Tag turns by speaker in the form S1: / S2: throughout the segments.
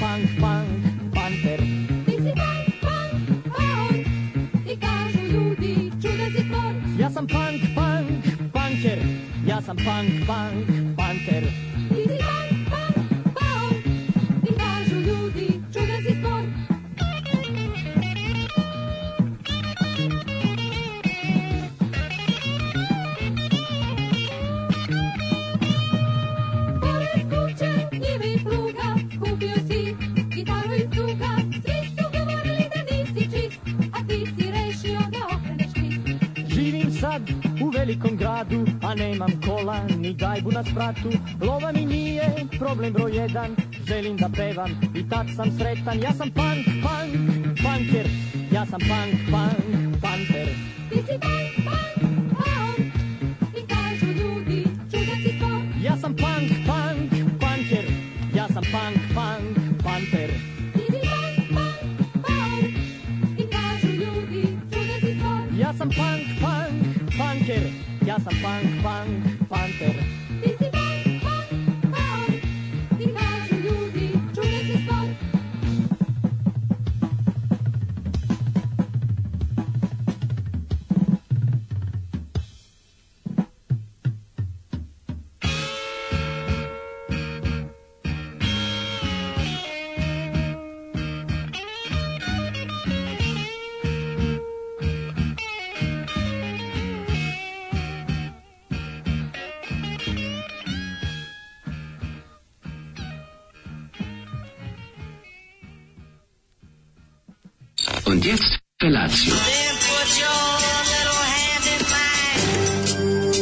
S1: punk, punk, panter.
S2: Ti si punk, punk, punk I kažu ljudi, čuda si tvor
S1: Ja sam punk, punk, punker. Ja sam punk, punk, panter.
S2: Ti si punk, punk, punk I kažu ljudi, čuda si tvor Pored kuće, njive i pluga Kupio si gitaru iz duga Svi su govorili da nisi čist A ti si rešio da okreneš list
S1: Živim sad u velikom gradu, a nemam kola ni gajbu na spratu. Lova mi nije problem broj jedan, želim da pevam i tad sam sretan. Ja sam punk, punk, punker, ja sam punk, punk, panter.
S2: Ti si punk, punk, punk I kažu ljudi, čudan si to
S1: Ja sam punk, punk, punker, ja sam punk, punk, panter.
S2: Ti si punk, punk, punk I kažu ljudi, čudan si to
S1: Ja sam punk, punk, punker, ja sam punk, punk, panter.
S2: Ti si punk, punk, punk I kažu ljudi, čudan si to
S3: Und jetzt Felatio.
S4: Then put your little hand in mine.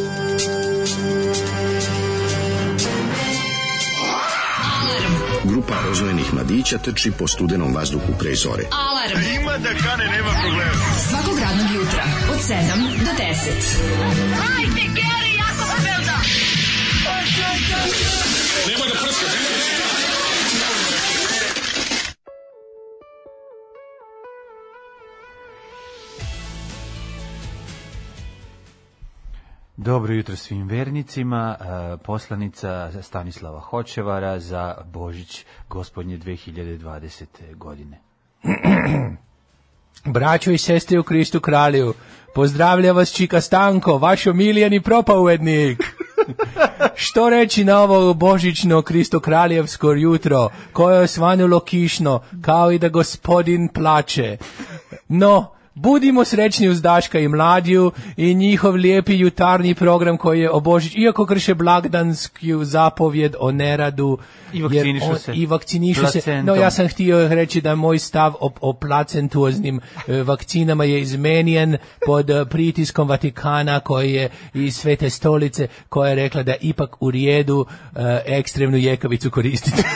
S5: Grupa rozvojenih mladića trči po studenom vazduhu pre zore.
S6: Alarm. Ima da kane, nema problema. Svakog radnog jutra, od 7 do 10. Hajde, Geri, jako se velda.
S7: Dobro jutro svim vernicima, e, poslanica Stanislava Hočevara za Božić gospodnje 2020. godine.
S8: Braćo i sestre u Kristu kralju, pozdravlja vas Čika Stanko, vaš omiljeni propauednik. Što reći na ovo božićno kristokraljevsko jutro, koje je osvanulo kišno, kao i da gospodin plače. No, budimo srećni uz Daška i Mladiju i njihov lijepi jutarnji program koji je o Božić, iako krše blagdansku zapovjed o neradu.
S7: I
S8: jer
S7: vakcinišu
S8: on-
S7: se.
S8: I vakcinišu se. No,
S7: Placentom.
S8: ja sam sam htio reći da moj stav o, o placentuoznim e, vakcinama je izmenjen pod e, pritiskom Vatikana koji je i Svete stolice koja je rekla da ipak u rijedu e, ekstremnu jekavicu koristiti.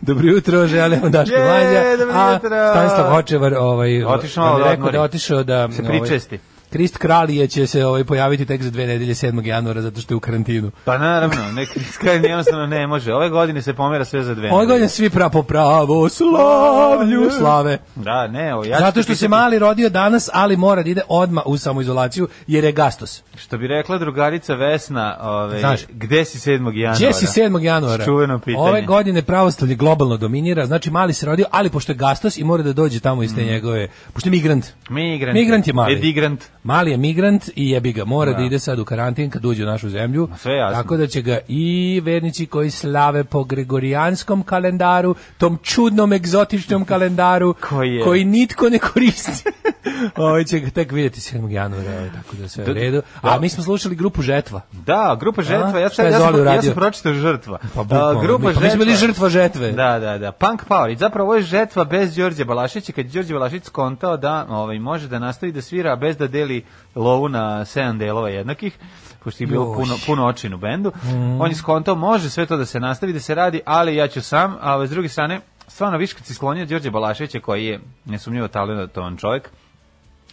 S8: Dobro jutro, želimo Daško
S7: Je,
S8: Mlađa,
S7: dobro
S8: a
S7: jutro.
S8: Stanislav Hočevar ovaj,
S7: Otišao
S8: nam je
S7: da
S8: rekao
S7: odmori.
S8: da je otišao da...
S7: Se
S8: ovaj,
S7: pričesti.
S8: Krist Kralije će se ovaj, pojaviti tek za dve nedelje 7. januara zato što je u karantinu.
S7: Pa naravno, neki skrajni jednostavno ne može. Ove godine se pomera sve za dve.
S8: Ove godine svi prapo pravo slavlju slave.
S7: Da, ne, o, ja ću
S8: Zato što
S7: ti
S8: se
S7: pisati-
S8: mali rodio danas, ali mora da ide odma u samoizolaciju jer je gastos.
S7: Što bi rekla drugarica Vesna, ove,
S8: Znaš,
S7: gde si 7. januara?
S8: Gdje si 7. januara?
S7: Čuveno pitanje.
S8: Ove godine pravoslavlje globalno dominira, znači mali se rodio, ali pošto je gastos i mora da dođe tamo iz te njegove, pošto je migrant.
S7: Mm. Migrant.
S8: Migrant je mali.
S7: Edigrant.
S8: Mali je migrant i jebi ga, mora da, ide sad u karantin kad uđe u našu zemlju.
S7: sve jasno.
S8: Tako da će ga i vernici koji slave po gregorijanskom kalendaru, tom čudnom egzotičnom kalendaru
S7: Koji je-
S8: nitko ne koristi. Ovo će ga tek vidjeti 7. januara, ovaj, tako da sve u redu. A mi smo slušali grupu Žetva.
S7: Da, grupa žetva, ja,
S8: Šta
S7: sam,
S8: je
S7: ja,
S8: Zoli
S7: sam, ja
S8: uradio?
S7: sam pročitao žrtva.
S8: Pa bukvalno,
S7: A, grupa
S8: mi- pa mi smo bili
S7: žetva.
S8: žrtva žetve.
S7: Da, da, da. Punk power. I zapravo ovo je žetva bez Đorđe Balašića, kad je Đorđe Balašić skontao da ovaj, može da nastavi da svira a bez da deli lovu na 7 delova jednakih, pošto je bilo
S8: Još. Mhm.
S7: puno, puno očin u bendu. On je skontao, može sve to da se nastavi, da se radi, ali ja ću sam, a ovaj, s druge strane, stvarno viš kad si sklonio Đorđe Balašića, koji je nesumnjivo talentovan čovjek,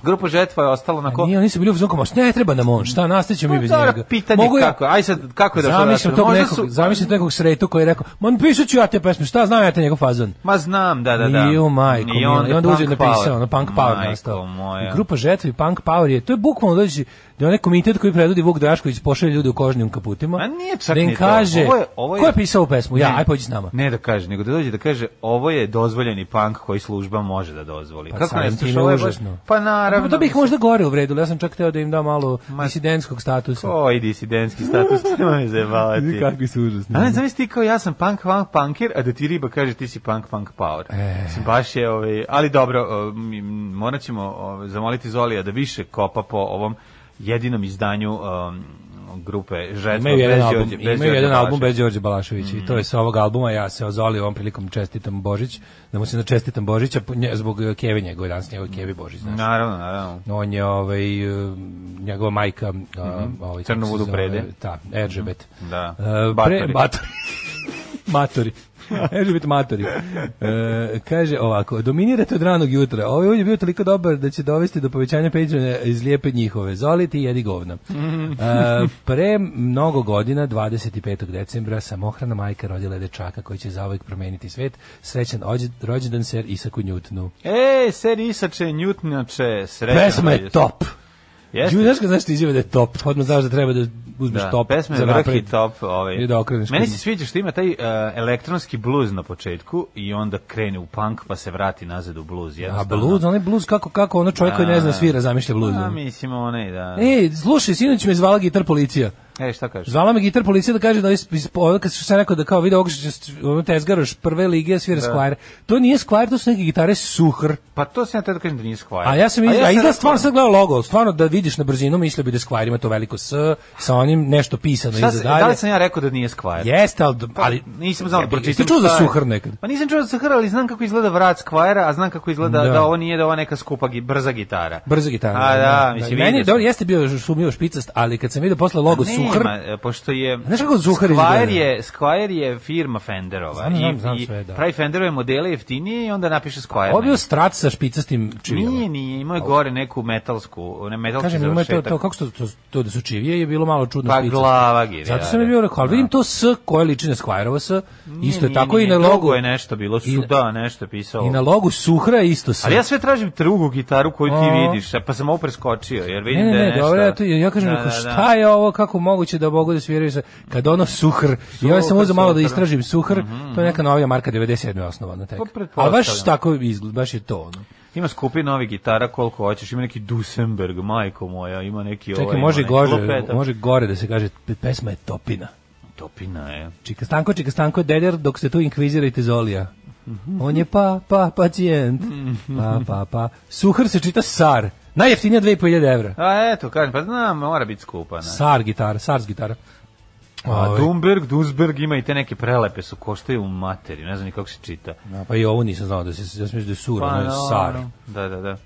S7: Grupa žetva je ostala onako...
S8: Pa Nije, oni su bili u fazonu kao, ne treba nam on, šta, nastaćemo mi bez
S7: Pa Dobro,
S8: njega.
S7: Pitanje
S8: Mogu ja-
S7: kako, aj sad, kako je došlo do
S8: Zamislim
S7: rasprave?
S8: tog
S7: Možda
S8: nekog,
S7: su-
S8: zamislim tog nekog sretu koji je rekao, man pisat ću ja te pesme, šta znam ja te njegov fazon.
S7: Ma znam, da, da, da.
S8: Ju, majko,
S7: I
S8: mila.
S7: onda
S8: I onda uđe
S7: punk
S8: napisao,
S7: power.
S8: ono, punk power
S7: Majko
S8: nastao.
S7: moja.
S8: Grupa žetvi, punk power je, to je bukvalno dođe, da onaj komitet koji predvodi Vuk Drašković pošalje ljude u kožnim kaputima.
S7: Ma nije čak
S8: da im
S7: ni to.
S8: kaže,
S7: Ovo je- ovo je-
S8: ko je pisao ovu pesmu? Ja,
S7: Ne.
S8: aj pođi s nama.
S7: Ne da kaže, nego da dođe da kaže ovo je dozvoljeni punk koji služba može da dozvoli.
S8: Pa
S7: Kako ne
S8: samim
S7: slušaš
S8: time
S7: ovo je
S8: užasno.
S7: baš- Pa naravno.
S8: to bih možda gore uvredilo, ja sam čak teo da im da malo
S7: Ma-
S8: disidentskog statusa.
S7: Koji disidentski status, nema me zajebavati.
S8: Kakvi su užasni.
S7: A ne, zamisli ti kao ja sam punk, punk, punkir, a da ti riba kaže ti si punk, punk power.
S8: E.
S7: Mislim, Baš je, ovaj, ali dobro, o, mi- m, morat ćemo ovaj, zamoliti Zolija da više kopa po ovom jedinom izdanju um, grupe Žetva.
S8: Imaju jedan
S7: bez
S8: album,
S7: Đorđe- bez
S8: imaju
S7: Đorđe
S8: jedan
S7: Balaša.
S8: album bez Đorđe Balaševića i to je sa ovog albuma ja se ozoli ovom prilikom čestitam Božić, da mu se na čestitam Božića po- nje- zbog eh, Keve njegove danas njegove Keve Božić, znaš.
S7: Naravno, naravno.
S8: On je ovaj eh, njegova majka a, ovaj kako
S7: Mhm. Crnovudu
S8: se zove,
S7: Prede. Mhm.
S8: ta Eržebet.
S7: Da.
S8: Eh,
S7: Batori.
S8: Batori. Matori. Eržebet Matori. Eh, kaže ovako, dominirate od ranog jutra. Ovaj ulj je bio toliko dobar da će dovesti do povećanja Patreona iz lijepe njihove. Zoli ti jedi govna.
S7: Mhm.
S8: Eh, pre mnogo godina, 25. decembra, samohrana majka rodila je dečaka koji će zauvek promeniti svet. Srećan ođe- rođendan ser Isaku Njutnu.
S7: E, ser Isače, Njutnjače, srećno.
S8: Pesma je top!
S7: Jeste?
S8: Ju, znaš kad znaš ti izjave da je top, odmah znaš da treba da uzmeš
S7: Da,
S8: znači top.
S7: pesma je
S8: za
S7: vrh i
S8: napred
S7: top. Ovaj.
S8: I da okreneš.
S7: Meni
S8: kod-
S7: se sviđa što ima taj uh, elektronski bluz na početku i onda krene u punk pa se vrati nazad u bluz.
S8: A bluz, onaj bluz kako, kako ono čovjek koji ne zna svira zamišlja bluz. ono.
S7: A, mislim, onaj, da.
S8: Ej, slušaj, sinoć me zvala gitar policija.
S7: E, šta kažeš?
S8: Zvala me gitar policija da kaže da iz, iz, ono kad sam rekao da kao vidi ovog što će- ono tezgaroš prve lige svira Squire. To nije Squire, to su neke gitare suhr.
S7: Pa to sam ja tada kažem da nije Squire.
S8: A ja sam iz, a
S7: rekao-
S8: izgleda stvarno sam gledao logo, stvarno da vidiš na brzinu, mislio bi da je Squire ima to veliko S sa onim nešto pisano
S7: Šta
S8: iza
S7: se,
S8: dalje.
S7: da li sam ja rekao da nije Squire?
S8: Jeste, ali,
S7: Pa,
S8: ali
S7: nisam znao da
S8: Jebe,
S7: pročitam.
S8: jesi čuo za
S7: šta je.
S8: suhr nekad?
S7: Pa nisam čuo za suhr, ali znam kako izgleda vrat Squire, a znam kako izgleda da,
S8: Da.
S7: ovo nije da ovo neka skupa gi, brza gitara.
S8: Brza gitara.
S7: A da, mislim,
S8: Meni je
S7: vidio sam.
S8: dobro, jeste bio šumio špicast, ali kad sam vidio posle logo
S7: Nema,
S8: Suhr,
S7: e, pošto je...
S8: Znaš kako Zuhar
S7: Squire
S8: izgleda?
S7: je, Squire je firma Fenderova.
S8: Znam, znam,
S7: i-
S8: znam
S7: i
S8: sve, da.
S7: Pravi Fenderove modele jeftinije i onda napiše Squire.
S8: ovo je bio
S7: na
S8: strat sa špicastim
S7: njih.
S8: čivijama.
S7: Nije, nije, imao je gore neku metalsku, ne metalski
S8: Kažem, ima je to,
S7: završetak.
S8: to, kako su to, to da su čivije je bilo malo čudno
S7: Pa
S8: špicasto.
S7: glava giri.
S8: Zato sam mi bio rekao, ali vidim to S koje liči na Squire-ovo S, isto je tako i na
S7: Drugo
S8: logu.
S7: je nešto bilo,
S8: I
S7: su
S8: na-
S7: da, nešto je pisalo.
S8: I na logu Suhra je isto S.
S7: Ali ja sve tražim drugu gitaru koju ti
S8: A.
S7: vidiš, a pa sam ovo preskočio, jer
S8: Ne,
S7: vidim
S8: ne,
S7: da je
S8: ne,
S7: nešto...
S8: dobro, ja, to, ja kažem, rekao, šta je ovo, kako moguće da mogu da sviraju sa, kad ono suhr, i ja sam
S7: Suhr,
S8: uzeo malo da
S7: suhr. Mhm,
S8: istražim suhr, to je neka novija marka 97. osnovana tek.
S7: Pa
S8: Ali
S7: pretpostavljam.
S8: baš tako izgled, baš je to ono.
S7: Ima skupi novi gitara koliko hoćeš, ima neki Dusenberg, majko moja, ima neki ovaj...
S8: Čekaj,
S7: ima
S8: može
S7: neki
S8: gore,
S7: lupeta.
S8: može gore da se kaže pe- pesma je topina.
S7: Topina je.
S8: Čika Stanko, Čika Stanko, deder, dok se tu inkvizirajte Zolija.
S7: Mhm.
S8: On je pa, pa, pacijent. Pa, pa, pa. Suhar se čita sar. Najjeftinija 2500 evra.
S7: A eto, kažem, pa znam, mora biti skupa. Ne?
S8: Sar gitara, sars gitara.
S7: A
S8: Ovaj,
S7: Dumberg, Dunsberg ima i te neke prelepe su, koštaju u materiju, ne znam ni kako se čita.
S8: da, Pa i ovo nisam znao da se, ja sam mislio da je sur, ono je
S7: no,
S8: sar. E,
S7: no. Da, da, da.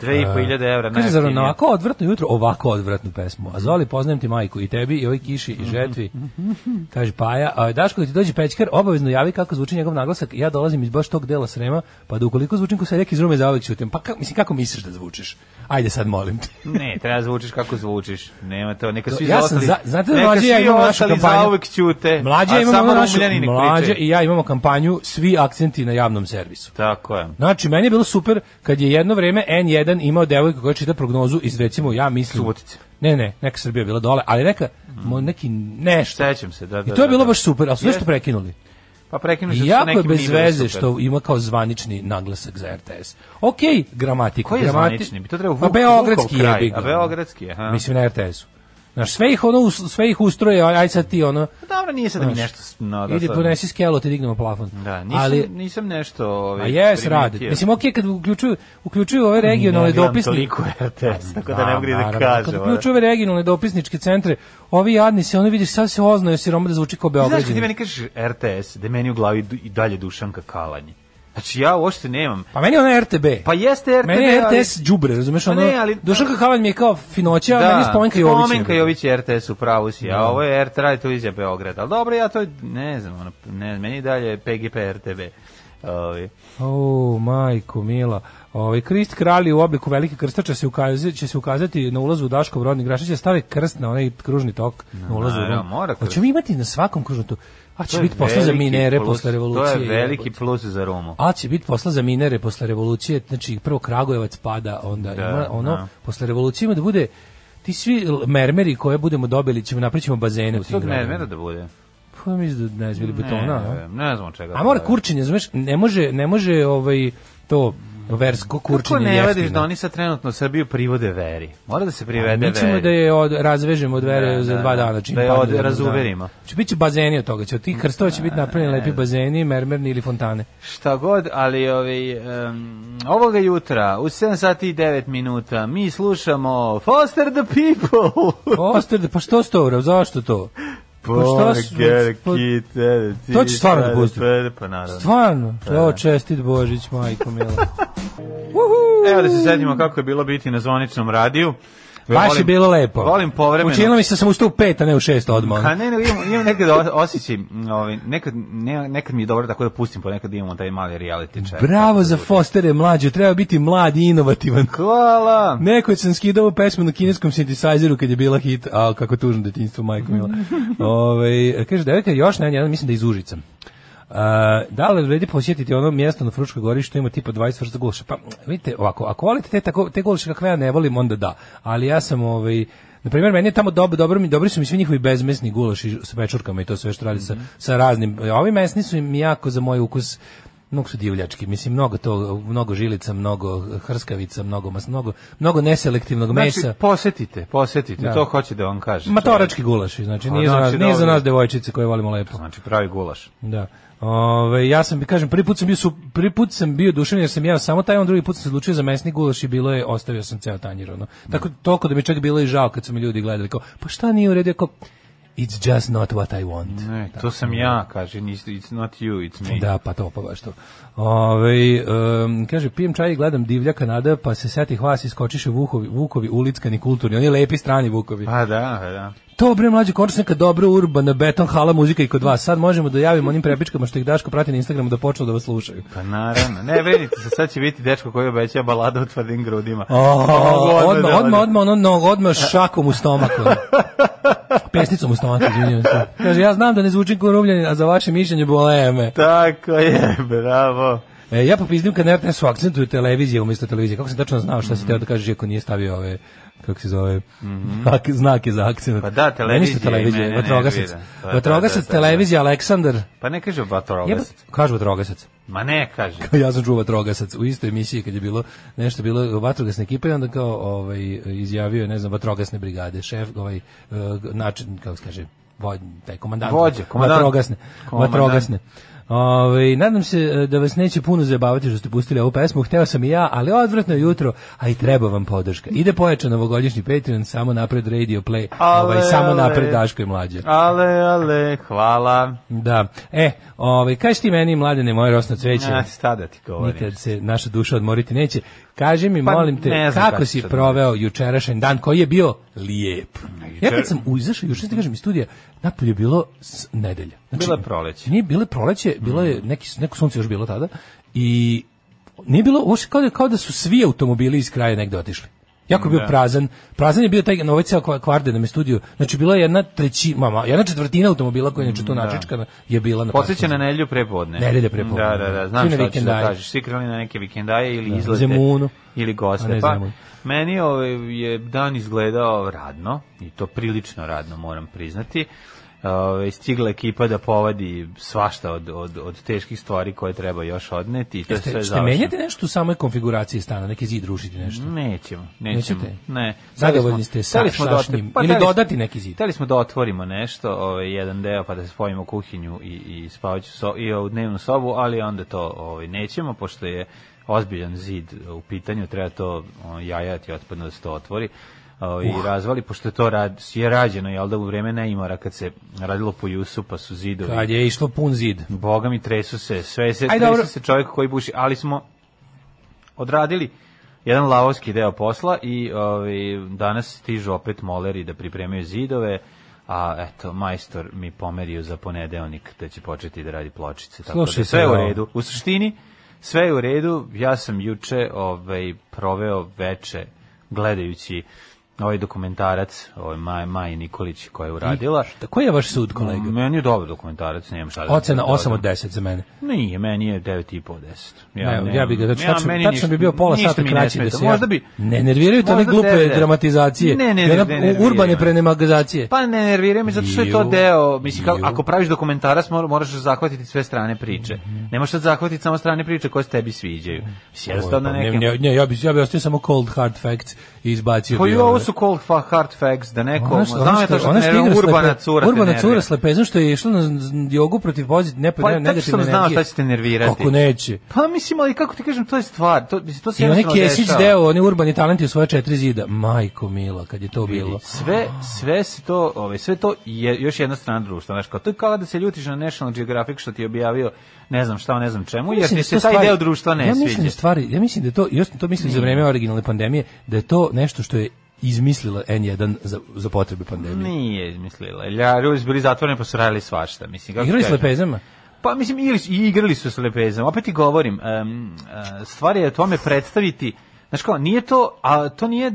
S7: Dve Pa i po hiljade evra,
S8: Kaže, zar na
S7: najjeftinije.
S8: ovako odvratno jutro, ovako odvratnu pesmu. A Zoli, poznajem ti majku i tebi i ovoj kiši i žetvi. Kaže Paja, a Daško, kad ti dođe pećkar, obavezno javi kako zvuči njegov naglasak. Ja dolazim iz baš tog dela Srema, pa da ukoliko zvučim ko se reki iz rume, zaovek ćutim. Pa kako, mislim, kako misliš da zvučiš? Ajde sad, molim te.
S7: Ne, treba zvučiš kako zvučiš. Nema to, neka
S8: To-
S7: svi
S8: ja sam
S7: ostali.
S8: za- znate da
S7: neka
S8: mlađe ja
S7: svi
S8: imam našu
S7: ostali
S8: kampanju.
S7: zauvek ćute.
S8: Mlađa
S7: a
S8: imamo
S7: samo
S8: ono našu,
S7: Rumljani nek
S8: mlađa
S7: pričaju.
S8: i ja imamo kampanju Svi akcenti na javnom servisu.
S7: Tako je.
S8: Znači, meni je bilo super kad je jedno vrijeme N1 imao devojku koja čita prognozu iz, recimo, ja mislim...
S7: Subotice. Mm.
S8: Ne, ne, neka Srbija bila dole, ali neka, mo- neki nešto.
S7: Sećam se, da, da.
S8: I to je
S7: da,
S8: bilo
S7: da.
S8: baš super, ali sve
S7: Jeste.
S8: što prekinuli.
S7: Pa prekinuš
S8: I jako je bez veze što ima kao zvanični naglasak za RTS. Ok, gramatika.
S7: Koji je
S8: gramati-
S7: zvanični? Bi to trebao
S8: Pa
S7: Vuk,
S8: Beogradski
S7: Vukov kraj,
S8: je.
S7: A Beogradski, aha.
S8: Mislim na RTS-u. Znaš, sve ih, ono, us- sve ih ustroje, aj aj sad ti ono,
S7: Dobro, nije Pa sad da mi
S8: Znaš,
S7: nešto... s- No, da,
S8: idi
S7: sad-
S8: ponesi skelo, ti dignemo plafon.
S7: Da, nisam,
S8: ali,
S7: nisam nešto...
S8: a
S7: Ovaj,
S8: jes, radi.
S7: primetio.
S8: Mislim, ok, kad uključuju, uključuju ove regionalne
S7: Ne gledam
S8: dopisnike.
S7: toliko RTS, tako da ne mogu ni da
S8: naravno.
S7: kažem.
S8: Kad
S7: ono.
S8: uključuju ove regionalne dopisničke centre, ovi jadni se, ono vidiš, sad se oznaju siroma da zvuči kao
S7: Znaš kad ti
S8: Beograđani.
S7: meni kažeš RTS, da je meni u glavi du- i dalje Dušanka Kalanje. Znači ja uopšte nemam.
S8: Pa meni je ona RTB.
S7: Pa jeste RTV,
S8: meni je
S7: ali-
S8: RTS đubre, razumeš,
S7: Pa
S8: ono,
S7: ne, ali-
S8: Dušanka Halan mi je kao finoća, a meni je Spomenka Jović.
S7: Spomenka Jović je RTS u pravu si, a ovo je RT Radio Televizija Beograd. Ali dobro, ja to ne znam, ono, ne, meni i dalje je PGP RTV. Ovi.
S8: O, majko mila. Ovaj Krist kralj u obliku velike krstača se ukazati, će se ukazati na ulazu u Daškov rodni grašić, će stave krst na onaj kružni tok na ulazu.
S7: naravno,
S8: Rom.
S7: mora krst.
S8: Hoćemo imati na svakom kružnom toku. A
S7: To
S8: će
S7: je
S8: biti posla za
S7: veliki
S8: minere
S7: plus,
S8: posle revolucije.
S7: To je veliki
S8: jebote.
S7: plus za Romu.
S8: A će biti posla za minere posle revolucije, znači prvo Kragujevac pada, onda ima ono,
S7: da.
S8: posle revolucije ima da bude ti svi l- mermeri koje budemo dobili ćemo napravićemo bazene u tim
S7: Tog
S8: gradovima.
S7: mermera da bude.
S8: Pa mislim da ne znam, ili betona. ono a?
S7: Ne, ne znam čega.
S8: A mora kurčenje, znaš, ne može, ne može ovaj, to versko
S7: Kako
S8: kurčenje
S7: ne
S8: jeftino.
S7: vadiš da oni sad trenutno Srbiju privode veri? Mora da se privede
S8: Mi ćemo
S7: veri.
S8: da je od, razvežemo od vere
S7: Da,
S8: za
S7: da,
S8: dva
S7: da.
S8: dana. čim
S7: Da je
S8: padne
S7: od-
S8: za dva dana.
S7: razuverimo.
S8: Će biti bazeni od toga, će od tih krstova će biti napravljeni lepi bazeni, mermerni ili fontane.
S7: Šta god, ali ovaj, em, ovoga jutra u 7 sati i 9 minuta mi slušamo Foster the People.
S8: Oster, pa što sto urav, zašto to? Pa šta su- pa- To će stvarno da pusti.
S7: Pa naravno.
S8: Stvarno, o, čestit Božić, majko mila.
S7: Evo da se sjetimo kako je bilo biti na zvoničnom radiju.
S8: Baš je
S7: Volim-
S8: bilo lepo.
S7: Volim povremeno.
S8: Učinilo mi se da sam ustao u pet, a ne u šest odmah.
S7: A ne, ne, imam, imam nekad o- osjećaj, mm, ovaj, nekad, ne, nekad mi je dobro tako da pustim, ponekad imamo taj mali reality check.
S8: Bravo za Fostere mlađe, treba biti mlad i inovativan.
S7: Hvala!
S8: Neko sam skidao ovu pesmu na kineskom sintesajzeru kad je bila hit, a kako tužno detinjstvo, majko mila. Ove, kaže, devojka je još najnjedan, mislim da je iz Užica. A, da li vredi posjetiti ono mjesto na Fruškoj gori što ima tipa 20 vrsta gulaša? Pa, vidite, ovako, ako volite te, tako, te gulaše kakve ja ne volim, onda da. Ali ja sam, ovaj, na primjer, meni je tamo dobro, dobro mi, dobri su mi svi njihovi bezmesni gulaši sa pečurkama i to sve što radi sa, sa raznim. a Ovi mesni su im jako za moj ukus mnogo su divljački, mislim mnogo to, mnogo žilica, mnogo hrskavica, mnogo mas, mnogo, mnogo neselektivnog mesa.
S7: Znači, posetite, posetite,
S8: Da.
S7: to hoće da vam kažem.
S8: Matorački gulaši, znači
S7: A,
S8: nije, za
S7: znači,
S8: nas, nije za
S7: dobro.
S8: nas devojčice koje volimo lepo.
S7: Znači, pravi gulaš.
S8: Da. Ove, ja sam, kažem, prvi put sam bio, su, prvi put sam bio dušan jer sam jeo samo taj, on drugi put sam se odlučio za mesni gulaš i bilo je, ostavio sam ceo tanjir, ono. Tako, toliko da mi je čak bilo i žao kad su mi ljudi gledali, kao, pa šta nije u redu, Ja kao, it's just not what I want.
S7: Ne, E, to sam ja, kaže, nis- it's not you, it's me.
S8: Da, pa to, pa baš to. Ove, em, kaže, pijem čaj i gledam divlja Kanada, pa se setih vas iskočiše vukovi, vukovi ulickani kulturni, oni lepi strani vukovi.
S7: Pa da, da.
S8: To bre mlađe konačno neka dobra urbana beton hala muzika i kod vas. Sad možemo da javimo onim prepičkama što ih Daško prati na Instagramu da počnu da vas slušaju.
S7: Pa naravno. Ne, vedite se, sad će biti dečko koji obećava balada u tvrdim grudima. Mogu
S8: Oh,
S7: odmah
S8: odma
S7: da
S8: odma
S7: odem.
S8: odma ono no, odma šakom u stomak. ono. Pesnicom u stomak, izvinjavam se. Kaže ja znam da ne zvučim kao rumljanin, a za vaše mišljenje bole me.
S7: Tako je, bravo.
S8: E, ja popizdim kad na RTS-u akcentuju televizije umjesto televizije. Kako sam tačno znao šta
S7: Mhm.
S8: si teo da kažeš ako nije stavio ove kako se zove, znak- znake za akcent.
S7: Pa da, televizija
S8: Meni su
S7: i mene
S8: vatrogasac.
S7: nervira. Pa da,
S8: Vatrogasac,
S7: da, da, da.
S8: televizija, Aleksandar.
S7: Pa ne kaže
S8: Jeba,
S7: vatrogasac.
S8: kažu vatrogasac.
S7: Ma ne kaže.
S8: Pa ja sam čuo vatrogasac u istoj emisiji kad je bilo nešto bilo vatrogasna ekipa i onda kao ovaj izjavio je ne znam vatrogasne brigade šef ovaj eh, način kako se kaže voj, taj komandant
S7: Vođa, komandant.
S8: vatrogasne
S7: Komandant.
S8: vatrogasne Ovaj, nadam se eh, da vas neće puno zabavati što ste pustili ovu pesmu, hteo sam i ja, ali odvratno je jutro, a i treba vam podrška. Ide pojačan novogodišnji Patreon, samo napred Radio Play,
S7: Ale,
S8: ovaj, samo
S7: ale.
S8: napred Daško i mlađe.
S7: Ale, ale, hvala.
S8: Da. E, ovaj, kaži ti meni, mladene, moje rosno cveće.
S7: Ja, šta da ti govorim?
S8: Nikad se naša duša odmoriti neće. Kaži mi,
S7: Pa,
S8: molim te,
S7: ne znam
S8: kako
S7: kako
S8: si
S7: ću da
S8: proveo jučerašnji dan koji je bio lijep? Ja kad
S7: Mm, jučer-
S8: sam izašao juče, ti kažem, iz studija, napolje je bilo s nedelja. Znači,
S7: Bilo je proleće. Mm.
S8: Nije bilo je proleće, bilo je neki, neko sunce još bilo tada i nije bilo, uopšte kao da, kao da su svi automobili iz kraja negde otišli. Jako je bio prazan. Prazan je bio taj na ovaj ceo kva- kvarde na me studiju. Znači bila je jedna treći, mama, jedna četvrtina automobila koja je inače tu načičkana je bila na
S7: Podseća
S8: parkingu.
S7: Mm, na nedelju prepodne.
S8: Nedelje prepodne,
S7: Da, da,
S8: da.
S7: da, znam
S8: Svi na
S7: šta ćeš da
S8: vikendaje.
S7: kažeš. Svi krenuli na neke vikendaje ili
S8: Da,
S7: izlete.
S8: Zemunu.
S7: Ili
S8: A
S7: goste.
S8: ne
S7: Pa,
S8: Zemun.
S7: meni ovaj, je dan izgledao radno, i to prilično radno moram priznati. Ovaj, stigla ekipa da povadi svašta od, od, od teških stvari koje treba još odneti. I to je
S8: Ste,
S7: sve
S8: ste
S7: završeno.
S8: menjate nešto u samoj konfiguraciji stana, neki zid rušiti nešto?
S7: Mm. Nećemo, nećemo.
S8: Nećete?
S7: Ne. Hteli
S8: Zadovoljni
S7: smo-
S8: ste sa
S7: hteli smo da otvorimo-
S8: šašnjim ili
S7: hteli smo-
S8: dodati neki zid?
S7: Hteli smo da otvorimo nešto, ovaj jedan deo pa da spojimo kuhinju i i spavaću so, i ovu dnevnu sobu, ali onda to ovaj nećemo pošto je ozbiljan zid u pitanju, treba to o, jajati otpadno da se to otvori ovaj,
S8: Uh.
S7: i razvali, pošto je to rad, je rađeno, jel da u vreme neimara kad se radilo po Jusu, pa su zidovi
S8: Kad je išlo pun zid.
S7: Boga mi tresu se, sve se,
S8: Aj,
S7: tresu
S8: dobro.
S7: se čovjek koji buši, ali smo odradili jedan lavovski deo posla i ovaj, danas stižu opet moleri da pripremaju zidove, a eto, majstor mi pomerio za ponedeonik da će početi da radi pločice. Tako da
S8: Slušajte,
S7: sve je u
S8: ovo.
S7: redu. U suštini, sve je u redu. Ja sam juče ovaj, proveo veče gledajući ovaj dokumentarac, ovaj Maj, Maj Nikolić koja je uradila.
S8: Da, koji je vaš sud, kolega?
S7: Meni je dobar dokumentarac, nemam šta da
S8: Ocena
S7: dodam.
S8: 8 od 10 za mene.
S7: Nije, meni je 9,5 od 10.
S8: Ja, ne, ja bih ga, znači,
S7: ja,
S8: tačno,
S7: meni
S8: tačno bi
S7: ništa-
S8: bio pola
S7: ništa
S8: sata
S7: mi ne
S8: kraći da
S7: smeta.
S8: se ja...
S7: Možda bi...
S8: Ne nerviraju te one
S7: Možda
S8: glupe
S7: ne, ne.
S8: dramatizacije.
S7: Ne, ne,
S8: I ona
S7: ne, ne, ne,
S8: urbane
S7: ne.
S8: prenemagazacije.
S7: Pa ne nerviraju me zato što je to
S8: Ju,
S7: deo, mislim kako,
S8: ju.
S7: ako praviš dokumentarac mora- moraš zahvatiti sve strane priče.
S8: Mhm.
S7: Ne možeš sad zahvatiti samo strane priče koje se tebi sviđaju. Mislim jednostavno
S8: pa ne,
S7: neke.
S8: ne, ne, ja bih ja bi ostavio samo cold hard facts i izbacio
S7: Pa
S8: bi
S7: i
S8: ove.
S7: ovo su cold fa hard facts da neko,
S8: Ona što-
S7: znam
S8: ona
S7: je to
S8: što-
S7: što
S8: ona
S7: ne
S8: što
S7: nervira,
S8: igra
S7: urbana
S8: slepe-
S7: cura. te
S8: Urbana
S7: nervira.
S8: cura slepezom što je išla na z- jogu protiv pozitiv, ne,
S7: Pa
S8: pa,
S7: i tako
S8: ne, negativne
S7: sam
S8: energije.
S7: znao šta će te nervirati.
S8: Kako neće.
S7: Pa mislim, ali kako ti kažem, to je stvar. To, mislim, to se
S8: I onaj
S7: jednostavno
S8: Kesić
S7: dešava.
S8: deo, oni urbani talenti u svoje četiri zida. Majko mila, kad je to bilo.
S7: Sve, sve se to, ovaj, sve to je još jedna strana društva, znaš, kao, to je kao da se ljutiš na National Geographic što ti je objavio ne znam šta, ne znam čemu, jer
S8: Mislim
S7: ti
S8: da
S7: se
S8: to
S7: taj
S8: stvari-
S7: deo društva ne
S8: ja mislim
S7: sviđa.
S8: stvari, ja mislim da je to, još sam to mislim za vreme originalne pandemije, da je to nešto što je izmislila N1 za, za potrebe pandemije.
S7: Nije izmislila. Ja, ljudi su bili zatvoreni pa su radili svašta. Mislim, kako
S8: Igrali
S7: ti
S8: s
S7: kažem?
S8: lepezama?
S7: Pa mislim, ili, i igrali su s lepezom. Opet ti govorim, em, e, stvar je o tome predstaviti Znaš kao, nije to, a, to nije,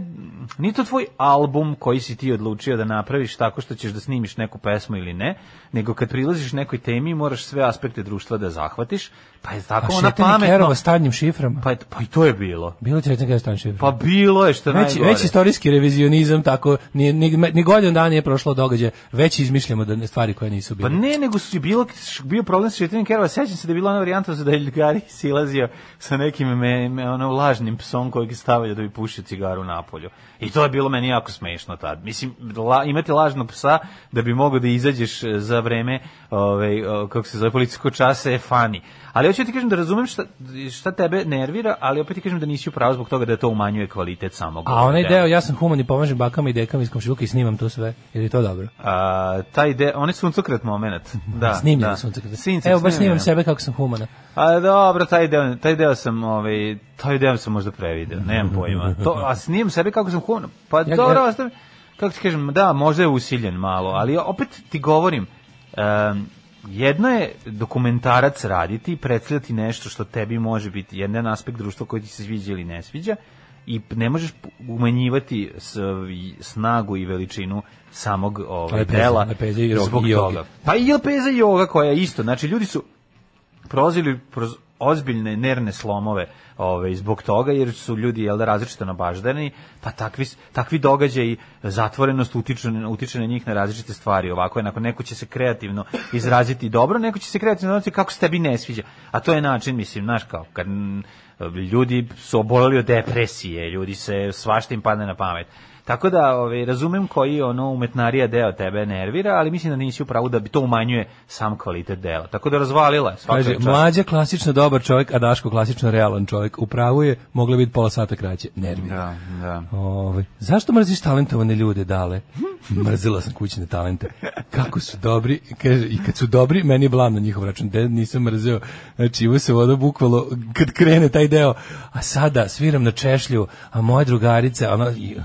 S7: nije to tvoj album koji si ti odlučio da napraviš tako što ćeš da snimiš neku pesmu ili ne, nego kad prilaziš nekoj temi moraš sve aspekte društva da zahvatiš, pa je tako
S8: A
S7: ona
S8: šetanje
S7: pametno.
S8: kerova s tanjim šiframa?
S7: Pa, je- pa i to je bilo.
S8: Bilo ti šetanje kerova s tanjim šiframa?
S7: Pa bilo je što je
S8: Već,
S7: najgore.
S8: već istorijski revizionizam tako ni ni, ni godinu dana nije prošlo događaja, već izmišljamo da ne- stvari koje nisu
S7: Pa
S8: bile.
S7: ne, nego su bilo, bio problem sa šetanjem kerova. Sećam se da je bila ona varijanta za da je Ljigari silazio sa nekim me, me, ono, lažnim psom kojeg je stavio da bi pušio cigaru napolju. I to je bilo meni jako smešno tad. Mislim, la, imati lažnog psa da bi mogao da izađeš e, za vreme, ovaj, o, kako se zove, policijsko časa je fani. Ali hoću ti kažem da razumem šta, šta tebe nervira, ali opet ti kažem da nisi u pravu zbog toga da to umanjuje kvalitet samog.
S8: A
S7: ovog
S8: onaj
S7: dela.
S8: deo, ja sam human i pomažem bakama i dekama iz komšiluka i snimam to sve, jer je to dobro.
S7: A, taj de, on je suncokret moment. Da,
S8: Snimljeni
S7: da.
S8: su tako da.
S7: Sincak
S8: Evo, baš snimam
S7: snimljeni.
S8: sebe kako sam humana.
S7: A dobro, taj deo, taj deo sam, ovaj, taj deo sam možda prevideo, nemam pojma. To, a snijem sebe kako sam huno. Pa
S8: Ja-
S7: dobro,
S8: ja-
S7: ostavim, kako ti kažem, da, možda je usiljen malo, ali opet ti govorim, em, jedno je dokumentarac raditi i predstavljati nešto što tebi može biti jedan aspekt društva koji ti se sviđa ili ne sviđa i ne možeš umanjivati s, snagu i veličinu samog ovaj,
S8: Lepeza,
S7: dela
S8: lepeza i rog-
S7: zbog
S8: i joge.
S7: toga. Pa i lepeza i joga koja je isto. Znači, ljudi su prolazili kroz ozbiljne nervne slomove ove, zbog toga, jer su ljudi jel, da, različito nabaždani, pa takvi, s- takvi događaji, zatvorenost utiče, utiče na njih na različite stvari. Ovako je, nakon, neko će se kreativno izraziti dobro, neko će se kreativno izraziti kako se tebi ne sviđa. A to je način, mislim, znaš, kao kad mm, ljudi su oboleli od depresije, ljudi se svašta im padne na pamet. Tako da ovaj, razumem koji ono umetnarija deo tebe nervira, ali mislim da nisi u pravu da bi to umanjuje sam kvalitet dela. Tako da razvalila je svaka
S8: Kaže,
S7: čast.
S8: mlađa klasično dobar čovjek, a Daško klasično realan čovjek. U pravu je, moglo biti pola sata kraće. Nervira.
S7: Da, da.
S8: Ovaj, zašto mrziš talentovane ljude, dale? Mrzila sam kućne talente. Kako su dobri, kaže, i kad su dobri, meni je blam na njihov račun. De, nisam mrzeo. Znači, uvo se voda bukvalo kad krene taj deo. A sada sviram na češlju, a moja drugarica, ona... i-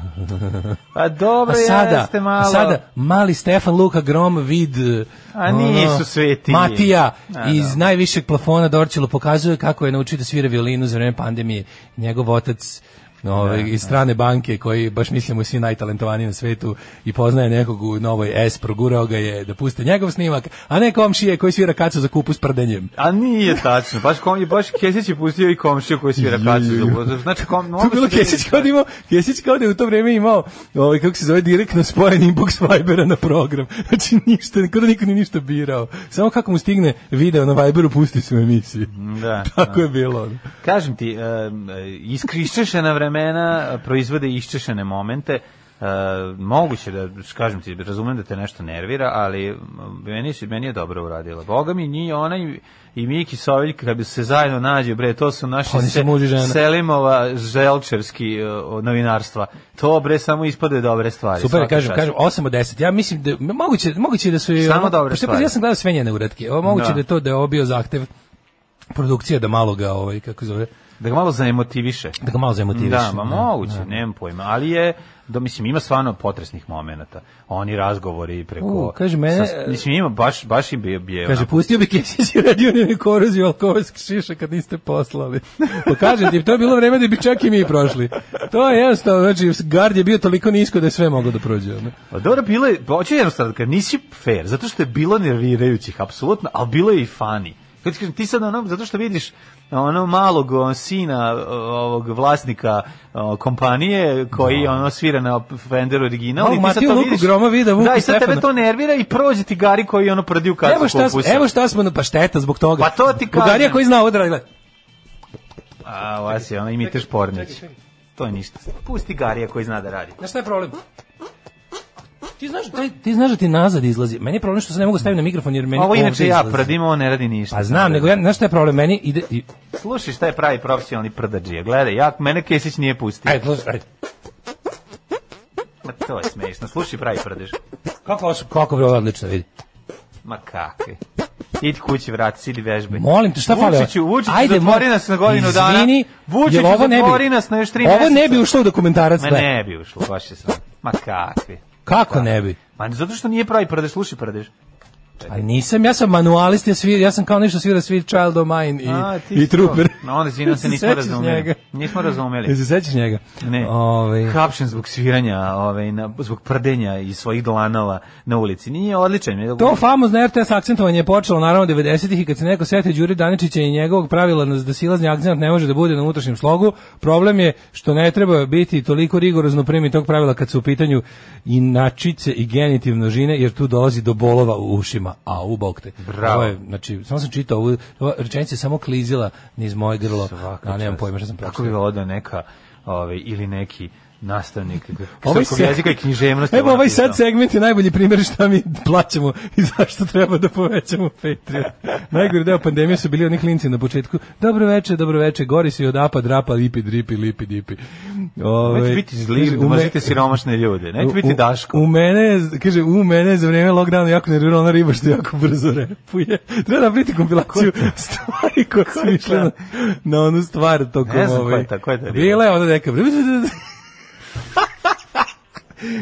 S7: Pa dobro,
S8: A sada,
S7: jeste malo.
S8: a sada mali Stefan Luka Grom vid eh,
S7: A nisu
S8: ono,
S7: svi ti.
S8: Matija
S7: A,
S8: iz
S7: da.
S8: najvišeg plafona Dorčilo pokazuje kako je naučio da svira violinu za vreme pandemije. Njegov otac Ove, iz strane banke koji baš mislimo svi najtalentovaniji na svetu i poznaje nekog u novoj S progurao ga je da puste njegov snimak a ne komšije koji svira kacu za kupu s prdenjem
S7: A nije tačno. Baš kom je baš Kesić je pustio i komšiju koji svira kacu za ulaz. Znači kom
S8: Tu je
S7: mnogo
S8: bilo
S7: se vidi-
S8: Kesić kao da imao, Kesić kao da je u to vreme imao, ovaj, kako se zove, direktno spojen inbox Vibera na program. Znači ništa, kao da niko ni ništa birao. Samo kako mu stigne video na Viberu, pusti se u emisiju.
S7: Mm, Da.
S8: Tako je bilo. ono.
S7: Kažem ti, em, e, iskriščešena vremena e, proizvode iščešene momente. E, moguće da, kažem ti, razumem da te nešto nervira, ali m, meni, si- meni je dobro uradila. Boga mi, nji ona i, i Miki Soviljka, kad bi se zajedno nađe, bre, to su naši
S8: Pa oni su muž i žena.
S7: Selimova želčevski e, o, novinarstva. To, bre, samo ispade dobre stvari.
S8: Super,
S7: svaka
S8: kažem,
S7: čast.
S8: kažem, 8 od 10. Ja mislim da, moguće, moguće da su... i
S7: Samo
S8: ono-
S7: dobre
S8: pošto
S7: stvari.
S8: Ja sam gledao sve njene uratke. Ovo moguće
S7: Da.
S8: da je to da je ovo bio zahtev produkcija da malo ga, ovaj, kako se zove,
S7: Da ga malo zaemotiviše.
S8: Da ga malo zaemotiviše.
S7: Da, ma moguće, nemam pojma. Ali je, da, mislim, ima stvarno potresnih momenata. Oni razgovori preko...
S8: U, kaže, mene-
S7: mislim, ima baš, baš i bio... bio
S8: Kaže,
S7: onako-
S8: pustio bi Kesić i radio na koroziju alkoholskih šiša kad niste poslali. Pa kažem ti, to je bilo vreme da bi čak i mi prošli. To je jednostavno, znači, gard je bio toliko nisko da je sve moglo da prođe. ono.
S7: Pa dobro, bilo je, pa hoću jednostavno, da kažem, nisi fair, zato što je bilo nervirajućih, apsolutno, ali bilo je i fani. Kad ti kažem, ti sad ono, zato što vidiš ono malog o, sina o, ovog vlasnika o, kompanije koji ono svira na Fender original
S8: Malog
S7: i ti sad
S8: Matiju
S7: to
S8: Luku
S7: vidiš.
S8: Groma vida, Vuku
S7: da, i sad tebe
S8: Stefana.
S7: to nervira i prođe ti gari koji ono prdi u kacu
S8: Evo šta, smo-
S7: kupusa.
S8: evo šta smo, na- pa šteta zbog toga.
S7: Pa to ti kažem.
S8: Bugarija koji zna odradila.
S7: A, vas je, ono, imiteš pornić. To je ništa. Pusti Garija koji zna da radi.
S8: Znaš šta je problem? Ti znaš, da taj- ti znaš da ti nazad izlazi. Meni je problem što se ne mogu staviti na mikrofon jer meni
S7: Ovo inače
S8: ovde
S7: ja
S8: izlazi.
S7: prdim, ovo ne radi ništa.
S8: Pa znam, nego ja, znaš šta je problem? Meni ide... I,
S7: Slušaj šta je pravi profesionalni prdađija. Gledaj, ja, mene Kesić nije pustio.
S8: ajde, slušaj, ajde.
S7: Ma to je smešno. Slušaj pravi prdež.
S8: Kako, ovo su- kako bre, ovo je odlično, vidi.
S7: Ma kakvi. Idi kući, vrati, sidi vežbe.
S8: Molim te, šta fali?
S7: Vučiću, Vučiću,
S8: Ajde,
S7: zatvori
S8: mo-
S7: nas na godinu dana.
S8: Izvini,
S7: Vučiću,
S8: jel ovo ne bi-
S7: zatvori nas na još tri
S8: Ovo ne
S7: meseca.
S8: bi ušlo u dokumentarac,
S7: Ma
S8: gle.
S7: ne bi ušlo, baš je sram. Ma kakvi.
S8: Kako ne bi?
S7: Ma zato što nije pravi prdež, slušaj prdež.
S8: Pa nisam, ja sam manualist, ja, svira, ja sam kao nešto svira Sweet Child O' Mine i,
S7: A, ti
S8: i
S7: si to.
S8: Trooper.
S7: No, onda izvinjam se,
S8: Jel
S7: nismo
S8: sećaš njega?
S7: razumeli. Nismo
S8: Jel se
S7: razumeli.
S8: sećaš njega?
S7: Ne,
S8: Ovaj,
S7: hapšen zbog sviranja, ovaj, na, zbog prdenja i svojih dlanova na ulici. Nije odličan. je-
S8: To famozno RTS akcentovanje je počelo naravno 90-ih i kad se neko seti Đuri Daničića i njegovog pravila na- da silazni akcent ne može da bude na unutrašnjem slogu, problem je što ne treba biti toliko rigorozno u primjeni tog pravila kad su u pitanju inačice i genitiv množine, jer tu dolazi do bolova u ušima. A, u bok te.
S7: Bravo.
S8: Ovo je, znači, samo sam čitao ovu, ova rečenica je samo klizila niz moje grlo,
S7: Svaka
S8: a nemam
S7: čast.
S8: pojma šta sam
S7: Tako
S8: pročitao.
S7: bi odao neka ovaj, ili neki nastavnik
S8: Ovaj
S7: srpskog
S8: se-
S7: jezika i književnosti.
S8: Evo
S7: ovo
S8: ovaj
S7: napisao.
S8: sad segment je najbolji primjer šta mi plaćamo i zašto treba da povećamo Patreon. Najgori deo pandemije su bili oni klinci na početku. Dobro veče, dobro veče, gori si od apa, drapa, lipi, dripi, lipi, dipi. Ove,
S7: Nemojte biti
S8: kaže,
S7: zli,
S8: u me-
S7: mrzite siromašne ljude. Nemojte biti
S8: ovaj, u-
S7: Daško.
S8: U mene, je- kaže, u mene je za vrijeme lockdowna jako nervirala ona riba što jako brzo repuje. Treba napraviti kompilaciju stvari koje su išle na, na onu stvar tokom
S7: Ne znam
S8: ove-
S7: koja je ta- koja je ta riba?
S8: Bila je onda neka...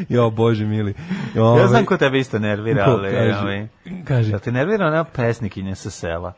S8: jo, bože mili.
S7: Ja
S8: Ove,
S7: znam ko tebe isto nervira,
S8: ko
S7: ali...
S8: kaže?
S7: ovaj,
S8: Kaže.
S7: Jel te nervira ona pesnikinja sa sela?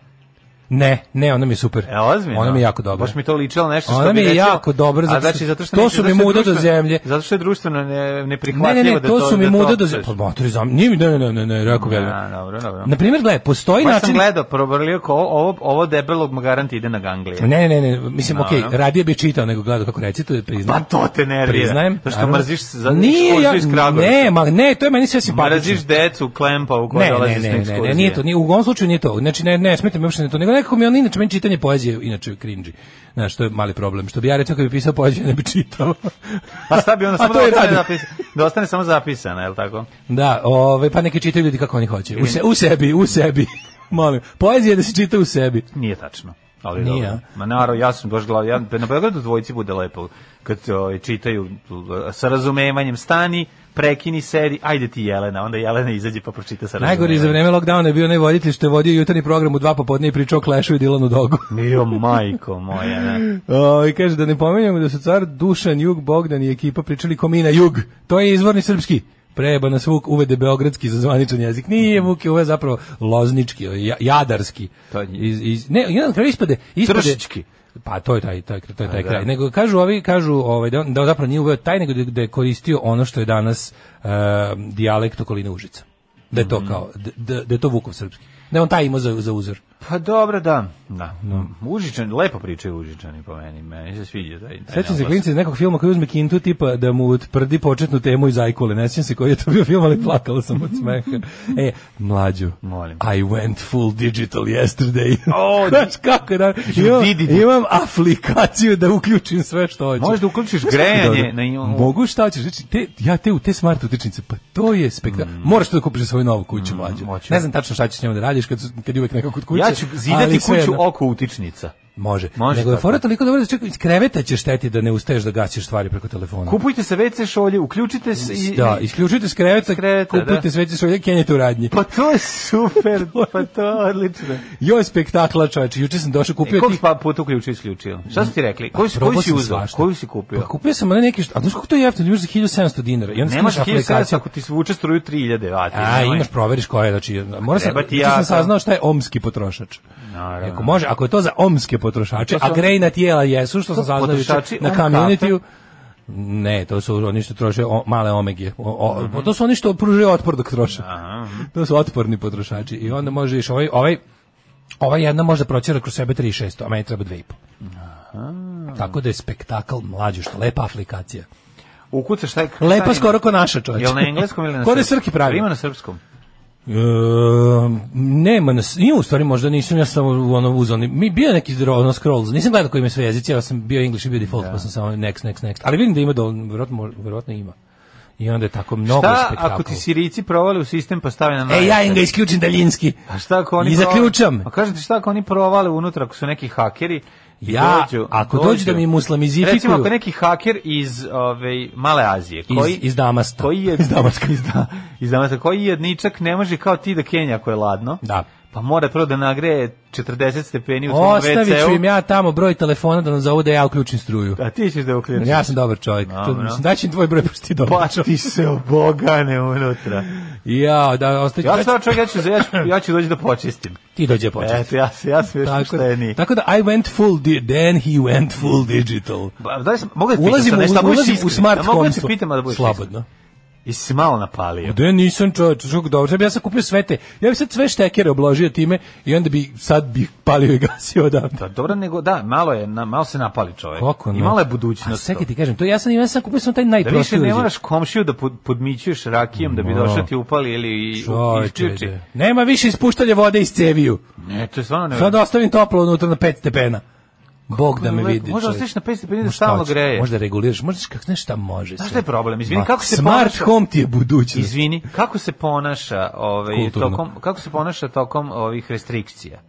S8: Ne, ne, ona mi je super.
S7: E, ozbiljno?
S8: Ona mi je jako dobra.
S7: Baš mi to ličilo nešto što
S8: Ona
S7: bi
S8: mi je
S7: rečila-
S8: jako dobra,
S7: A
S8: zato što-
S7: znači, zato što
S8: to
S7: neću-
S8: su mi
S7: zato što je
S8: muda do
S7: društveno-
S8: zemlje.
S7: Zato što je društveno ne,
S8: Ne,
S7: neprihvatljivo
S8: ne, ne,
S7: da
S8: to, su mi
S7: da
S8: muda do...
S7: optužiš.
S8: Pa, maturi, zam- nije mi, ne, ne, ne, ne, ne, rekao bi.
S7: A, dobro, dobro.
S8: Na primjer, gledaj, postoji
S7: Baš sam
S8: način...
S7: gledao, probrlio ko ovo, ovo debelog magaranta ide na ganglije.
S8: Ne, ne, ne, mislim,
S7: Da,
S8: okej,
S7: da.
S8: radije bi čitao nego gledao kako recituje,
S7: Pa
S8: priznajem.
S7: to te nervira.
S8: Priznajem.
S7: To što
S8: naravno.
S7: mrziš za
S8: Nije, ja,
S7: iz Kragujevca.
S8: ne, ma, ne, to je meni sve simpatično.
S7: Mrziš decu klempa u kojoj
S8: ne,
S7: dolazi
S8: ne, ne, ne, ne, nije to, nije, u ovom slučaju nije to. Znači, ne, ne, smete mi uopšte ne to. Nego nekako mi on, inače, meni čitanje poezije, inače, cringe. Znaš, to je mali problem. Što bi ja recimo kad bi pisao poeziju, ne bi čitao.
S7: A Pa šta bi onda
S8: A
S7: samo
S8: to
S7: da
S8: je
S7: ostane,
S8: radi.
S7: zapis, da ostane samo zapisana, je li tako?
S8: Da, ove, pa neki čitaju ljudi kako oni hoće. U, se, u sebi, u sebi. Molim, poezija je da se čita u sebi.
S7: Nije tačno. Ali
S8: Nije,
S7: dobro. Ma naravno, ja sam baš glav, ja, na Beogradu dvojici bude lepo kad ovaj, čitaju l- sa razumevanjem stani, prekini, sedi, ajde ti Jelena, onda Jelena izađe pa pročita sa razumevanjem.
S8: Najgori za vreme lockdowna je bio onaj voditelj što je vodio jutarnji program u dva popodne i pričao o Clashu i Dilanu Dogu.
S7: Jo, majko moja, ne.
S8: O, I kaže da ne pominjamo da su car Dušan, Jug, Bogdan i ekipa pričali komina Jug. To je izvorni srpski. Preba nas Vuk uvede beogradski za zvaničan jezik. Nije Vuk je uvede zapravo loznički, ja- jadarski.
S7: Mhm. To je-
S8: Iz, iz, ne, jedan kraj ispade... ispade
S7: Tršički.
S8: Pa to je taj, taj, to je taj
S7: da.
S8: kraj. Nego kažu ovi, kažu ovaj, da, on- da on zapravo nije uveo taj, nego da, da je koristio ono što je danas uh, dijalekt okoline Užica. Da je to
S7: Mhm.
S8: kao, da- da, da je to Vukov srpski. Da je on taj imao za, za uzor.
S7: Pa dobro, da. da. Užičani, lepo pričaju Užičani po meni, meni se sviđa taj, taj
S8: Sećam se
S7: naglas.
S8: klinca iz nekog filma koji uzme kintu tipa da mu utvrdi početnu temu iz Ajkule. Ne sjećam se koji je to bio film, ali plakala sam od smeha. E, mlađu,
S7: Molim.
S8: I went full digital yesterday.
S7: O,
S8: Znaš kako je, da, imam,
S7: did it.
S8: imam aplikaciju da uključim sve što hoću.
S7: Možda uključiš
S8: Znaš kako je
S7: grejanje
S8: dobro?
S7: na nju.
S8: Mogu šta hoćeš, znači, te, ja te u te smart utičnice, pa to je spektakl.
S7: Mm.
S8: Moraš to da kupiš za svoju novu kuću, mlađu.
S7: hoću.
S8: Ne znam tačno šta ćeš s njom da radiš kad, su- kad je uvek neko kod kuće.
S7: Mm, Ja ću zidati
S8: ali
S7: kuću
S8: svejedno.
S7: oko utičnica.
S8: Može.
S7: Može
S8: Nego je
S7: tako.
S8: fora toliko dobro da čekaj, iz kreveta ćeš šteti da ne ustaješ da gasiš stvari preko telefona.
S7: Kupujte se WC šolje, uključite se i...
S8: da, isključite s kreveta,
S7: S kreveta,
S8: kupujte
S7: da.
S8: sveće svoje kenjete u radnji.
S7: Pa to je super, pa to je odlično.
S8: Joj spektakla, čoveče, juče sam došao, kupio
S7: E, koliko
S8: tih-
S7: si pa puta uključio i isključio? Šta su ti rekli?
S8: Pa,
S7: Koji, si-
S8: probao
S7: koji si
S8: sam
S7: uzao?
S8: svašta.
S7: Koji si kupio?
S8: Pa kupio sam onaj neki što, a znaš kako to je jeftino, imaš za 1700 dinara. I onda
S7: Nemaš
S8: nemaš
S7: 1700
S8: aplikaciju.
S7: ako ti svuče struju 3000 vati.
S8: A, imaš, proveriš koje, znači, mora sam,
S7: Treba ti
S8: juče sam
S7: jaka.
S8: saznao šta je omski potrošač.
S7: Naravno.
S8: Ako može, ako je to za omske potrošače,
S7: To su-
S8: a grejna tijela jesu, što sam
S7: To
S8: saznao juče
S7: potrošači
S8: na
S7: om
S8: community Ne, to su oni što troše o- male omegije. O, o, To su oni što pružaju otpor dok troše. To su otporni potrošači. I onda može iš ovaj, ovaj, ova jedna može proći kroz sebe 3600, a meni treba 2,5. Tako da je spektakl mlađe, što lepa aplikacija.
S7: Ukucaš taj...
S8: Lepa
S7: taj-
S8: skoro ko naša čovječe.
S7: E, Jel na engleskom ili na
S8: Ko da je
S7: srpskom?
S8: Srki pravi?
S7: Ima na srpskom.
S8: Ehm, nema nas, nije u stvari možda nisam ja samo u ono uzeo, ni- mi bio je neki dro- ono scrolls, nisam gledao koji ima sve jezici, ja sam bio English i bio default, pa sam samo next, next, next, ali vidim da ima dovoljno, verovatno, verovatno ima. I onda je tako mnogo
S7: Šta
S8: spektakla.
S7: ako ti Sirici provali u sistem pa stave na
S8: E,
S7: najjači?
S8: ja im ga isključim daljinski.
S7: A šta ako oni
S8: I
S7: provale-
S8: zaključam.
S7: A kažete šta ako oni provale unutra ako su neki hakeri? i
S8: Ja, ako dođu da mi muslamizifikuju-
S7: Recimo ako je neki haker iz ove, Male Azije,
S8: Iz-
S7: koji
S8: iz Damasta.
S7: koji je
S8: Iz Damaska.
S7: iz, da, iz Damaska, koji jedničak ne može kao ti da kenja ako je ladno.
S8: Da.
S7: Pa mora prvo da nagreje 40 stepeni u tvom
S8: Ostavit ću
S7: WC-u.
S8: im ja tamo broj telefona da nam zovu da ja uključim struju.
S7: A ti ćeš da uključiš.
S8: Ja sam dobar čovjek.
S7: Dobro.
S8: To, mislim, daći im tvoj broj, pošto ti dobar
S7: Pa
S8: čovjek.
S7: ti se obogane unutra.
S8: Ja, da, ostavit ću-
S7: Ja sam stvarno čovjek, ja ću, ja ću, ja ću doći da počistim.
S8: Ti dođe početi.
S7: Eto, ja, se- ja sam još
S8: Tako,
S7: pošteniji.
S8: tako da I went full di then he went full digital.
S7: Ba, Pa, Da li sam, mogu da ti pitam
S8: Ulazimo
S7: sad nešto,
S8: u,
S7: ako budeš
S8: ulazim u
S7: iskren?
S8: smart
S7: Da
S8: home.
S7: mogu da te pitam, a da budeš
S8: Slobodno.
S7: iskren? Jesi se malo napalio?
S8: Da nisam čovječ, znaš kako dobro. Sad bi Ja sam kupio sve te, ja bi sad sve štekere obložio time i onda bi sad bi palio i gasio odavde.
S7: Pa dobro, nego da, malo je, na, malo se napali čovjek.
S8: Kako ne?
S7: I malo je
S8: A
S7: budućnost.
S8: sve
S7: to.
S8: ti kažem, to ja sam, ja sam kupio sam taj
S7: Da više
S8: najprostiji
S7: ne
S8: uređaj.
S7: moraš komšiju da pod- podmićuješ rakijom da bi došao ti upali ili i-
S8: Čovječe,
S7: isključi.
S8: da. Nema više ispuštanja vode iz ceviju.
S7: Ne, to je stvarno ne.
S8: Sad ostavim toplo unutra na 5 stepena. Bog da me
S7: lepo.
S8: vidi.
S7: Možda
S8: čovječe.
S7: ostaviš na 5 stepeni da
S8: Ma šta
S7: stalno
S8: hoćeš,
S7: greje.
S8: Možda reguliraš, možda kako znaš šta može.
S7: Znaš
S8: sve.
S7: šta je problem? Izvini,
S8: Ma,
S7: kako se
S8: Smart
S7: ponaša-
S8: home ti je budućnost.
S7: Izvini, kako se ponaša ovaj
S8: Kulturno.
S7: tokom kako se ponaša tokom ovih restrikcija?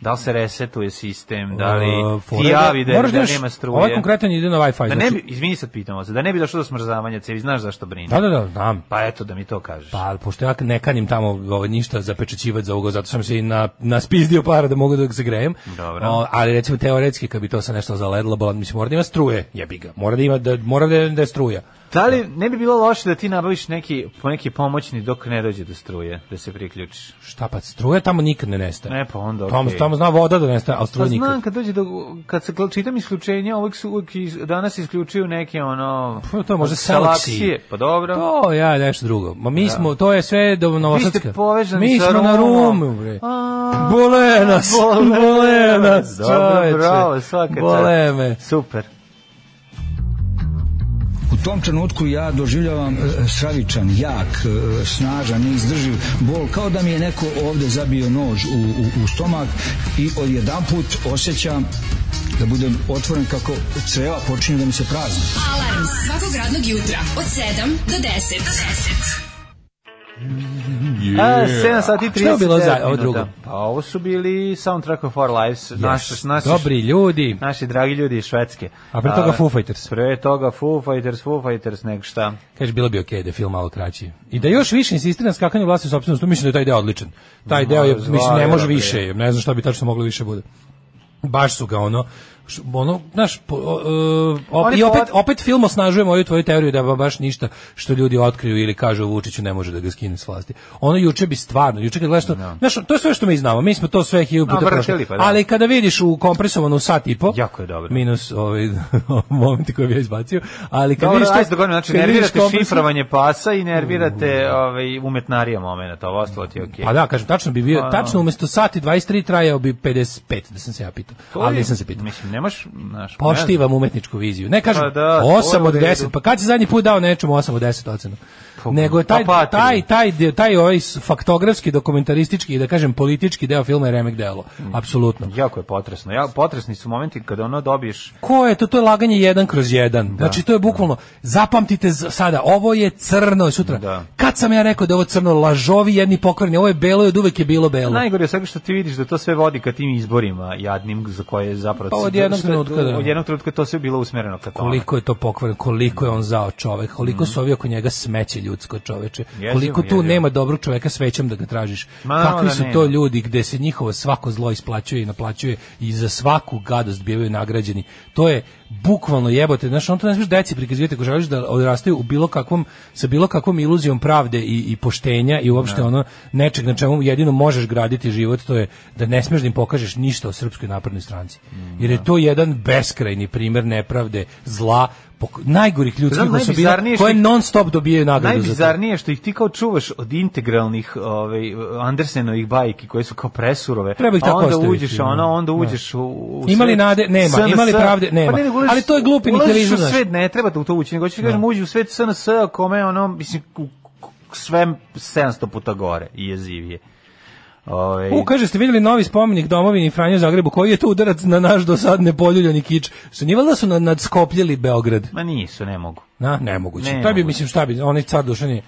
S7: Da li se resetuje sistem, da li
S8: Uh,
S7: ti
S8: fora
S7: javi da,
S8: moraš
S7: da
S8: imaš-
S7: nema struje?
S8: Ovaj konkretan ide na Wi-Fi.
S7: Da ne
S8: znači-
S7: bi, izvini sad pitamo se, da ne bi došlo do smrzavanja cevi, znaš zašto brinem?
S8: Da, da, da, znam.
S7: Pa eto da mi to kažeš.
S8: Pa, pošto ja ne kanim tamo ovaj, ništa zapečećivati za ugo, zato sam se i na, naspizdio para da mogu da se grejem.
S7: Dobro.
S8: O, ali recimo teoretski, kad bi to sa nešto zaledilo, bolan, mislim, mora da ima struje, jebi ga. Mora da, ima, da, mora da, da je struja.
S7: Da li ne bi bilo loše da ti nabaviš neki, po neki pomoćni dok ne dođe do struje, da se priključiš?
S8: Šta pa, struja tamo nikad ne nestaje.
S7: Ne, pa onda
S8: Tamo,
S7: okej.
S8: tamo zna voda da nestaje, ali
S7: Pa
S8: struja nikad.
S7: znam kad dođe do, kad se gl- čitam isključenja, uvek su uvek iz- danas isključuju neke ono
S8: Pa to može
S7: salaksije,
S8: salaksije.
S7: pa dobro.
S8: To ja nešto drugo. Ma mi smo, to je sve do
S7: Vi ste
S8: Novosadska.
S7: povezani
S8: Mi
S7: sa
S8: smo na
S7: Rumom.
S8: Rumu, bre.
S7: A,
S8: Bole nas,
S7: bole
S8: bole nas,
S7: nas, Dobro,
S8: čoveče.
S7: bravo, svaka čast.
S8: Bole me.
S7: Super.
S9: U tom trenutku ja doživljavam e, stravičan, jak, e, snažan, neizdrživ bol, kao da mi je neko ovde zabio nož u, u, u stomak i odjedan put osjećam da budem otvoren kako creva počinju da mi se prazne.
S6: Alarm svakog radnog jutra od 7 do 10. Do 10.
S7: A, 7 E, sati i 30
S8: E, Šta je bilo za- ovo drugo?
S7: Pa ovo su bili Soundtrack of Our Lives, naši, naši,
S8: Dobri ljudi.
S7: naši dragi ljudi iz Švedske.
S8: A pre toga Foo Fighters.
S7: Pre toga Foo Fighters, Foo Fighters, nek šta.
S8: Kaže, bilo bi okej da je film malo kraći. I da još više insistira na skakanju vlasti sobstvenost, mislim da je taj deo odličan. Taj deo je, mislim, ne može više, ne znam šta bi tačno moglo više bude. Baš su ga ono, š- ono, znaš, po- o- e, op-
S7: Oni
S8: i opet,
S7: pod-
S8: opet film osnažuje moju tvoju teoriju da ba- baš ništa što ljudi otkriju ili kažu o Vučiću ne može da ga skine s vlasti. Ono juče bi stvarno, juče kad gledaš to, znaš, to je sve što mi znamo, mi smo to sve hiljadu puta
S7: vrteli,
S8: prošli.
S7: pa da.
S8: Ali kada vidiš u kompresovanu sat i po,
S7: Jako je dobro.
S8: minus ovaj moment koji bi ja izbacio, ali kad
S7: Dobro,
S8: vidiš to,
S7: ajde da govorimo, znači
S8: kad vidiš
S7: nervirate
S8: kompresovanu-
S7: šifrovanje pasa i nervirate ovaj, umetnarija momenta, ovo ostalo ti je okej.
S8: Pa da,
S7: ono.
S8: kažem, tačno bi bio, tačno umesto sati 23 trajao bi 55, da sam se ja pitao.
S7: To
S8: Ali
S7: je-
S8: nisam se pitao. Pa
S7: mislim, nemaš, znaš,
S8: Poštivam umetničku viziju. Ne kažem
S7: Pa da, to je
S8: 8
S7: u
S8: od
S7: redu.
S8: 10. Pa kad si zadnji put dao nečemu 8 od 10 ocenu?
S7: Pa,
S8: Nego je taj,
S7: pa patili.
S8: taj, taj, deo- taj ovaj s- faktografski, dokumentaristički i da kažem politički deo filma je remek delo. Apsolutno.
S7: Jako je potresno. Ja, potresni su momenti kada ono dobiješ
S8: Ko je to? To je laganje jedan kroz jedan. znači to je bukvalno, zapamtite z- sada, ovo je crno sutra.
S7: Da.
S8: Kad sam ja rekao da je ovo crno, lažovi jedni pokvarni, ovo je belo i od uvek je bilo belo.
S7: Najgore je svega što ti vidiš da to sve vodi ka tim izborima jadnim za koje je zapravo...
S8: Pa od jednog trenutka, da.
S7: Od jednog trenutka to ono- sve bilo usmereno ka tome.
S8: koliko je to pokvareno, koliko je on zao čovek, koliko su ovi oko njega smeće ljudsko čoveče,
S7: Jezivo,
S8: koliko tu
S7: jezivo.
S8: nema dobrog čoveka svećem da ga tražiš.
S7: Ma, naravno
S8: Kakvi
S7: da
S8: su
S7: nema.
S8: to ljudi gde se njihovo svako zlo isplaćuje i naplaćuje i za svaku gadost bivaju nagrađeni. To je bukvalno jebote, znači on to ne smiješ deci prikazivati ako želiš da odrastaju u bilo kakvom sa bilo kakvom iluzijom pravde i, i poštenja i uopšte ono nečeg na čemu jedino možeš graditi život to je da ne smiješ da im pokažeš ništa o srpskoj naprednoj stranci.
S7: Mm,
S8: Jer je to jedan beskrajni primer nepravde, zla, pok- najgorih ljudskih
S7: Znam,
S8: osobina
S7: najbizarnije što
S8: koje
S7: ih-
S8: non stop dobijaju nagradu za to.
S7: Najbizarnije je što ih ti kao čuvaš od integralnih ovaj Andersenovih bajki koje su kao presurove.
S8: Treba ih
S7: a
S8: tako
S7: onda
S8: ostaviti,
S7: uđeš,
S8: da.
S7: ono, onda uđeš u, u
S8: Imali
S7: svet
S8: nade? Nema.
S7: SNS.
S8: Imali pravde? Nema.
S7: Pa ne, nego ulaziš-
S8: Ali to je glupi
S7: ulaziš
S8: nihilizam,
S7: u
S8: znaš.
S7: svet, ne treba da u to ući, nego ću ti kažem uđi u svet SNS kome ono mislim ku- ku- sve 700 puta gore i jezivije. Ovaj
S8: U, kaže, ste vidjeli novi spomenik domovini Franju Zagrebu, koji je to udarac na naš do sad nepoljuljani kič? Su nije valjda su na, nadskopljili Beograd?
S7: Ma nisu, ne mogu.
S8: Na, nemoguće.
S7: Ne,
S8: to bi,
S7: moguće.
S8: mislim, šta bi, onaj car dušan je...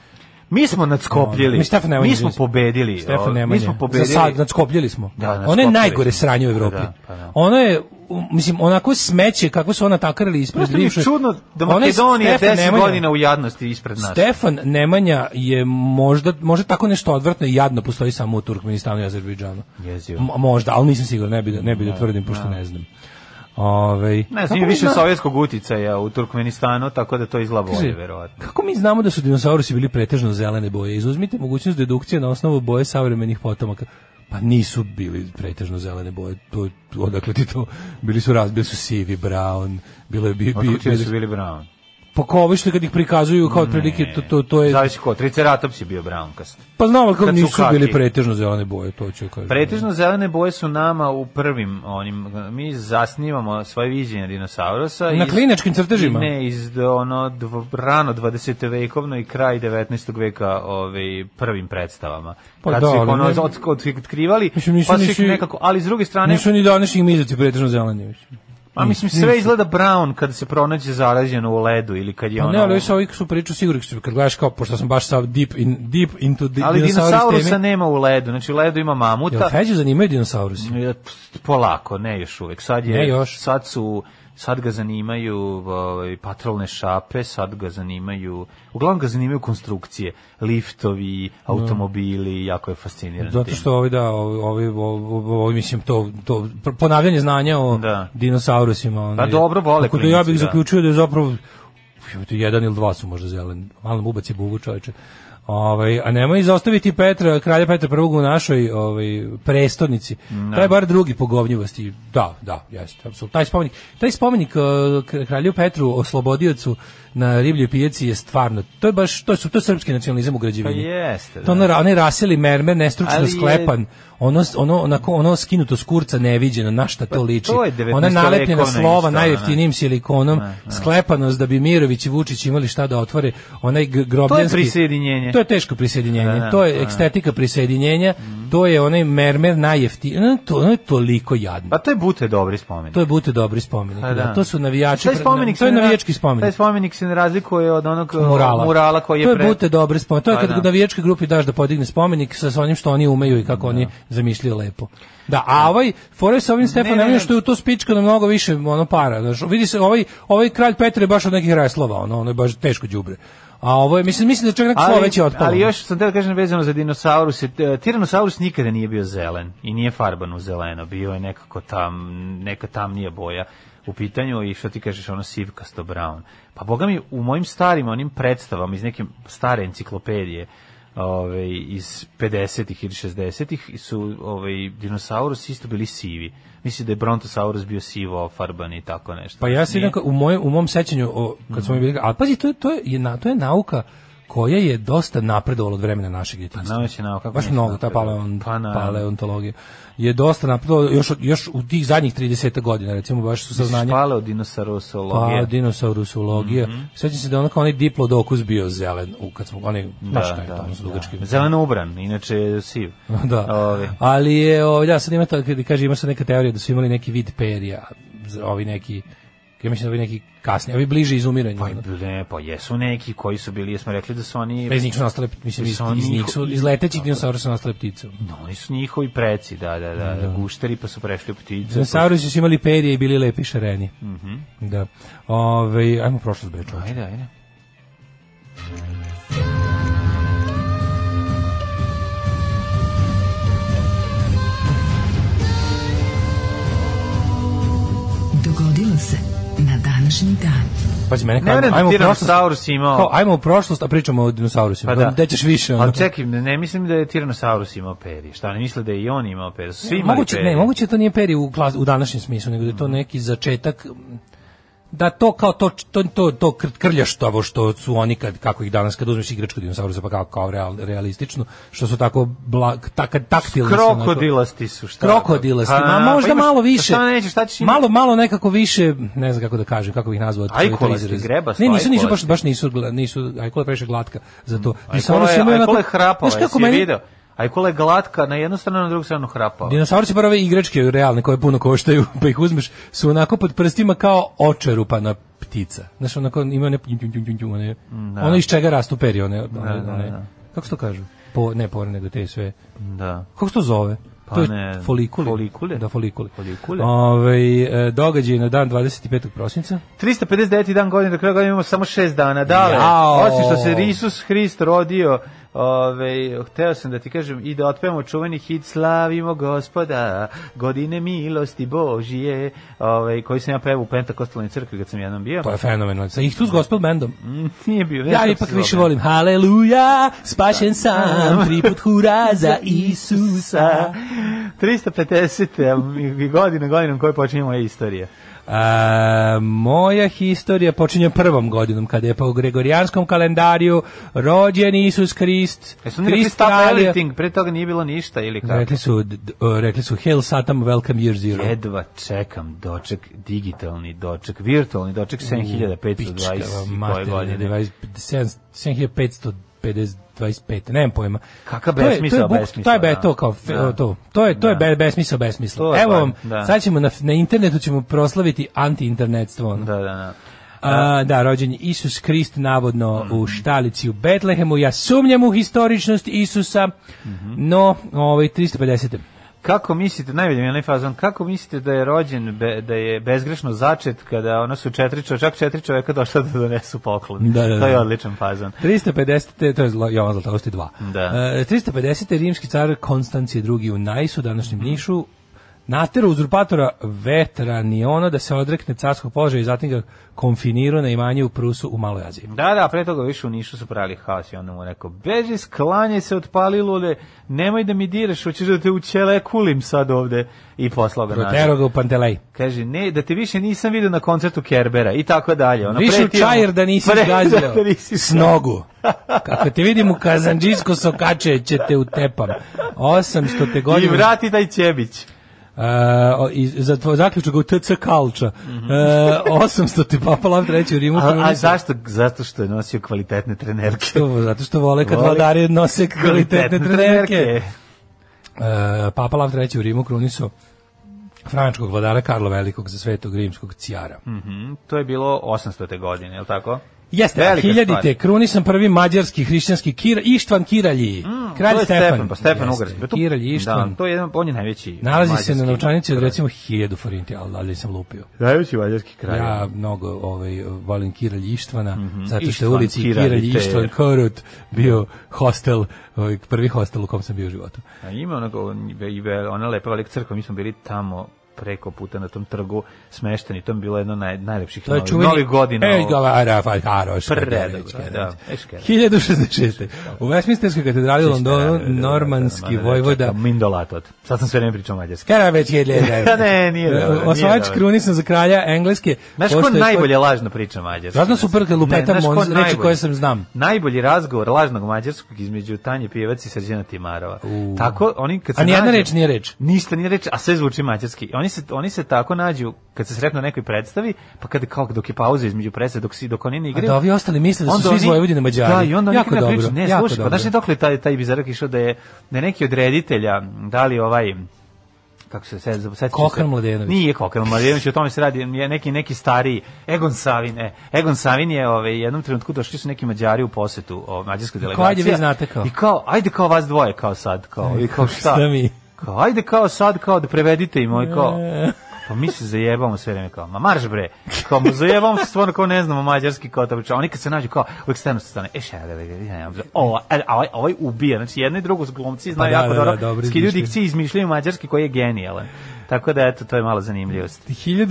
S7: Mi smo nadskopljili.
S8: Mi, Stefan Nemanja,
S7: Mi smo
S8: izvinite.
S7: pobedili.
S8: Stefan
S7: ovaj,
S8: Nemanja.
S7: Mi smo pobedili.
S8: Za sad, nadskopljili smo.
S7: Da,
S8: ono je
S7: nadskopljeli
S8: najgore
S7: smo.
S8: sranje u Evropi.
S7: Pa da, pa da.
S8: Ono je, u, mislim, onako smeće kako su ona takarili ispred
S7: Prosto mi je
S8: bivše-
S7: čudno da
S8: Onaj
S7: Makedonija
S8: Stefan
S7: 10
S8: Nemanja-
S7: godina u jadnosti ispred nas.
S8: Stefan Nemanja je možda, možda tako nešto odvratno i jadno postoji samo u Turkmenistanu i Azerbejdžanu.
S7: Jezivo.
S8: M- Možda, ali nisam siguran, ne bi da, ne bi da tvrdim, pošto ne znam. Ovaj, Ove,
S7: Ne znam, ima više sovjetskog uticaja u Turkmenistanu, tako da to izla bolje, verovatno.
S8: Kako mi znamo da su dinosaurusi bili pretežno zelene boje? Izuzmite mogućnost dedukcije na osnovu boje savremenih potomaka. Pa nisu bili pretežno zelene boje. To, odakle ti to? Bili su raz, bili su sivi, brown, bilo je bi, bi,
S7: Otkud
S8: bili-
S7: su bili brown?
S8: pa kao ovi što kad ih prikazuju kao otprilike to, to, to je
S7: Zavisi ko, Triceratops je bio brownkast.
S8: Pa znam, ali kao
S7: Kad su
S8: nisu
S7: kaki.
S8: bili pretežno zelene boje, to ću kažem.
S7: Pretežno zelene boje su nama u prvim, onim, mi zasnivamo svoje viđenje dinosaurusa.
S8: Na
S7: iz-
S8: kliničkim crtežima?
S7: Ne, iz ono, dv, rano 20. vekovno i kraj 19. veka ovaj, prvim predstavama.
S8: Pa
S7: Kad
S8: da,
S7: su ih
S8: ali
S7: ono,
S8: ne-
S7: od- od- otkrivali,
S8: Mislim, nisu-
S7: pa su ih
S8: nisu-
S7: nekako, ali s druge strane,
S8: Nisu ni današnji mizoci pretežno zeleni. mislim.
S7: a mislim,
S8: nisu.
S7: sve izgleda brown kada se pronađe zarađeno u ledu ili kad je
S8: Pa
S7: ono...
S8: ne, ali ovi su ovih su priču sigurno su, kad gledaš kao, pošto sam baš sav deep, in, deep into di,
S7: Ali
S8: dinosaurus
S7: dinosaurusa
S8: temi.
S7: nema u ledu, znači u ledu ima
S8: Jel
S7: mamuta.
S8: Feđu zanimaju dinosaurusi?
S7: Ja, p- Polako, ne još uvek. Sad je
S8: Ne još.
S7: sad su sad ga zanimaju ovaj, patrolne šape, sad ga zanimaju, uglavnom ga zanimaju konstrukcije, liftovi, automobili, jako je fasciniran.
S8: Zato
S7: tim.
S8: što ovi, da, ovi, ovi, ovi, ovi, mislim, to, to pr- ponavljanje znanja o
S7: Da.
S8: dinosaurusima. ono, onaj.
S7: Pa dobro, vole
S8: Tako da ja
S7: klinci,
S8: bih
S7: da.
S8: zaključio da je zapravo jebote, jedan ili dva su možda zeleni. Malo mu ubaci bubu čoveče. Ovaj, a nemoj izostaviti Petra, kralja Petra prvog u našoj ovaj, prestonici. Taj je bar drugi po govnjivosti. Da, da, jeste, apsolutno. Taj spomenik, taj spomenik eh, kr- kralju Petru oslobodiocu na ribljoj pijaci je stvarno, to je baš, to, su, to je srpski nacionalizam u
S7: Pa
S8: građevini.
S7: jeste.
S8: To
S7: Da.
S8: ono, ra- onaj raseli mermer, nestručno
S7: Ali je-
S8: sklepan, ono, ono, onako, ono skinuto s kurca neviđeno, na šta to liči.
S7: Pa to je
S8: Ona
S7: 19.
S8: nalepljena
S7: vekovna
S8: slova
S7: isto,
S8: najjeftinijim silikonom, sklepanost da bi Mirović i Vučić imali šta da otvore, onaj g- grobljanski...
S7: prisjedinjenje.
S8: To je teško prisjedinjenje,
S7: Da, da,
S8: to je
S7: da. Mhm.
S8: ekstetika prisjedinjenja, to je onaj mermer najjeftiniji, to, ono je toliko jadno.
S7: Pa to je bute dobri spomenik.
S8: To je bute dobri spomenik.
S7: Pa da.
S8: da. To su navijači.
S7: Taj
S8: pre-
S7: spomenik
S8: to je
S7: se ne ra-
S8: navijački spomenik
S7: Taj spomenik se ne razlikuje od onog uh,
S8: murala.
S7: murala, koji je
S8: to je
S7: pre-
S8: bute dobre spomenik. To je
S7: Pa
S8: kad
S7: da.
S8: navijačkoj grupi daš da podigne spomenik sa, sa onim što oni umeju i kako oni zamišljaju lepo. Da, a ovaj fore sa ovim Stefan
S7: ne,
S8: Nemanja
S7: ne.
S8: što je u to spičkano mnogo više ono para. Znaš, vidi se ovaj ovaj kralj Petar je baš od nekih reslova, ono, ono je baš teško đubre. A ovo je mislim mislim da je čak neko slovo već je otpalo.
S7: ali još sam teo kažem vezano za dinosauruse, t- Tyrannosaurus nikada nije bio zelen i nije farban u zeleno, bio je nekako tam, neka tamnija boja u pitanju i što ti kažeš ono sivkasto brown. Pa boga mi u mojim starim onim predstavama iz neke stare enciklopedije ove, iz 50-ih ili 60-ih su ove, dinosaurus isto bili sivi. Mislim da je Brontosaurus bio sivo farban i tako nešto. Znači,
S8: Pa ja se
S7: Nije- Mhm.
S8: jednako u moj u mom sećanju o kad smo bili, ali pazi to je to je na to je nauka koja je dosta napredovala od vremena našeg djetinjstva.
S7: A naučna Pa nauka, kako
S8: Baš
S7: nije
S8: mnogo, ta
S7: napredovala?
S8: paleon,
S7: Pa naravno.
S8: paleontologija. Je dosta napredovala, još, od- još u tih zadnjih 30 godina, recimo, baš su saznanja...
S7: Paleo
S8: Pa,
S7: dinosaurologije.
S8: dinosaurusologija.
S7: Mhm.
S8: Sećam se da je onako onaj diplodokus bio zelen, u, kad smo, onaj,
S7: Da,
S8: znaš šta je
S7: da,
S8: tamo sa
S7: da.
S8: dugačkim.
S7: Zeleno ubran, inače je siv.
S8: da.
S7: Ovi.
S8: Ali je, o, da, sad ima, ta, kada kaže, ima sad neka teorija da su imali neki vid perja, za ovi neki, ja mislim da ovi neki kasni, ovi bliže izumiranju.
S7: Pa,
S8: ono.
S7: ne, pa jesu neki koji su bili, jesmo rekli da su oni...
S8: Pa iz njih su nastale, mislim, iz,
S7: Su oni
S8: iz njih
S7: njiho-
S8: su, iz letećih dinosaura su nastale ptice.
S7: No, oni su njihovi preci, da, da, da, da, gušteri pa su prešli u ptice. pa-
S8: Dinosaurusi su imali perje i bili lepi šareni. Da. Ove, ajmo prošlost bre, čovječe.
S7: Mhm. Ajde, ajde.
S6: Dogodilo se na današnji dan.
S8: Pazi, mene,
S7: Ne
S8: kao,
S7: vjerujem
S8: ajmo,
S7: da
S8: ajmo
S7: ti
S8: u prošlost.
S7: Tyrannosaurus
S8: Kao,
S7: imao...
S8: ajmo u prošlost, a pričamo o dinosaurusima.
S7: Pa
S8: Pa
S7: da.
S8: Gde ćeš više? ono?
S7: Ali čekaj, ne mislim da je Tyrannosaurus imao perje. Šta, ne misle da je i on imao perje? Su Svi imali
S8: moguće,
S7: perje.
S8: ne, moguće da to nije peri u, klas, u današnjem smislu, nego da je to neki začetak m, da to kao to to to, to kr- krljaštavo što su oni kad kako ih danas kad uzmeš igračku dinosaurusa pa kao kao real, realistično što su tako blag, tak, taktilni su, onako.
S7: Krokodilasti su, šta?
S8: krokodilasti,
S7: Pa,
S8: ma možda
S7: pa imaš- pa
S8: malo više.
S7: Šta nećeš, šta ćeš imati?
S8: Malo malo nekako više, ne znam kako da kažem, kako bih nazvao taj
S7: Ajkulasti, grebasti,
S8: Ne, nisu, nisu baš
S7: ajkulasti.
S8: baš nisu gla- nisu ajkula je previše glatka za to.
S7: Ajkula
S8: Dinosaurusi
S7: je,
S8: ono imaju onako-
S7: ajkula je hrapava,
S8: Znaš
S7: jesi
S8: kako
S7: je
S8: meni-
S7: video? Ajkula je glatka na jednu stranu, na drugu stranu hrapava.
S8: Dinosaurci bar ove igračke realne koje puno koštaju, pa ih uzmeš, su onako pod prstima kao očerupana ptica. Znaš, onako ima one, pjum, pjum, pjum, pjum, pjum, one, ono iz čega rastu peri, one, one,
S7: Mm, da,
S8: one-
S7: da.
S8: kako se to kažu? Po, ne pore, nego te sve.
S7: Da.
S8: Kako se to zove?
S7: Pa
S8: to je
S7: ne znam.
S8: folikuli.
S7: Folikule?
S8: Da, folikuli.
S7: Folikule.
S8: događaj na dan 25. prosinca.
S7: 359. dan godine, do kraja godine imamo samo 6 dana. Dale,
S8: Jao.
S7: osim što se Isus Hrist rodio, ove, hteo sam da ti kažem i da otpevamo čuveni hit Slavimo gospoda, godine milosti Božije, ove, koji sam ja pevao u Pentakostalnoj crkvi kad sam jednom bio.
S8: To je fenomenalno. Sa Ihtus Gospel Bandom.
S7: Nije bio. ne znam
S8: Pa, Ja
S7: Mm, kako
S8: ipak
S7: se
S8: više
S7: zove.
S8: volim. Haleluja, spašen sam, tri put hura za Isusa.
S7: 350. godina godinom koje počinje moja istorija.
S8: A, moja historija počinje prvom godinom kada je po gregorijanskom kalendariju rođen Isus Krist.
S7: Jesu E, oni rekli
S8: Krist
S7: stop
S8: kralja-
S7: everything, pre toga nije bilo ništa ili kako?
S8: Rekli su, d- d- o, rekli su Hail Satam, welcome year zero.
S7: Jedva čekam doček, digitalni doček, virtualni doček 7520 koje godine.
S8: 7525, nemam pojma.
S7: Kakav
S8: To je-
S7: besmisao,
S8: to je, buk-
S7: besmisao,
S8: To je, be-
S7: da.
S8: to kao, fe-
S7: Da.
S8: to, to je, to je
S7: Da.
S8: be- besmisao, besmisao.
S7: To je
S8: Evo
S7: stvarno,
S8: vam,
S7: da.
S8: sad ćemo na, na internetu ćemo proslaviti anti-internetstvo. ono.
S7: Da, da, da.
S8: A, da, rođen je Isus Krist navodno u štalici u Betlehemu. Ja sumnjam u historičnost Isusa, no, ovaj, 350.
S7: Kako mislite, najbolje mi je onaj fazon, kako mislite da je rođen, be- da je bezgrešno začet kada ono su četiri čoveka, čak četiri čoveka došla da donesu poklon?
S8: Da, da, da.
S7: To je odličan fazon.
S8: 350. to je Zla- Jovan Zlatavosti 2.
S7: Da.
S8: E, 350. rimski car Konstancije II. u Najsu, današnjem Nišu, natero uzurpatora Vetraniona da se odrekne carskog položaja i zatim ga konfinirao na imanje u Prusu u Maloj Aziji.
S7: Da, da, pre toga više u Nišu su pravili haos i onda mu je rekao, beži, sklanjaj se od palilule, nemoj da mi diraš, hoćeš da te učele kulim sad ovde i poslao ga nazad.
S8: Protero ga u Pantelej.
S7: Kaže, ne, da te više nisam vidio na koncertu Kerbera i tako dalje. Ono,
S8: Više u
S7: pretio mu-
S8: čajer da nisi
S7: pre-
S8: zgazio
S7: da nisi
S8: s nogu. Kako ti vidim u kazanđijsko sokače će te utepam. 800 te
S7: I
S8: godine.
S7: vrati taj Ćebić.
S8: Uh, za tvoj zaključak u TC Kalča. E, 800 ti Papa Lav III u Rimu.
S7: Mhm. A, a
S8: krunisao.
S7: zašto? Zato što je nosio kvalitetne trenerke.
S8: To, zato što vole kad
S7: Vole
S8: vladari nose kvalitetne trenerke. E, Papa Lav III u Rimu kruniso frančkog vladara Karla Velikog za svetog rimskog cijara.
S7: Mhm, to je bilo 800. godine, je li tako?
S8: Jeste, a
S7: Velika
S8: hiljadite,
S7: stvar.
S8: krunisan prvi mađarski hrišćanski kir, Ištvan Kiralji. kralj
S7: to je
S8: Stefan.
S7: Stefan, pa Stefan
S8: Jeste,
S7: Ugarski. Pa to-
S8: Kiralj Ištvan.
S7: Da, to je jedan, on je najveći.
S8: Nalazi se na
S7: mađarski
S8: novčanici od
S7: kralj.
S8: recimo 1000 forinti, ali, ali sam lupio.
S7: Najveći mađarski kralj.
S8: Ja mnogo ovaj, volim Kiralj Ištvana, zato što je
S7: Ištvan
S8: u ulici
S7: Kiralj
S8: Kiralj
S7: Ter.
S8: Ištvan Korut bio hostel, ovaj, prvi hostel u kom sam bio u životu.
S7: A ima onako, i ve- ona lepa velika crkva, mi smo bili tamo preko puta na tom trgu smešteni. To mi je bilo jedno naj, najlepših
S8: To je
S7: novih,
S8: čuveni
S7: novih godina.
S8: Ej, ga, Rafael Haroš.
S7: Predobro, da, Eškera.
S8: 1066. U Westminsterskoj katedrali u Londonu,
S7: Da, da, da, da,
S8: normanski
S7: da, da, da,
S8: vojvoda.
S7: e, čekam, Mindolatot. Sad sam sve vreme pričao mađarski.
S8: Karaveć je ljedev.
S7: Ne, nije dobro, nije
S8: Osvajač
S7: dobro.
S8: krunisan za kralja Engleske.
S7: Znaš ko
S8: postoje-
S7: najbolje lažno priča mađarski?
S8: Ja znam super kad lupetam
S7: Ne, znaš ko
S8: monz- reči
S7: najbolje?
S8: koje sam znam.
S7: Najbolji razgovor lažnog mađarskog između Tanje Pijevac i Srđana Timarova. Tako, oni kad se
S8: A nijedna
S7: nađu-
S8: reč nije reč.
S7: Ništa nije reč, a sve zvuči mađarski. Oni se, oni se tako nađu kad se sretnu na nekoj predstavi, pa kad kao dok je pauza između predstave, dok, si, dok oni ne
S8: A
S7: igraju.
S8: da ovi ostali misle da su svi iz Vojvodine Mađari.
S7: Da, i onda
S8: jako
S7: nikada
S8: dobro.
S7: priča. Ne,
S8: jako
S7: slušaj, pa
S8: dobro.
S7: znaš li dokle taj, taj bizarak išao da je, da je neki od reditelja, da li ovaj, kako se sad sad
S8: Kokran Mladenović.
S7: Nije Kokran Mladenović, o tome se radi, je neki neki stariji Egon Savin, e. Egon Savin je ovaj jednom trenutku došli su neki Mađari u posetu o mađarskoj delegaciji.
S8: ajde vi znate kao.
S7: I kao, ajde kao vas dvoje kao sad, kao, i kao šta?
S8: Šta mi?
S7: Kao, ajde kao sad, kao da prevedite im, ovaj kao, pa mi se zajebamo sve vreme, kao, ma marš bre, kao, ma zajebamo se stvarno, kao ne znamo mađarski, kao tabliča, oni kad se nađu, kao, uvijek stvarno se stane, e, šta da ga, ja, ovo, a a ovaj, ovaj ubija, znači jedno i drugo su glumci, znaju
S8: Pa da,
S7: jako
S8: da, da,
S7: dobro,
S8: dobro
S7: skidaju
S8: izmišljaju.
S7: dikcije, izmišljaju mađarski koji je genijalan, tako da, eto, to je mala zanimljivost.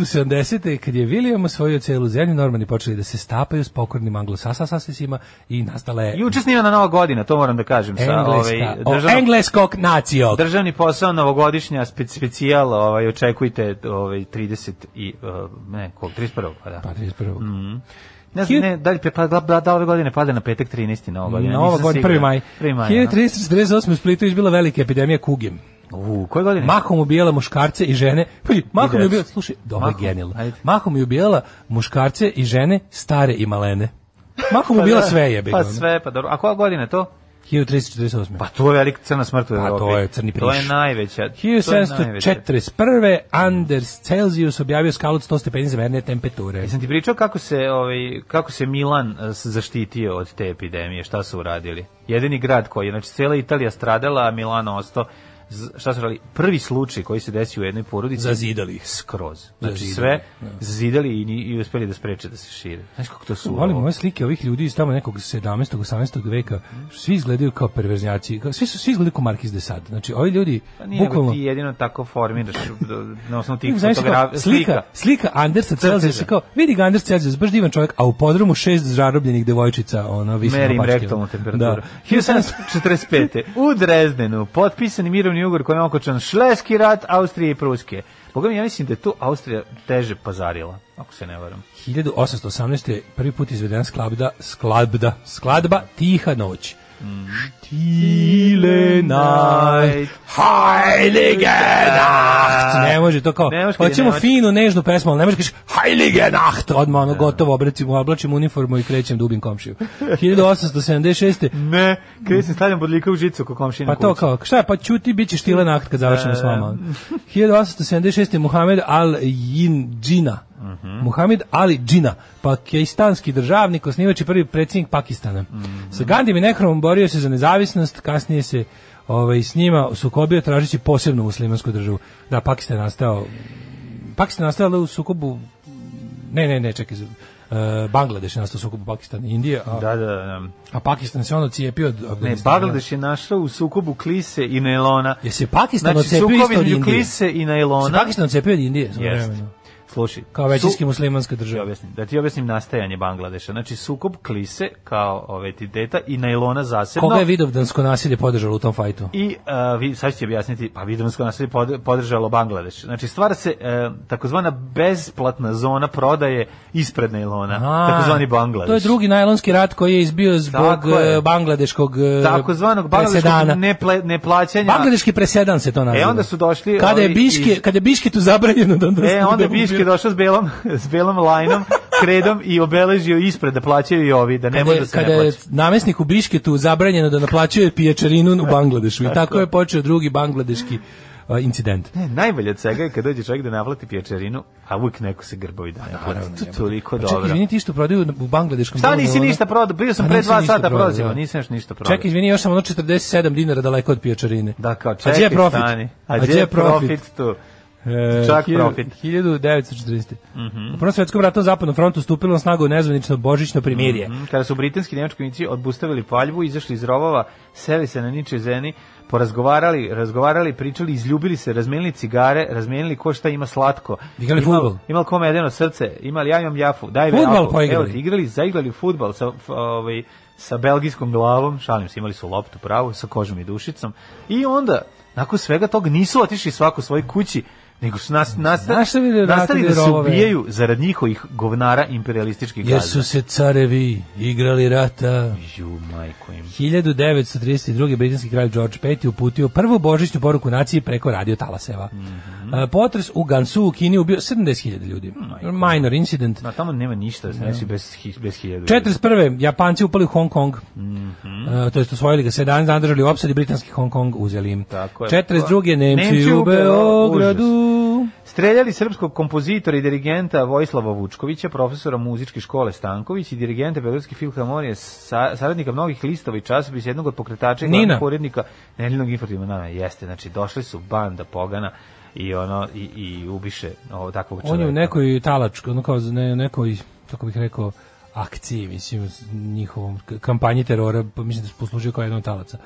S8: 1070. kad je William osvojio celu zemlju, normani počeli da se stapaju s pokornim anglosasasasima i nastala je
S7: Juče snimana nova godina, to moram da kažem, sa,
S8: engleska,
S7: ovaj,
S8: o,
S7: državnom
S8: engleskog nacijog.
S7: Državni posao novogodišnja spec, specijal, ovaj očekujte ovaj 30 i eh, ne, kog 31. pa da.
S8: Pa, 31.
S7: Ne znam, ne, da li pre, pa, da, da ove godine pada na petak 13. Nova godina.
S8: Nova
S7: nisam
S8: godina, 1.
S7: siguran.
S8: maj.
S7: 1. maj.
S8: 1348. u Splitu je izbila velika epidemija kugem.
S7: no. U, koje godine?
S8: Mahom ubijala muškarce i žene. Pazi, mahom
S7: decu.
S8: je ubijala, slušaj, dobro je
S7: Mahom,
S8: genijal.
S7: ajde.
S8: Mahom je ubijala muškarce i žene, stare i malene. Mahom je ubijala sve ono. jebe.
S7: Pa
S8: ga,
S7: sve, pa dobro. A koja godina je to?
S8: ono. 1348.
S7: Pa to je velika crna smrt u
S8: Pa,
S7: Evropi.
S8: to je crni
S7: To je
S8: priš.
S7: najveća. to je najveća.
S8: 1741. Anders Celsius objavio skalu od 100 stepeni zemerne temperature.
S7: Jesam ti pričao kako se, ovaj, kako se Milan eh, s- zaštitio od te epidemije, šta su uradili? Jedini grad koji je, znači cela Italija stradala, a Milan ostao, Z- šta su radili? Prvi slučaj koji se desio u jednoj porodici,
S8: Zazidali ih.
S7: skroz. Znači
S8: Zazidali,
S7: sve zazidali i, ni- i uspeli da spreče da se šire. Znaš kako to su?
S8: Volim ove slike ovih ljudi iz tamo nekog 17. 18. veka. Svi izgledaju kao perverznjaci. Kao- Svi su svi izgledaju kao Markiz de Sade. Znači, ovi ljudi
S7: Pa nije, nego
S8: bukvalno
S7: ti jedino tako formiraš do- na osnovu tih
S8: Znaš,
S7: fotogra-
S8: kao, slika, slika Andersa Celzijusa, znači kao, vidi ga Anders Celzijus, baš divan čovjek, a u podrumu šest zarobljenih devojčica, ono, visno
S7: Merim
S8: pačke.
S7: rektalnu temperaturu.
S8: Da.
S7: 1745. U Drezdenu potpisan je mirovni ugovor kojim je okončan Šleski rat Austrije i Pruske. Boga mi, ja mislim da je tu Austrija teže pazarila, ako se ne varam.
S8: 1818. je prvi put izvedena skladba, skladba, skladba Tiha noć. Stile night, heilige nacht. Ne može to kao,
S7: Ne može kad je
S8: hoćemo
S7: Nemačka.
S8: finu, nežnu pesmu, ali ne može kaži heilige nacht, odmah ono gotovo, obracim, oblačim uniformu i krećem dubim komšiju. 1876.
S7: Ne, kada sam stavljam bodljika u žicu ko komšina
S8: Pa to kao, šta je, pa ćuti, bit ćeš tile nakt kad završimo s vama. 1876. Muhammed al-Džina.
S7: Mhm.
S8: Muhammed Ali Džina, pakistanski državnik, osnivač i prvi predsjednik Pakistana.
S7: Mhm.
S8: Sa Gandim i Nehromom borio se za nezavisnost, kasnije se ovaj, s njima sukobio tražeći posebnu muslimansku državu. Da, Pakistan je nastao Pakistan je nastao ali u sukobu ne, ne, ne, čekaj, e, Bangladeš je nastao u sukobu Pakistan i Indije, a,
S7: Da, da, da.
S8: a Pakistan se onda cijepio od
S7: Ne,
S8: Afganistana.
S7: Bangladeš je našao u sukobu klise i nailona.
S8: Jel se Pakistan
S7: Znači,
S8: odcepio
S7: sukob
S8: isto od
S7: između
S8: Indije?
S7: klise i
S8: Se
S7: nailona.
S8: Pakistan odcepio od Indije.
S7: Jest.
S8: svojevremeno,
S7: Slušaj.
S8: Kao većinski muslimanska
S7: ti
S8: država.
S7: objasnim, da ti objasnim nastajanje Bangladeša. Znači, sukob klise kao ove tideta i nailona zasebno.
S8: Koga je vidovdansko nasilje podržalo u tom fajtu?
S7: I uh, vi, sad ćete objasniti, pa vidovsko naselje pod, podržalo Bangladeš. Znači, stvara se e, takozvana besplatna zona prodaje ispred nailona,
S8: A,
S7: takozvani Bangladeš.
S8: To je drugi najlonski rat koji je izbio zbog
S7: Tako je.
S8: eh, bangladeškog eh,
S7: takozvanog bangladeškog
S8: presedana.
S7: neple, neplaćanja.
S8: Bangladeški presedan se to naziva.
S7: E, onda su došli
S8: Kada je
S7: ovi
S8: Biške,
S7: iz-
S8: kada je Bišketu zabranjeno da onda
S7: E, onda Biške došao s belom, s belom lajnom, kredom i obeležio ispred da plaćaju i ovi, da ne
S8: kada,
S7: može da
S8: je,
S7: se ne
S8: kada je
S7: plaća.
S8: namestnik u Bišketu zabranjeno da naplaćuje pijačarinu u Bangladešu i tako je počeo drugi bangladeški eh, incident.
S7: Ne, E, najbolje od svega je kad dođe čovjek da naplati pječerinu, a uvijek neko se grbavi da ne plati. To je toliko
S8: Čekaj,
S7: dobro.
S8: izvini ti što prodaju u bangladeškom
S7: Šta
S8: delu
S7: nisi
S8: Melona?
S7: ništa prodao? Bio sam
S8: A
S7: pre
S8: nisi
S7: dva
S8: Pa ništa
S7: sata
S8: prodao,
S7: prozivao,
S8: da.
S7: nisam još ništa prodao.
S8: Čekaj, izvini, još sam ono 47 dinara daleko od pijačarine.
S7: Da, kao,
S8: A gdje je
S7: čekaj,
S8: profit? E,
S7: stani. A gdje je profit tu? Čak profit. Mhm.
S8: 1940. Mm U Prvom svetskom ratu na Zapadnom frontu stupilo na snagu nezvanično božićno primirje.
S7: Mm, Kada su britanski i nemački vojnici odbustavili paljbu, izašli iz rovova, seli se na niče zeni, porazgovarali, razgovarali, pričali, izljubili se, razmenili cigare, razmenili ko šta ima slatko.
S8: Igrali
S7: Ima-
S8: fudbal.
S7: Ima li kome jedeno srce? Ima li ja imam jafu? Daj me
S8: Fudbal
S7: jafu.
S8: poigrali.
S7: Evo ti, igrali, zaigrali fudbal sa f- ovaj sa belgijskom glavom, šalim se, imali su loptu pravu sa kožom i dušicom. I onda nakon svega tog nisu otišli svako svoj kući, nego su nas, nas,
S8: Znaš šta vide,
S7: nastali
S8: vratili
S7: da se
S8: rovove.
S7: ubijaju zarad njihovih govnara imperialističkih
S8: Jer
S7: gazda.
S8: su se carevi igrali rata.
S7: Ju, majko im.
S8: 1932. britanski kralj George V uputio prvu božićnu poruku naciji preko radio Talaseva.
S7: Mhm.
S8: E, Potres u Gansu u Kini ubio 70.000 ljudi. Minor incident.
S7: Na tamo nema ništa, znači bez, hi- bez hiljadu.
S8: 41. Japanci upali u Hong Kong.
S7: Mhm.
S8: E, to jest osvojili ga 17 dana držali u opsadi britanski Hong Kong uzeli im.
S7: Tako je.
S8: 42. Nemci,
S7: Nemci u
S8: u Beogradu.
S7: Streljali srpskog kompozitora i dirigenta Vojislava Vučkovića, profesora muzičke škole Stanković i dirigenta Beogradske filharmonije, sa, saradnika mnogih listova i časopisa, jednog od pokretača i
S8: Nina.
S7: glavnog urednika Nedeljnog informativa. Na, na, jeste, znači došli su banda pogana i ono i, i ubiše ovo takvog čovjeka.
S8: On je u nekoj talačkoj, ono kao za ne, nekoj, kako bih rekao, akciji, mislim, s njihovom k- kampanji terora, pa mislim da se poslužio kao jedan od talaca.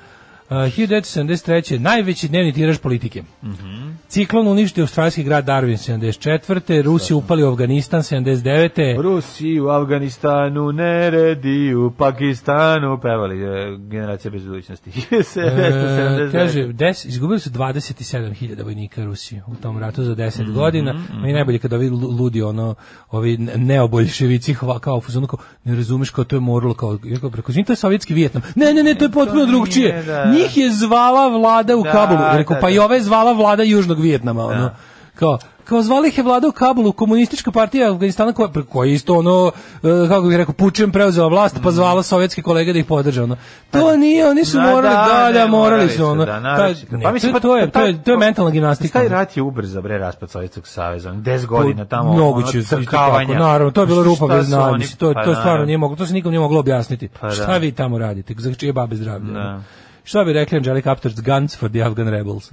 S8: Uh, 1973. najveći dnevni tiraž politike.
S7: Mhm.
S8: Ciklon uništio australijski grad Darwin 74. Rusi upali u Afganistan 79.
S7: Rusi u Afganistanu, neredi u Pakistanu, pevali e, generacija bez budućnosti. 1979.
S8: E, kaže, des, izgubili su 27.000 vojnika Rusije u tom ratu za 10
S7: Mhm,
S8: godina. Meni je najbolje kada ovi lu- ludi, ono, ovi ne- neoboljševici, hva- kao u fazonu, kao, ne razumeš kao to je moralo, kao, ja kao preko, izvini, to je sovjetski Vijetnam. Ne, ne, ne, to je potpuno
S7: nije,
S8: drugčije.
S7: da.
S8: Njih je zvala vlada u
S7: Da,
S8: Kabulu. Ja Rekao,
S7: da,
S8: pa
S7: da.
S8: i ova je zvala vlada Južnog Vijetnama, ono. Kao, kao zvali ih je vlada u Kabulu, komunistička partija Afganistana koja, pre- koja je isto ono, e, kako bih rekao, pučem preuzela vlast,
S7: Mhm.
S8: pa zvala sovjetske kolege da ih podrže. Ono.
S7: Pa
S8: To nije, oni su
S7: Na,
S8: morali, da, da, morali su, ono.
S7: da,
S8: taj,
S7: naročito. Pa
S8: ne, to, to je, to je, to je
S7: taj-
S8: mentalna gimnastika.
S7: pa
S8: Pa
S7: Taj
S8: ono.
S7: rat je ubrzo bre raspad Sovjetskog saveza, ono, 10 godina tamo
S8: Mnogo
S7: ono,
S8: će
S7: crkavanja.
S8: itekako, Naravno, to je bilo
S7: Šta
S8: rupa bez
S7: su
S8: dna,
S7: oni-
S8: mislim, to,
S7: pa
S8: to stvarno
S7: naravno.
S8: nije moglo, to se nikom nije moglo objasniti.
S7: Pa
S8: Šta
S7: da.
S8: vi tamo radite? Za čije babe zdravlje?
S7: Da. Mm.
S8: Šta bi rekli Angelica Apter's Guns for the Afghan Rebels?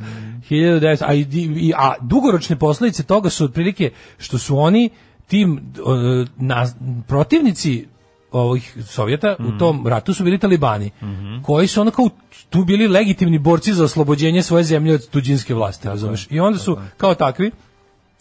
S8: 1900, a, i- i- a dugoročne posledice toga su otprilike što su oni tim e, na- protivnici ovih Sovjeta
S7: Mm.
S8: u tom ratu su bili talibani,
S7: Mhm.
S8: koji su onako tu bili legitimni borci za oslobođenje svoje zemlje od tuđinske vlasti, razumeš? I onda su kao takvi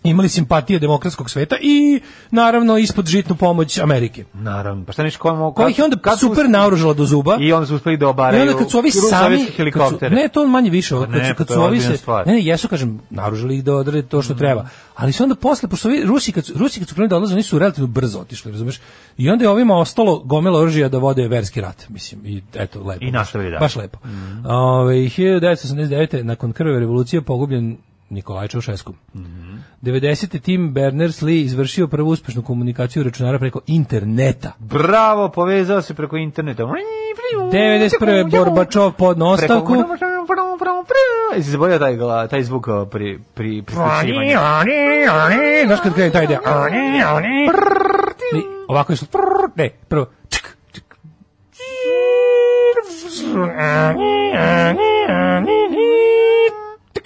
S8: imali simpatije demokratskog sveta i naravno ispod žitnu pomoć Amerike.
S7: Naravno, pa šta neš ko mogu...
S8: Koja ih je onda super naoružala do zuba.
S7: I onda su uspeli da
S8: I
S7: obaraju
S8: onda kad su ovi
S7: kru-
S8: sami
S7: sovjetski
S8: kad su,
S7: helikoptere.
S8: ne to on manje više ovo,
S7: Pa
S8: kad
S7: ne,
S8: su, kad
S7: to
S8: su
S7: je
S8: ovi
S7: ozbiljna
S8: se
S7: stvar. Mhm.
S8: ne ne jesu kažem naružili ih da odrade to što treba ali su onda posle pošto ovi Rusi kad su, Rusi kad su krenuli da odlaze oni su relativno brzo otišli razumeš i onda je ovima ostalo gomila oružja da vode verski rat mislim i eto lepo
S7: I nastavili Mhm. dalje.
S8: baš lepo Ovaj, 1989 nakon krve revolucije pogubljen Nikolaj Čaušesku.
S7: Mhm.
S8: 90. Tim Berners-Lee izvršio prvu uspešnu komunikaciju računara preko interneta.
S7: Bravo, povezao se preko interneta.
S8: 91. Borbačov podno ostavku.
S7: Jesi zaboravio taj, gla- taj zvuk o, pri, pri, priključivanja?
S8: Znaš kad krene taj deo? I Ovako je slu- prrr, Ne, prvo. čk, čk.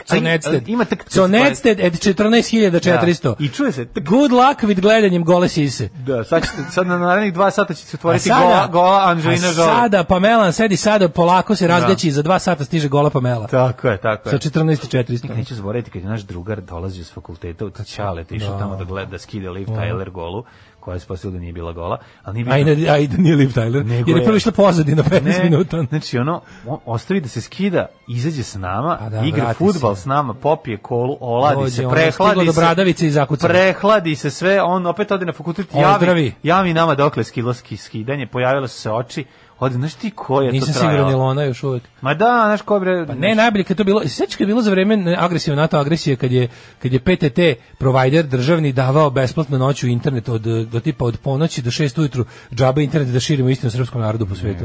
S8: Sonetsted.
S7: ima tak-
S8: Sonetsted at 14.400.
S7: I čuje se. tak-
S8: Good luck with gledanjem gole sise.
S7: Da, sad, ćete, sad na narednih dva sata će se
S8: A
S7: otvoriti gola, gola Anđelina
S8: a
S7: Jolie.
S8: sada Pamela sedi sada polako se razdeći i za dva sata stiže gola Pamela.
S7: Tako je, tako je.
S8: Sa 14.400.
S7: Nikad neću zaboraviti kad je naš drugar dolazio s fakulteta u Čale, te išao tamo da gleda, da skide Liv Tyler golu, koja je spasila da nije bila gola, ali nije
S8: Ajde,
S7: bitno.
S8: ajde, nije Liv Tyler.
S7: Nego
S8: jer je
S7: je-
S8: prvo išla pozadina 15 minuta.
S7: znači ono, on ostavi da se skida, izađe s nama,
S8: A da,
S7: igra
S8: vrati
S7: futbal
S8: se.
S7: s nama, popije kolu, oladi
S8: Dođe
S7: se,
S8: ono,
S7: prehladi
S8: stiglo do
S7: se,
S8: bradavice i zakuca.
S7: prehladi se sve, on opet ode na fakultet, javi,
S8: Ozdravi.
S7: javi nama dokle skilo ski- skidanje, pojavile su se oči, ode, znaš ti ko je
S8: Nisam
S7: to trajalo?
S8: siguran je ona još uvek.
S7: Ma da, znaš ko bre...
S8: Pa ne, najbolje kad to bilo, sećaš kad je bilo za vreme ne, agresije NATO agresije kad je kad je PTT provider državni davao besplatno noću internet od e, do tipa od ponoći do 6 ujutru džabe internet da širimo istinu srpskom narodu po svetu.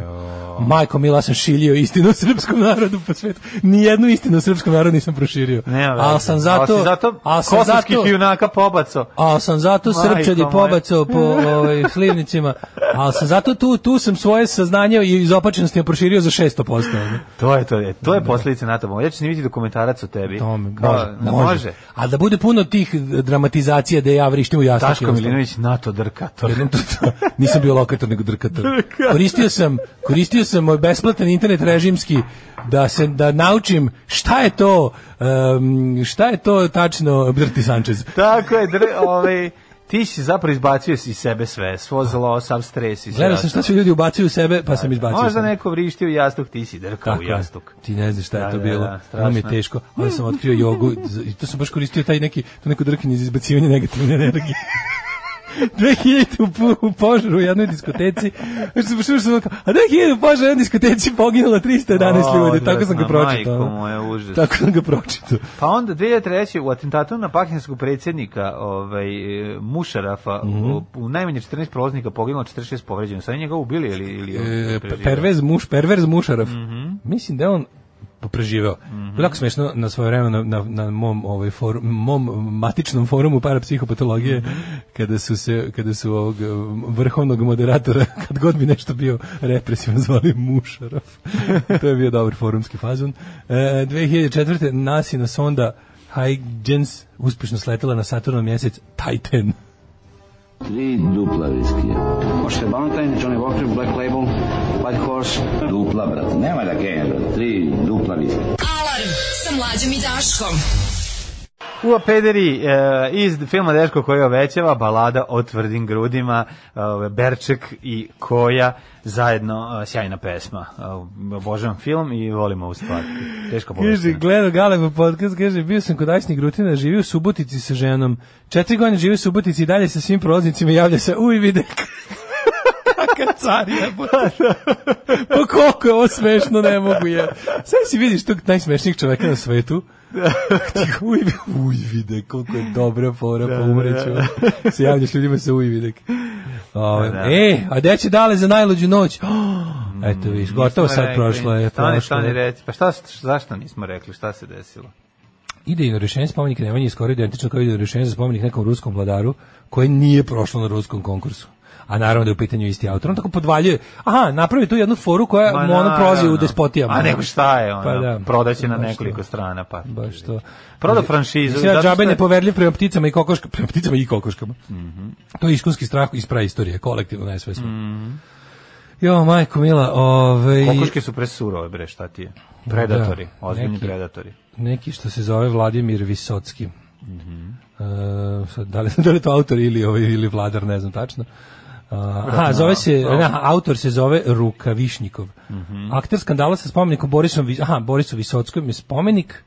S8: Majko mila ja sam šiljio istinu srpskom narodu po svetu. Ni jednu istinu srpskom narodu nisam proširio.
S7: Nema veze.
S8: Al sam zato,
S7: Ali si zato
S8: al sam
S7: kosovskih
S8: zato
S7: junaka pobaco.
S8: A sam zato
S7: Majko
S8: srpčadi
S7: moja.
S8: pobacao po ovaj, slivnicima, Ali sam zato tu, tu sam svoje saznanje i izopačenosti proširio za 600%. ono.
S7: To je to, je, to je posledica NATO bomba. Ja ću snimiti dokumentarac o tebi.
S8: Tome,
S7: Kao,
S8: može,
S7: da,
S8: može.
S7: može.
S8: A da bude puno tih dramatizacija da ja vrištim u jasno.
S7: Daško Milinović NATO drka. To je
S8: Jednom to, to, nisam bio lokator, nego drkator. Koristio sam, koristio sam moj besplatan internet režimski da se da naučim šta je to em, šta je to tačno Drti Sanchez.
S7: Tako je, dr, ovaj, ti si zapravo izbacio iz sebe sve, svo zlo, sav stres i sve.
S8: Gledao sam šta
S7: ostalo.
S8: su ljudi ubacuju u sebe, pa sam izbacio.
S7: Možda
S8: sam.
S7: neko vrišti u jastuk, ti si drkao
S8: Tako
S7: u
S8: je.
S7: jastuk.
S8: Ti ne znaš šta je
S7: Da,
S8: to
S7: da,
S8: bilo.
S7: da,
S8: Bilo mi je
S7: strašno.
S8: teško. Onda sam otkrio jogu i to sam baš koristio taj neki, to neko drkinje za izbacivanje negativne energije. 2000 u, pu- u požaru u jednoj diskoteci. Znači, sam baš sam kao, a 2000 u požaru u jednoj diskoteci poginulo 311
S7: O,
S8: ljudi. Tako sam ga
S7: odvratno,
S8: pročitao.
S7: majko moja, užas.
S8: Tako sam ga pročitao.
S7: Pa onda 2003. u atentatu na pakistanskog predsjednika ovaj, e, Mušarafa
S8: Mhm.
S7: u, u najmanje 14 prolaznika poginulo 46 povređeno. Sada njega ubili ili... ili
S8: E,
S7: preživio? Mhm.
S8: pervez muš, perverz mušarav. Mislim da je on preživeo. Bilo je jako smešno na svoje vreme na, na, na mom, ovaj forum, mom matičnom forumu parapsihopatologije
S7: Mhm.
S8: kada su se kada su ovog eh, vrhovnog moderatora kad god bi nešto bio represivan zvali mušarav. to je bio dobar forumski fazon. E, 2004. nasina sonda Huygens uspešno sletela na Saturnov mjesec Titan.
S3: Tri dupla viskija. Možete Valentine, Johnny Walker, Black Label, White Horse. Dupla, brate. Nema da genja, brate. Tri dupla viskija.
S6: Alarm sa mlađom i Daškom.
S7: Uva Pederi e, iz filma Deško koji obećava balada o tvrdim grudima, e, Berček i Koja, zajedno e, sjajna pesma. E, obožavam film i volimo ovu stvar. Teško
S8: Kaže,
S7: površina.
S8: gledao Galeba podcast, kaže, bio sam kod Ajsnih Grutina, živio u Subotici sa ženom. Četiri godine živio u Subotici i dalje sa svim prolaznicima javlja se, uj, vide. Kaka car je. Pa koliko je ovo smešno, ne mogu je. Sad si vidiš tog najsmešnijeg čoveka na svetu. Ti uj, vi- uj, vide, koliko je dobra fora, pa umreću. Se javljaš ljudima sa uj, videk. Ove,
S7: da. Mm,
S8: E, a gde će dale za najluđu noć? Eto viš, gotovo sad
S7: Rekli,
S8: prošlo je.
S7: Stani,
S8: prošlo
S7: stani,
S8: je.
S7: reci. Pa šta, zašto nismo rekli, šta se desilo?
S8: Idejno rješenje spomenika Nemanji je skoro identično kao idejno rješenje za spomenik nekom ruskom vladaru koje nije prošlo na ruskom konkursu. A naravno da je u pitanju isti autor. On tako podvaljuje. Aha, napravi tu jednu foru koja
S7: Ma,
S8: mu ono prozi u
S7: naravno.
S8: despotijama.
S7: A nego šta je ono?
S8: Pa da.
S7: Prodaće na
S8: Baš
S7: nekoliko
S8: to.
S7: strana. Pa.
S8: Baš to.
S7: Prodao franšizu,
S8: Mislim da
S7: zato što
S8: džabe
S7: je-
S8: nepoverljiv prema pticama i kokoškama. Prema pticama i kokoškama. To je iskonski strah iz praistorije, kolektivno najsvesno. Jo, majko mila, ovaj...
S7: Mhm. Kokoške su presurove, bre, šta ti je? Predatori,
S8: Da,
S7: ozbiljni
S8: neki.
S7: predatori.
S8: neki što se zove Vladimir Visocki. E, sad, da, li, da li je to autor ili, ovaj, ili vladar, ne znam tačno. E, A, aha, zove se, aha, autor se zove Rukavišnikov. Akter skandala sa spomenikom Borisom, Vi- aha, Borisu Visockom je spomenik,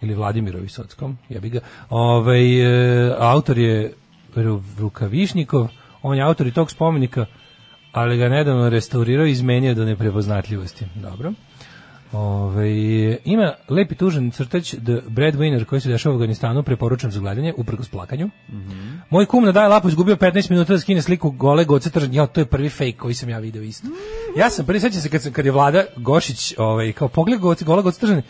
S8: ili Vladimiru Visockom, ja bi ga, ovaj, e, autor je Ru- Rukavišnikov, on je autor i tog spomenika, ali ga nedavno restaurirao i izmenio do neprepoznatljivosti. Dobro. Ove, ima lepi tužan crtać The Breadwinner koji se dešava u Afganistanu preporučujem za gledanje, uprkos plakanju. Moj kum na daj lapu izgubio 15 minuta da skine sliku gole goce tržan. Ja, to je prvi fake koji sam ja video isto. Ja sam prvi sećam se kad, sam, kad je Vlada Gošić ovaj, kao pogled goce, gole goce tržan. I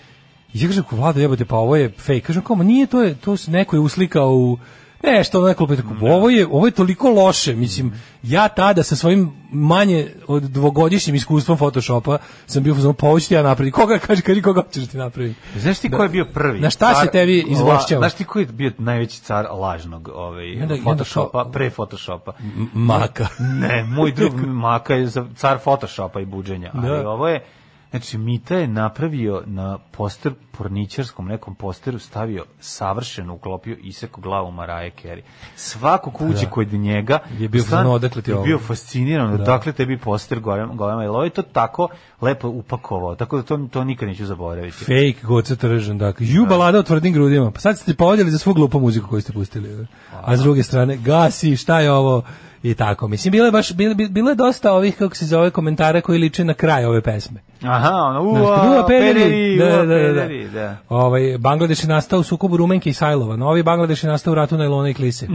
S8: ja kažem, ko, Vlada jebote, pa ovo je fake. Kažem, kao, ma nije, to je, to se neko je uslikao u E, nešto neko lupio, tako, ovo pa je ovo je toliko loše mislim ja tada sa svojim manje od dvogodišnjim iskustvom photoshopa sam bio pa uzmeo povući ja napravim koga kaže kaže koga ćeš ti napraviti
S7: Znaš ti ko je bio prvi?
S8: Na šta se tebi
S7: la-
S8: izvlašćava?
S7: Znaš ti ko je bio najveći car lažnog ovaj,
S8: onda- i onda
S7: Photoshopa,
S8: kao-
S7: pre Photoshopa?
S8: maka
S7: Ne, moj drug Maka je za- car Photoshopa i buđenja, ali
S8: Da.
S7: ovo je... Znači, Mita je napravio na poster, porničarskom nekom posteru, stavio savršeno, uklopio iseku glavu Maraje Carey. Svako kući kod njega
S8: Je bio
S7: stan-
S8: no, odakle ti
S7: je
S8: ovo?
S7: bio fasciniran, dakle tebi poster golema, golema. Jer ovo je to tako lepo upakovao, tako da to, to nikad neću zaboraviti.
S8: fake goce tržan dakle ju balada o tvrdim grudima pa sad ste povadili za svu glupu muziku koju ste pustili a s druge strane gasi šta je ovo i tako mislim bilo je baš bilo, bilo je dosta ovih kako se zove komentara koji liče na kraj ove pesme
S7: Aha, ono,
S8: Znaš, kad
S7: ua,
S8: Uva Pederi,
S7: pereri,
S8: da,
S7: ua,
S8: da, da, da.
S7: pereri, da.
S8: Ovaj, Bangladeš je nastao u sukobu Rumenke i Sajlova. Novi Bangladeš je nastao u ratu Najlona i Klise.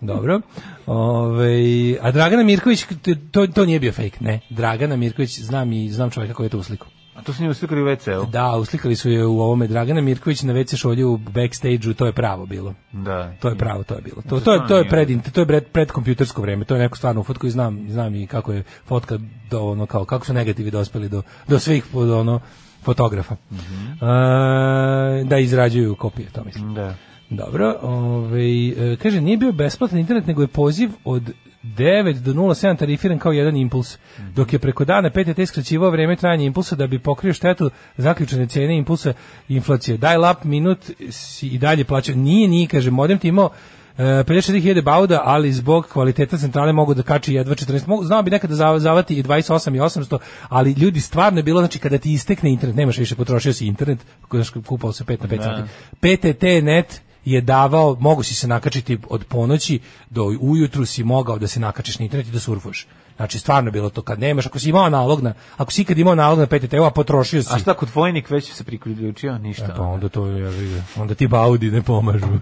S8: Dobro. Ovaj, a Dragana Mirković, to, to nije bio fake, ne. Dragana Mirković, znam i znam čovjeka koji je to usliku.
S7: A to su nju uslikali u WC-u.
S8: Da, uslikali su je u ovome Dragana Mirković na WC šolju u backstage-u, to je pravo bilo.
S7: Da.
S8: To je pravo, to je bilo. To, to je to je pred int- to je pred, pred kompjutersko vreme. To je neko stvarno u fotku i znam znam i kako je fotka do ono kao kako su negativi dospeli do do svih do, ono fotografa. E, da izrađuju kopije, to mislim.
S7: Da.
S8: Dobro, ovaj e, kaže nije bio besplatan internet, nego je poziv od 9 do 07 tarifiran kao jedan impuls, dok je preko dana PTT skraćivao vreme trajanja impulsa da bi pokrio štetu zaključene cijene impulsa i inflacije. Dial up minut si i dalje plaća. Nije, nije, kaže, modem ti imao e, 54.000 bauda, ali zbog kvaliteta centrale mogu da kači jedva 14. Mogu, znao bi nekada za- zavati i 28 i 800, ali ljudi stvarno je bilo, znači kada ti istekne internet, nemaš više, potrošio si internet, znaš, kupao se 5 na 5 sati. PTT net je davao, mogu si se nakačiti od ponoći do ujutru si mogao da se nakačiš na internet i da surfuješ. Znači stvarno je bilo to kad nemaš, ako si imao nalog na, ako si ikad imao nalog na PTT-u, a potrošio si.
S7: A šta kod vojnik već se priključio? Ništa.
S8: E, Pa onda to ja vidim. Onda ti baudi ne pomažu.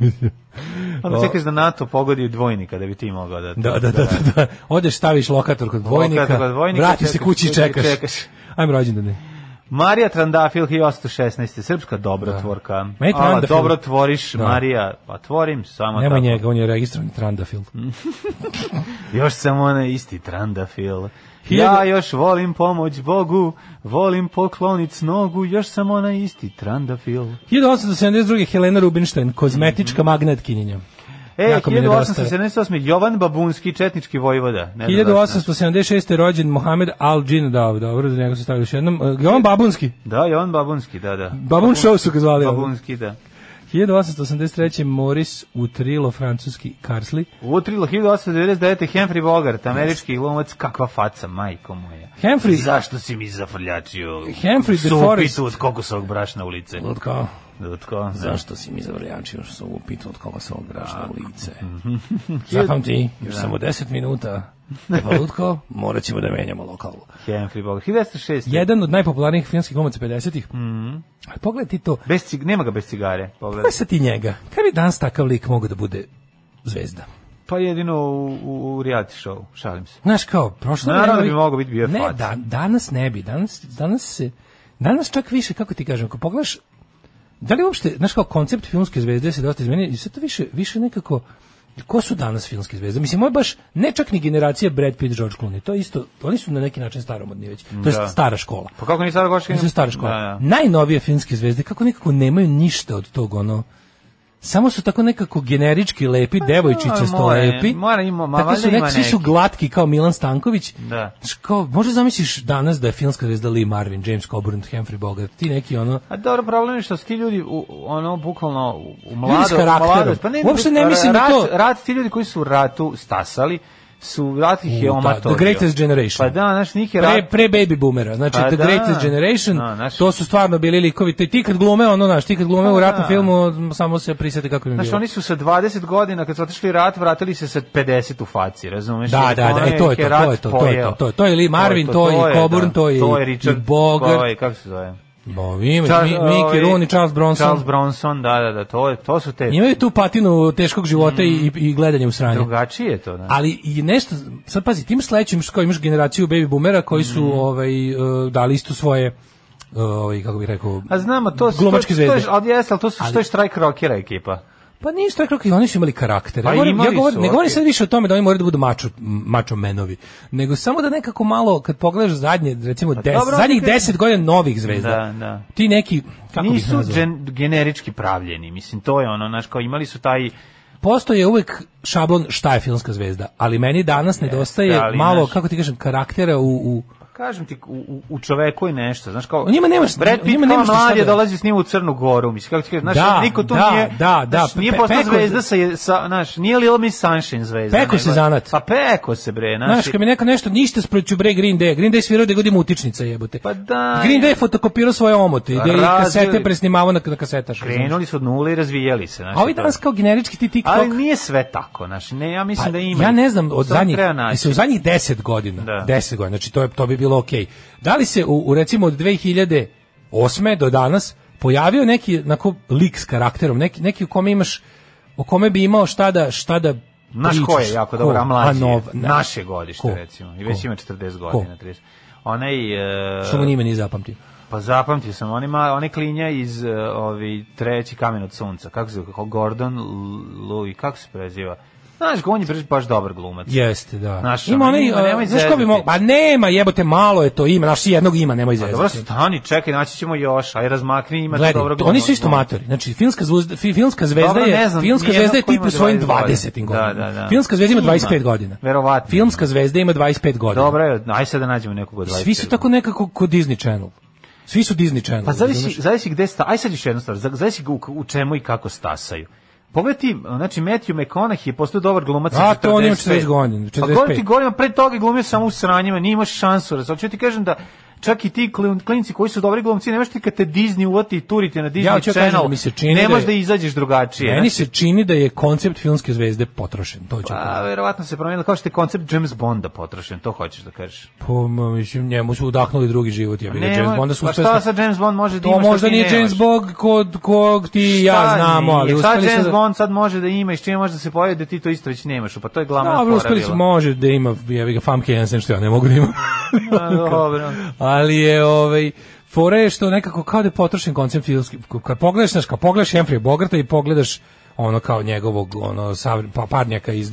S7: Onda Pa čekaš da NATO pogodi dvojnika da bi ti mogao da...
S8: Da, da, da, da, da. Odeš, staviš lokator kod vojnika,
S7: Lokator kod vojnika,
S8: vratiš se
S7: čekaš,
S8: kući i čekaš.
S7: čekaš.
S8: Ajmo rođendane.
S7: Marija Trandafil 1816. Srpska dobrotvorka.
S8: Meni
S7: Ala,
S8: Trandafil-
S7: dobro tvoriš,
S8: Da.
S7: Marija. Pa tvorim, samo
S8: Nemoj
S7: tako. Mm.
S8: njega, on je registrovan trandafil.
S7: Još sam onaj isti Trandafil.
S8: Hiljadu-
S7: Ja još volim pomoć Bogu, volim poklonit s nogu, još sam onaj isti Trandafil.
S8: 1872. Helena Rubinstein, kozmetička magnetkinjenja.
S7: Mhm. E,
S8: Jako mi nedostaje.
S7: 1878. Jovan Babunski, četnički vojvoda. Ne znam da sam-
S8: 1876. je rođen Mohamed Al-Džindav, dobro, za njega se stavio još jednom. E, Jovan Babunski,
S7: Da, Jovan Babunski, da, da.
S8: Babun Show su ga zvali. ali.
S7: Babunski, da.
S8: 1883. Moris Utrilo, francuski karsli.
S7: Utrilo 1899. Henry Bogart, američki glumac, kakva faca, majko moja.
S8: Humphrey-
S7: Zašto si mi zafrljačio?
S8: Humphrey the Forest.
S7: od kokosovog brašna u lice.
S8: Lutka,
S7: Lutko,
S8: Zašto si mi zavrljačio što sam upitao od koga se obraš na lice? Zapamti, još samo 10 minuta. Valutko, morat ćemo da menjamo lokalu.
S7: Henry Bogart. 1906.
S8: Jedan od najpopularnijih filmskih glumaca 50-ih. Ali Pogledaj ti to.
S7: Bez cig... Nema ga bez cigare. Pogledaj.
S8: Pogledaj sad ti njega. Kaj bi danas takav lik mogu da bude zvezda?
S7: Pa jedino u, u, u reality show, šalim se.
S8: Znaš kao, prošlo
S7: Naravno
S8: vreme-
S7: da bi mogao biti bio
S8: Ne,
S7: faca.
S8: da, danas ne bi. Danas, danas se... Danas čak više, kako ti kažem, ako pogledaš da li uopšte, znaš kao koncept filmske zvezde se dosta izmenio i sad to više, više nekako ko su danas filmske zvezde? Mislim, ovo je baš ne čak ni generacija Brad Pitt, George Clooney. To je isto, oni su na neki način staromodni već. To je
S7: Da.
S8: stara škola.
S7: Pa kako ni sada goška?
S8: Oni su stara škola.
S7: Da, da.
S8: Najnovije filmske zvezde kako nekako nemaju ništa od tog ono Samo su tako nekako generički lepi,
S7: Pa,
S8: devojčice sto
S7: mora-
S8: lepi.
S7: mora ima- ma
S8: tako
S7: valjda
S8: su
S7: ima
S8: neki, svi su
S7: neki.
S8: glatki kao Milan Stanković.
S7: Da.
S8: Znaš, Kao, možda zamisliš danas da je filmska zvezda Lee Marvin, James Coburn, Humphrey Bogart, ti neki ono...
S7: A dobro, problem je što su ti ljudi u, ono, bukvalno u- u
S8: Ljudi s
S7: mlado,
S8: karakterom.
S7: mlado, pa ne,
S8: Uopšte ne mislim na
S7: rat,
S8: to.
S7: Rat, ti ljudi koji su u ratu stasali, su, rat ih je
S8: U, da,
S7: omatorio.
S8: The Greatest Generation.
S7: Pa da, znaš, njih je rat,
S8: Pre, pre baby boomera, znači
S7: Pa
S8: The
S7: da.
S8: Greatest Generation,
S7: Da, znaš- Pa
S8: to su stvarno bili likovi, ti, ti kad glume, ono, znaš, ti kad glume u ratnom
S7: da.
S8: filmu, samo se prisjeti kako im je
S7: Znaš,
S8: bilo.
S7: oni su sa 20 godina, kad su otišli u rat, vratili se sa 50 u faci, razumeš?
S8: Da,
S7: Jer
S8: da, da, e, to je
S7: ih
S8: to, to
S7: rat
S8: je to, to je to,
S7: pojeo.
S8: to je to, to je Lee Marvin, to je Coburn, to je
S7: to
S8: i
S7: je Richard,
S8: Bogart.
S7: to je, kako se zove?
S8: Bo, ima,
S7: Charles-
S8: Mi- Mickey
S7: ovaj,
S8: Rooney, Charles Bronson.
S7: Charles Bronson, da, da, da, to, je, to su te,
S8: Imaju tu patinu teškog života i,
S7: Mm.
S8: i gledanja u sranje.
S7: drugačije je to, da.
S8: Ali i nešto, sad pazi, tim sledećim što imaš generaciju baby boomera koji su
S7: Mm.
S8: ovaj, e, dali isto svoje, e, ovaj, kako bih rekao,
S7: A znamo, to su,
S8: glumačke
S7: to, to
S8: zvezde.
S7: je, ali jes, ali to su, što je štrajk rockera ekipa.
S8: Pa nije što rekao, i oni su imali karakter.
S7: Pa
S8: ja govorim,
S7: imali
S8: ja govorim,
S7: su,
S8: ne govorim
S7: okej.
S8: sad više o tome da oni moraju da budu mačo, mačo menovi, nego samo da nekako malo, kad pogledaš zadnje, recimo, des,
S7: Pa dobro,
S8: zadnjih
S7: oni-
S8: deset godina novih zvezda,
S7: Da, da.
S8: ti neki, kako bih
S7: Nisu
S8: nazvao?
S7: gen, generički pravljeni, mislim, to je ono, znaš, kao imali su taj,
S8: postoje uvek šablon šta je filmska zvezda, ali meni danas nedostaje
S7: ali
S8: malo,
S7: naš-
S8: kako ti kažem, karaktera u... u
S7: kažem ti, u, u, u čoveku je nešto, znaš, kao,
S8: O njima nemaš-
S7: Brad
S8: o
S7: Pitt
S8: njima
S7: kao
S8: nemaš ti šta
S7: mlad je
S8: da-
S7: dolazi s njim u Crnu Goru, mislim, kako ti kažem, znaš, ono,
S8: Da,
S7: niko tu
S8: da,
S7: nije,
S8: da, da,
S7: znaš, nije
S8: pe-
S7: postao
S8: peko-
S7: zvezda sa, je- sa, znaš, nije Little Miss Sunshine zvezda.
S8: Peko se
S7: nego-
S8: zanat.
S7: Pa peko se, bre, znaš,
S8: Znaš, kad mi neko nešto ništa sproću bre Green Day, Green Day svirao da godima utičnica jebote.
S7: Pa da,
S8: Green
S7: je.
S8: Day fotokopirao svoje omote i da je
S7: Razvio-
S8: kasete presnimavao na, na kasetaš. razumeš?
S7: krenuli su od nule i razvijeli se, znaš.
S8: A ovi
S7: to je.
S8: danas kao generički ti TikTok. Pa,
S7: Ali nije sve tako, znaš, ne, ja mislim da ima.
S8: Ja ne znam, od
S7: Samo
S8: zadnjih,
S7: treba naći.
S8: se u zadnjih 10 godina,
S7: Da.
S8: 10 godina, znači to, je, to bi bilo okej. Da li se u, u recimo od 2008. do danas pojavio neki onako lik s karakterom, neki, neki u kome imaš, u kome bi imao šta da, šta da
S7: Naš ko je
S8: pričaš?
S7: jako
S8: Ko?
S7: dobro, a mlađi
S8: nov-
S7: je.
S8: ne.
S7: Naše godište,
S8: Ko?
S7: recimo. I već
S8: Ko?
S7: ima 40 godina, 30. Onaj... e,
S8: Što mu nime nije zapamtio.
S7: Pa zapamtio sam, on ima, one klinja iz eh, ovi, treći kamen od sunca. Kako se, kako Gordon L- Louis, kako se preziva? Znaš, on je baš dobar glumac.
S8: Jeste, da.
S7: Znaš,
S8: ima
S7: ono,
S8: onaj,
S7: ima, nemoj
S8: a, znaš ko bi
S7: zezati.
S8: mogo, pa nema, jebote, malo je to ima, naš jednog ima, nemoj
S7: Pa dobro,
S8: zezati.
S7: stani, čekaj, naći ćemo još, aj razmakni, ima tu
S8: Gledaj,
S7: dobro
S8: to- oni su isto matori. Znači, filmska, zvuzda, fi- filmska zvezda
S7: Dobro, ne
S8: je,
S7: znam,
S8: filmska
S7: nijednog
S8: zvezda je
S7: ko
S8: tip
S7: ima
S8: u svojim
S7: 20 godina.
S8: 20. godina.
S7: Da, da, da.
S8: Filmska zvezda ima
S7: Ima.
S8: 25 godina.
S7: Verovatno.
S8: Filmska zvezda ima 25 godina.
S7: Dobro je, aj sad da nađemo nekog od 20.
S8: Svi su tako nekako kod Disney Channel. Svi su Disney Channel.
S7: Pa zavisi,
S8: razumeš?
S7: zavisi gde sta, aj sad još jednu stvar, za- zavisi u, u čemu i kako stasaju. Pogledaj ti, znači Matthew McConaughey je postao dobar glumac. sa
S8: A, to on ima
S7: 45.
S8: 40 godina,
S7: Pa govorim ti
S8: 45.
S7: govorim, pre toga je glumio samo u sranjima, nije imaš šansu. Raz, hoću ti kažem da čak i ti klin- klinci koji su dobri glumci, ne možeš ti kad te Disney uvati i turiti na Disney
S8: Ja hoću da kažem
S7: Channel,
S8: da mi se čini
S7: ne
S8: da
S7: možeš
S8: je-
S7: da izađeš drugačije.
S8: Meni se čini da je koncept filmske zvezde potrošen. To ću
S7: Pa, verovatno se promijenilo, kao što je koncept James Bonda potrošen, to hoćeš da kažeš.
S8: Po, ma, Pa, mislim, njemu su udahnuli drugi život, ja bih
S7: Nemoj-
S8: James Bonda su
S7: pa
S8: uspeli-
S7: šta sad James Bond može da ima
S8: To
S7: što
S8: možda
S7: ti
S8: nije
S7: nemaš?
S8: James Bond kod kog ti i ja
S7: Šta
S8: znamo,
S7: Pa nije?
S8: ali
S7: sad
S8: uspeli su
S7: James
S8: da-
S7: Bond sad može da ima i s čime može da se pojavi da ti to isto već nemaš, pa to je glavna
S8: Dobro,
S7: fora
S8: uspeli su,
S7: bila.
S8: može da ima, jevi ga, Famke Jensen, što ja ne mogu da imam.
S7: A, dobro.
S8: ali je, ovaj, fora je što nekako kao da je potrošen koncept filmski. Kad pogledaš, znaš, kad pogledaš Humphrey Bogarta i pogledaš ono kao njegovog ono savr- pa parnjaka iz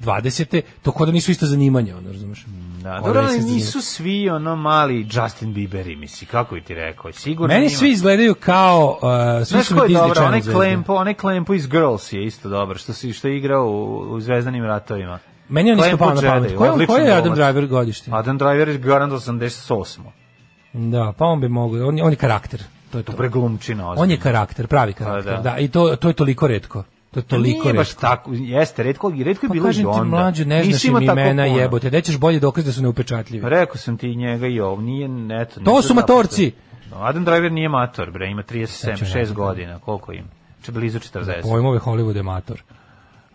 S8: 2020. to kod da nisu isto zanimanja, ono razumeš.
S7: Da,
S8: Kao
S7: dobro,
S8: da
S7: ali
S8: nisu
S7: nisu svi ono mali Justin Bieberi, misli, kako bi ti rekao? Sigurno
S8: Meni
S7: ima-
S8: svi izgledaju kao uh, svi
S7: Znaš
S8: su
S7: ko
S8: mi
S7: je
S8: Disney
S7: dobro, onaj
S8: Channel zvezde.
S7: Klempo, onaj Klempo iz Girls je isto dobar, što, si, što je igrao u, u Zvezdanim ratovima.
S8: Meni on isto
S7: Klempo
S8: pao na pamet.
S7: Jedi,
S8: Ko je,
S7: odličan
S8: ko je Adam
S7: glumac.
S8: Driver godište?
S7: Adam Driver je Garant 88.
S8: Da, pa on bi mogao, on, je- on je karakter. To je to.
S7: Dobre glumčina.
S8: On je karakter, pravi karakter.
S7: Pa, da. Pa
S8: da. i to, to je toliko retko. To je toliko
S7: Nije baš
S8: retko.
S7: tako, jeste, retko, retko je
S8: Pa
S7: bilo i
S8: kažem ti
S7: onda.
S8: mlađu, ne znaš
S7: Nisi
S8: im
S7: imao tako
S8: imena
S7: puno.
S8: jebote. Gde ćeš bolje dokaz da su neupečatljivi?
S7: Rekao sam ti i njega i ovo, nije, eto.
S8: To
S7: nisu
S8: su matorci.
S7: zaposleni. Adam Driver nije mator, bre, ima 37,
S8: Znači,
S7: 6
S8: ne.
S7: godina, koliko ima? Če blizu 40.
S8: Pojmove Hollywood je mator.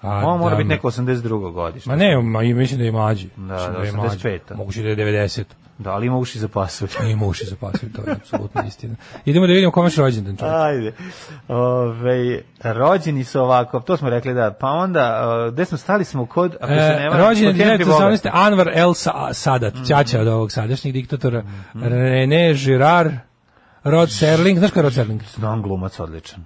S8: A,
S7: On mora
S8: da,
S7: biti neko 82. godište.
S8: Ma ne, ma, i mislim da je mlađi.
S7: Da,
S8: Mislim
S7: da,
S8: je mlađi.
S7: 85.
S8: Moguće da je 90.
S7: Da, ali ima uši za pasulj.
S8: Ima uši za pasulj, to je apsolutno istina. Idemo da vidimo kome je rođendan čovjek.
S7: Ajde. Ove, rođeni su ovako, to smo rekli da, pa onda, e, gde smo stali smo kod, ako se ne
S8: E,
S7: varam,
S8: rođen je
S7: kod Henry Mhm. Bogarta.
S8: 1918. Anwar El Sa- Sadat, ćaća od ovog sadašnjeg diktatora,
S7: Mhm.
S8: René Girard, Rod Serling, znaš ko je Rod Serling?
S7: Znam glumac, odličan.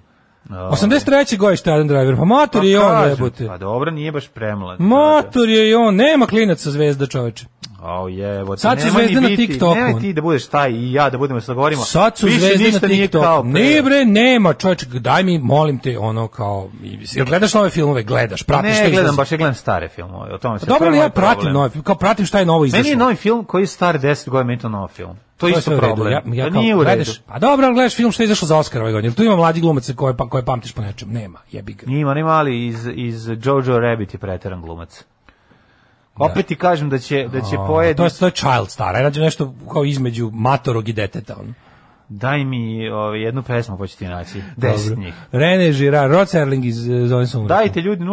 S7: E,
S8: 83. godište Adam Driver, pa
S7: pa
S8: mator je i on
S7: kažem,
S8: jebote.
S7: Pa dobro, nije baš premlad.
S8: Mator je i on, nema klinaca zvezda čoveče.
S7: Au jebote.
S8: Sad su
S7: nemoj ni
S8: zvezde na
S7: biti-
S8: TikToku.
S7: Nemoj ti da budeš taj i ja da budemo da se govorimo.
S8: Sad su
S7: Više
S8: zvezde
S7: ništa
S8: na
S7: nije kao
S8: TikToku.
S7: pre.
S8: Ne bre, nema čoveče, daj mi, molim te, ono kao, jel gledaš nove filmove, gledaš, pratiš
S7: Ne,
S8: što
S7: gledam
S8: izlazi?
S7: baš, ja gledam stare filmove. O tome se
S8: Pa dobro,
S7: to je
S8: ali
S7: moj
S8: ja pratim
S7: problem.
S8: nove, filmove, kao pratim šta je novo izašlo.
S7: Meni je novi film koji je star 10 godina, meni je to nov film. To je
S8: je sve
S7: isto
S8: u redu.
S7: problem.
S8: Ja, ja
S7: to nije u redu.
S8: Gledaš, pa dobro, ali gledaš film što je izašao za Oscar ove godine. Jel Tu ima mlađi glumaca koje, pa, koje pamtiš po nečem. Nema, jebi ga.
S7: Ima, nema ali iz, iz Jojo Rabbit je preteran glumac. Opet ti kažem da će, da će pojedi,
S8: To je, to je child star. Aj, rađe nešto kao između matorog i deteta. Ono.
S7: daj mi ovaj, jednu pesmu pa ću ti naći, deset njih.
S8: Rene Girard, Rod Serling iz eh, Zove se umrtno.
S7: Dajte ljudi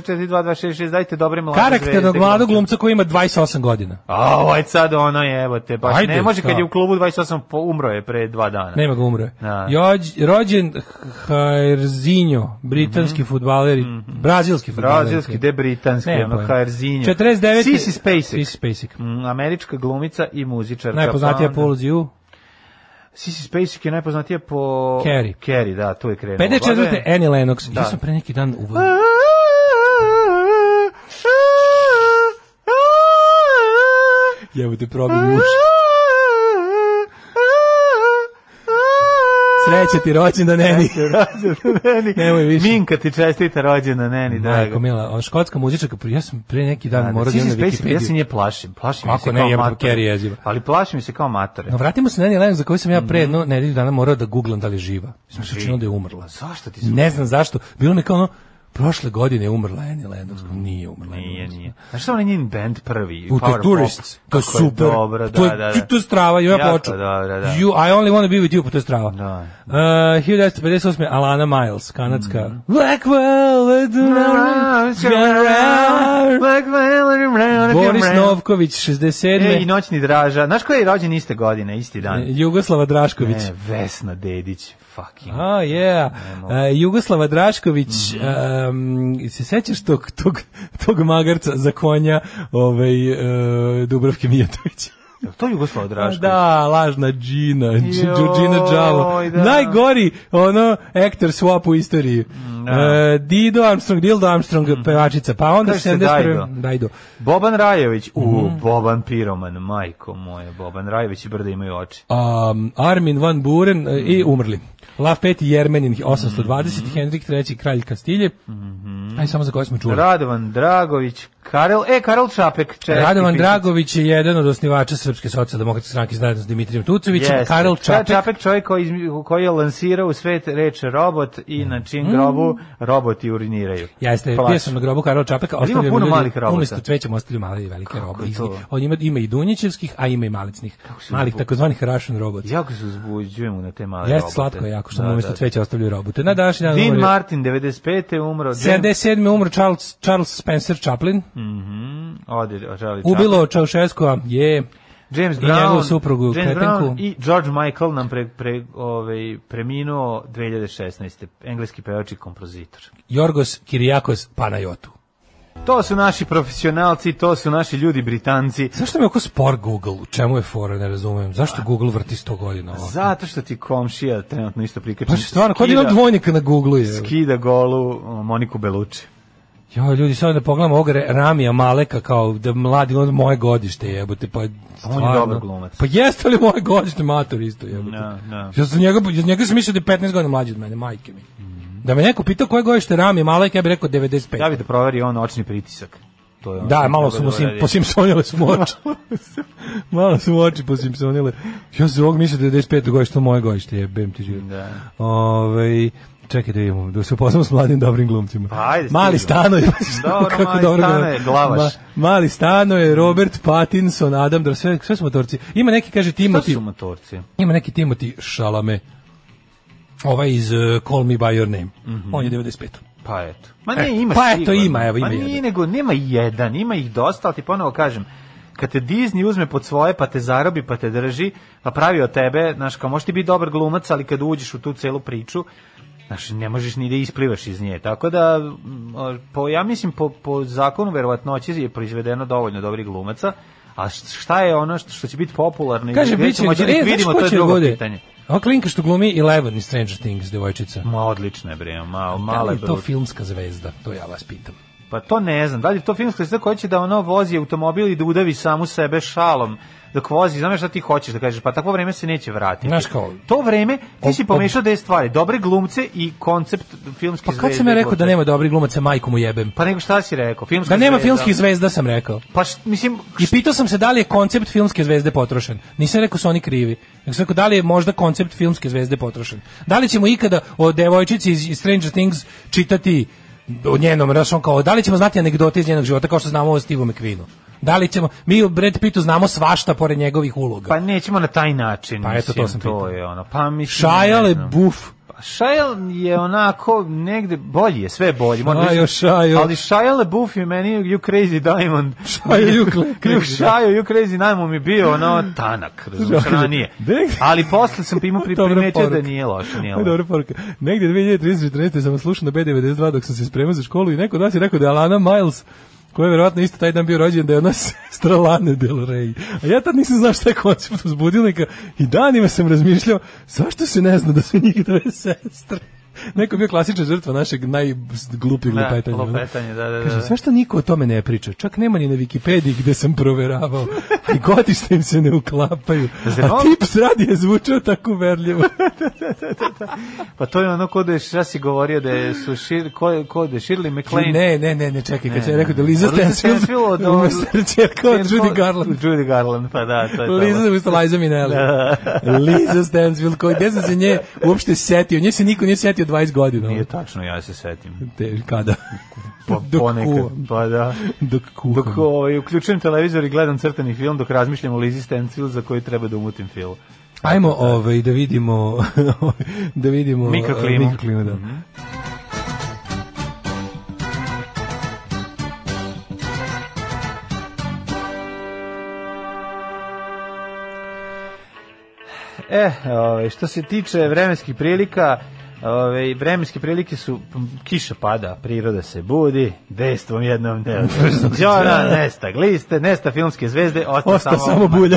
S7: 066442266, dajte dobre mlade
S8: Karakternog
S7: zvezde,
S8: mladog
S7: glumce.
S8: glumca koji ima 28 godina.
S7: A, ovaj sad ono jebote, baš
S8: Ajde,
S7: ne može kad
S8: šta?
S7: je u klubu 28 po- umro je pre dva dana.
S8: Nema ga umre.
S7: Da.
S8: Jođ, rođen Jairzinho, britanski fudbaler, i brazilski fudbaler.
S7: Mhm. Brazilski, de britanski,
S8: Nema
S7: ono,
S8: pojma.
S7: Jairzinho.
S8: 49.
S7: Sissy Spacek.
S8: Sissy Spacek.
S7: Mm, američka glumica i muzičarka. pa
S8: Najpoznatija po ulozi u
S7: Sissy Spacek je najpoznatija po...
S8: Carrie.
S7: Carrie, da, tu je krenula.
S8: 54. Annie Lennox.
S7: Da.
S8: Ja sam pre neki dan u... Jevo te probi muš. Sreće ti rođendan, Neni.
S7: Neni,
S8: Nemoj više.
S7: Minka ti čestita rođena, Neni, draga.
S8: Majko mila, on škotska muzičarka, pa ja sam pre neki dan
S7: Da,
S8: morao da
S7: Sissy
S8: idem na
S7: Spacek, Ja se
S8: Wikipediju.
S7: nje plašim. Plašim
S8: Kako
S7: se
S8: ne,
S7: kao
S8: jebote,
S7: matore.
S8: Carrie je jeziva.
S7: Ali plašim se kao matore.
S8: No, vratimo se na Annie Lennox za koju sam ja
S7: Mhm.
S8: pre jedno nedelju dana morao da googlam da li je živa. Mislim se učinilo da je umrla.
S7: Zašto ti se...
S8: Ne znam zašto. Bilo mi kao ono, prošle godine je umrla Annie Lennox. Nije umrla. Annie
S7: Mhm. Nije,
S8: Lennox.
S7: nije. Znaš što onaj njen band prvi?
S8: U to
S7: Power
S8: Tourists,
S7: Pop?
S8: to je
S7: Kako
S8: super.
S7: Dobro, da,
S8: to je,
S7: da, da.
S8: To je strava, ja
S7: Jako
S8: poču.
S7: dobro, da.
S8: You, I only want to be with you, pa to je strava.
S7: Da.
S8: Uh, 1958. Alana Miles, kanadska.
S7: Mhm.
S8: Blackwell, let the night go round. Boris Novković, 67.
S7: E, i noćni draža. Znaš ko je rođen iste godine, isti dan?
S8: E, Jugoslava Drašković.
S7: Ne, Vesna Dedić, fucking.
S8: Oh, yeah. Uh, Jugoslava Drašković, um, se sećaš tog, tog, tog magarca za konja ovaj, uh, Dubrovke e, Mijatović?
S7: Jel to Jugoslav Drašković?
S8: Da, lažna Gina,
S7: Joj,
S8: Đuđina Đavo.
S7: da.
S8: Najgori ono actor swap u istoriji.
S7: Mm,
S8: E, Dido Armstrong, Dildo Armstrong, pevačica, pa onda
S7: Kaže se
S8: 71.
S7: Dajdo.
S8: Dajdo.
S7: Boban Rajović, u,
S8: Mhm.
S7: Boban Piroman, majko moje, Boban Rajović i brda imaju oči.
S8: Um, Armin van Buren e,
S7: Mm.
S8: i umrli. Lav V Jermenin
S7: Mm-hmm.
S8: 820, Henrik III kralj Kastilje.
S7: Mm-hmm.
S8: Aj samo za koje smo čuli.
S7: Radovan Dragović, Karel, e, Karel Čapek, češki
S8: Radovan
S7: pisac.
S8: Dragović je jedan od osnivača Srpske socijaldemokratske stranke zajedno s Dimitrijem Tucovićem,
S7: Jeste.
S8: Karel Čapek.
S7: Čapek čovjek koji, izmi- koji je lansirao u svet reč robot i na čim grobu roboti uriniraju.
S8: Mm. Jeste,
S7: Plač.
S8: bio sam na grobu Karola Čapeka,
S7: Ali ima
S8: ostavljamo
S7: puno
S8: ljudi,
S7: malih robota.
S8: Umesto cvećem ostavljaju male i velike robe.
S7: je to?
S8: On ima, ima i dunjićevskih, a ima i malicnih.
S7: su
S8: Malih,
S7: zbog-
S8: takozvanih Russian robot.
S7: Jako se uzbuđujemo na te male
S8: Jeste
S7: robote.
S8: slatko je jako što
S7: Da,
S8: mu umesto
S7: da.
S8: cveća ostavljaju robote. Na današnji dan
S7: Dean
S8: umro-
S7: Martin, 95. umro. James-
S8: 77. umro Charles, Charles Spencer Chaplin.
S7: Mhm, ode, žali Čapek.
S8: Ubilo Čaušeskova, je...
S7: James
S8: i
S7: Brown,
S8: njegovu suprugu,
S7: James Brown
S8: kretenku.
S7: i George Michael nam pre, pre, ovaj, preminuo 2016. Engleski pevač i kompozitor.
S8: Jorgos Kirijakos Panajotu.
S7: To su naši profesionalci, to su naši ljudi britanci.
S8: Zašto mi je oko spor Google? U čemu je fora, ne razumem.
S7: Pa,
S8: Zašto Google vrti 100 godina ovo?
S7: Zato što ti komšija trenutno isto prikačen.
S8: Baš je stvarno, Pa ono, kod ima dvojnika na Google je.
S7: skida golu uh, Moniku Beluči.
S8: Jo, ljudi, sad da pogledamo ovog Re- Ramija Maleka kao da mladi on moje godište jebote, pa stvarno.
S7: dobar glumac.
S8: Pa jeste li moje godište mator isto jebote?
S7: Da, da.
S8: Ja sam njega, ja njega sam mislio da je 15 godina mlađi od mene, majke mi. Da me neko pitao koje godište je Rami Malek, ja bih rekao 95.
S7: Mhm. Ja bih da proveri on očni pritisak. To je ono
S8: Da,
S7: što
S8: malo
S7: treba
S8: su mu
S7: da
S8: sim,
S7: uradi.
S8: po Simpsonile su mu oči. malo su mu oči po Simpsonile. Ja se ovog mislio da je 95. godište, to moje godište je, bem ti život.
S7: Da.
S8: Ovaj, čekaj da vidimo, da se upoznamo s mladim dobrim glumcima.
S7: Pa, ajde,
S8: mali
S7: stiglo.
S8: stano je.
S7: Dobro, mali stano je, glavaš.
S8: mali stano je, Robert Pattinson, Adam, da sve, sve su motorci. Ima neki, kaže,
S7: Šta
S8: Timothy,
S7: su motorci?
S8: ima neki Timothy Šalame, ovaj iz uh, Call Me By Your Name.
S7: Mhm.
S8: On je 95.
S7: Pa eto. Ma
S8: Eto,
S7: ne, ima
S8: pa eto,
S7: sigurno.
S8: ima, evo, ima
S7: Ma nije,
S8: jedan.
S7: nego, nema jedan, ima ih dosta, ali ti ponovo kažem, kad te Disney uzme pod svoje, pa te zarobi, pa te drži, pa pravi od tebe, znaš, kao možeš ti biti dobar glumac, ali kad uđeš u tu celu priču, znaš, ne možeš ni da isplivaš iz nje. Tako da, m, o, po, ja mislim, po, po zakonu verovatnoće je proizvedeno dovoljno dobrih glumaca, a š- šta je ono što, što će biti popularno? i
S8: Kaže,
S7: gde
S8: bit će...
S7: ćemo moći da ih
S8: e, znaš
S7: vidimo,
S8: ko
S7: to je
S8: će
S7: drugo
S8: bude?
S7: pitanje.
S8: Ova klinka što glumi Eleven iz Stranger Things, devojčica.
S7: Ma odlično je bre, malo,
S8: Da
S7: malo
S8: li
S7: je
S8: je to
S7: brutalno.
S8: filmska zvezda? To ja vas pitam.
S7: Pa to ne znam, da li je to filmska slika koja će da ono vozi automobil i da udavi samu sebe šalom dok vozi, znaš šta ti hoćeš da kažeš, pa takvo vreme se neće vratiti.
S8: Znaš kao-
S7: To vreme, ti
S8: Ob-
S7: si pomešao dve stvari, dobre glumce i koncept filmske
S8: Pa
S7: zvezde.
S8: kad sam ja rekao da nema dobrih glumaca, majku mu jebem.
S7: Pa nego šta si rekao? Filmska
S8: Da nema
S7: zvezda.
S8: filmskih zvezda sam rekao.
S7: Pa št, mislim,
S8: I pitao sam se da li je koncept filmske zvezde potrošen. Nisam rekao su oni krivi. Nego sam rekao da li je možda koncept filmske zvezde potrošen. Da li ćemo ikada o devojčici iz iz Stranger Things čitati o njenom rašom kao da li ćemo znati anegdote iz njenog života kao što znamo o Steve McQueenu. Da li ćemo mi o Brad Pittu znamo svašta pored njegovih uloga.
S7: pa nećemo na taj način.
S8: Pa eto,
S7: mislim,
S8: to sam pitao.
S7: je ono, pa mislim...
S8: Šajal
S7: ne
S8: je
S7: znam.
S8: buf.
S7: Pa Shia je onako negde bolji je, sve je bolji. moram
S8: Shayo,
S7: reći.
S8: Shayo.
S7: Ali Shia LaBeouf je meni You Crazy Diamond.
S8: Shayo, You Cla- Crazy
S7: Shia, You Crazy Diamond mi je bio ono tanak, razumiješ,
S8: Dobro.
S7: ranije.
S8: Dek-
S7: Ali posle sam imao pri,
S8: Dobra
S7: primetio da
S8: poruka.
S7: nije loše, nije
S8: Ovo je
S7: loše.
S8: dobra poruka. Negde 2013-2014 sam vas slušao na B92 dok sam se spremao za školu i neko od vas je rekao da je Alana Miles koja je verovatno isto taj dan bio rođen, da je ona sestra Lane Del Rey. A ja tad nisam znao šta je koncept uzbudilnika i danima sam razmišljao zašto se ne zna da su njih dve sestre. Neko je bio klasična žrtva našeg najglupljeg
S7: Da,
S8: lupetanja. ono.
S7: lupetanje, da, da, da.
S8: Kaže, zašto niko o tome ne priča? Čak nema ni na Wikipediji gde sam proveravao. I godište im se ne uklapaju.
S7: Zar
S8: A
S7: ovo-
S8: tips radi je zvučao tako uverljivo.
S7: Pa to je ono ko da je, šta si govorio da je, su šir, ko, ko da je Shirley MacLaine.
S8: Ne, ne, ne, ne, čekaj, kad
S7: Ne,
S8: se rekao da Liza
S7: Liza Stansfield
S8: Stansfield
S7: od-
S8: umesto čerka od Judy Garland.
S7: Judy Garland, pa da, to je to.
S8: Liza umesto Liza Minnelli. Liza Stansfield, koji, gde sam se nje uopšte setio? Nje se niko nije setio 20 godina.
S7: Nije tačno, ja se setim.
S8: Te, kada?
S7: Pa,
S8: Dok
S7: ponekad,
S8: kuvam.
S7: pa da.
S8: Dok kuham.
S7: Dok ovaj, uključujem televizor i gledam crtani film, dok razmišljam o Lizzie Stansfield za koju treba da umutim film.
S8: Ajmo ovaj, da vidimo... da vidimo...
S7: Mikroklimu.
S8: mikroklimu,
S7: Mhm.
S8: da.
S7: E, ovaj, što se tiče vremenskih prilika, ovaj, vremenske prilike su, m, kiša pada, priroda se budi, dejstvom jednom ne Đora, nesta gliste, nesta filmske zvezde, osta,
S8: Osta samo bulja.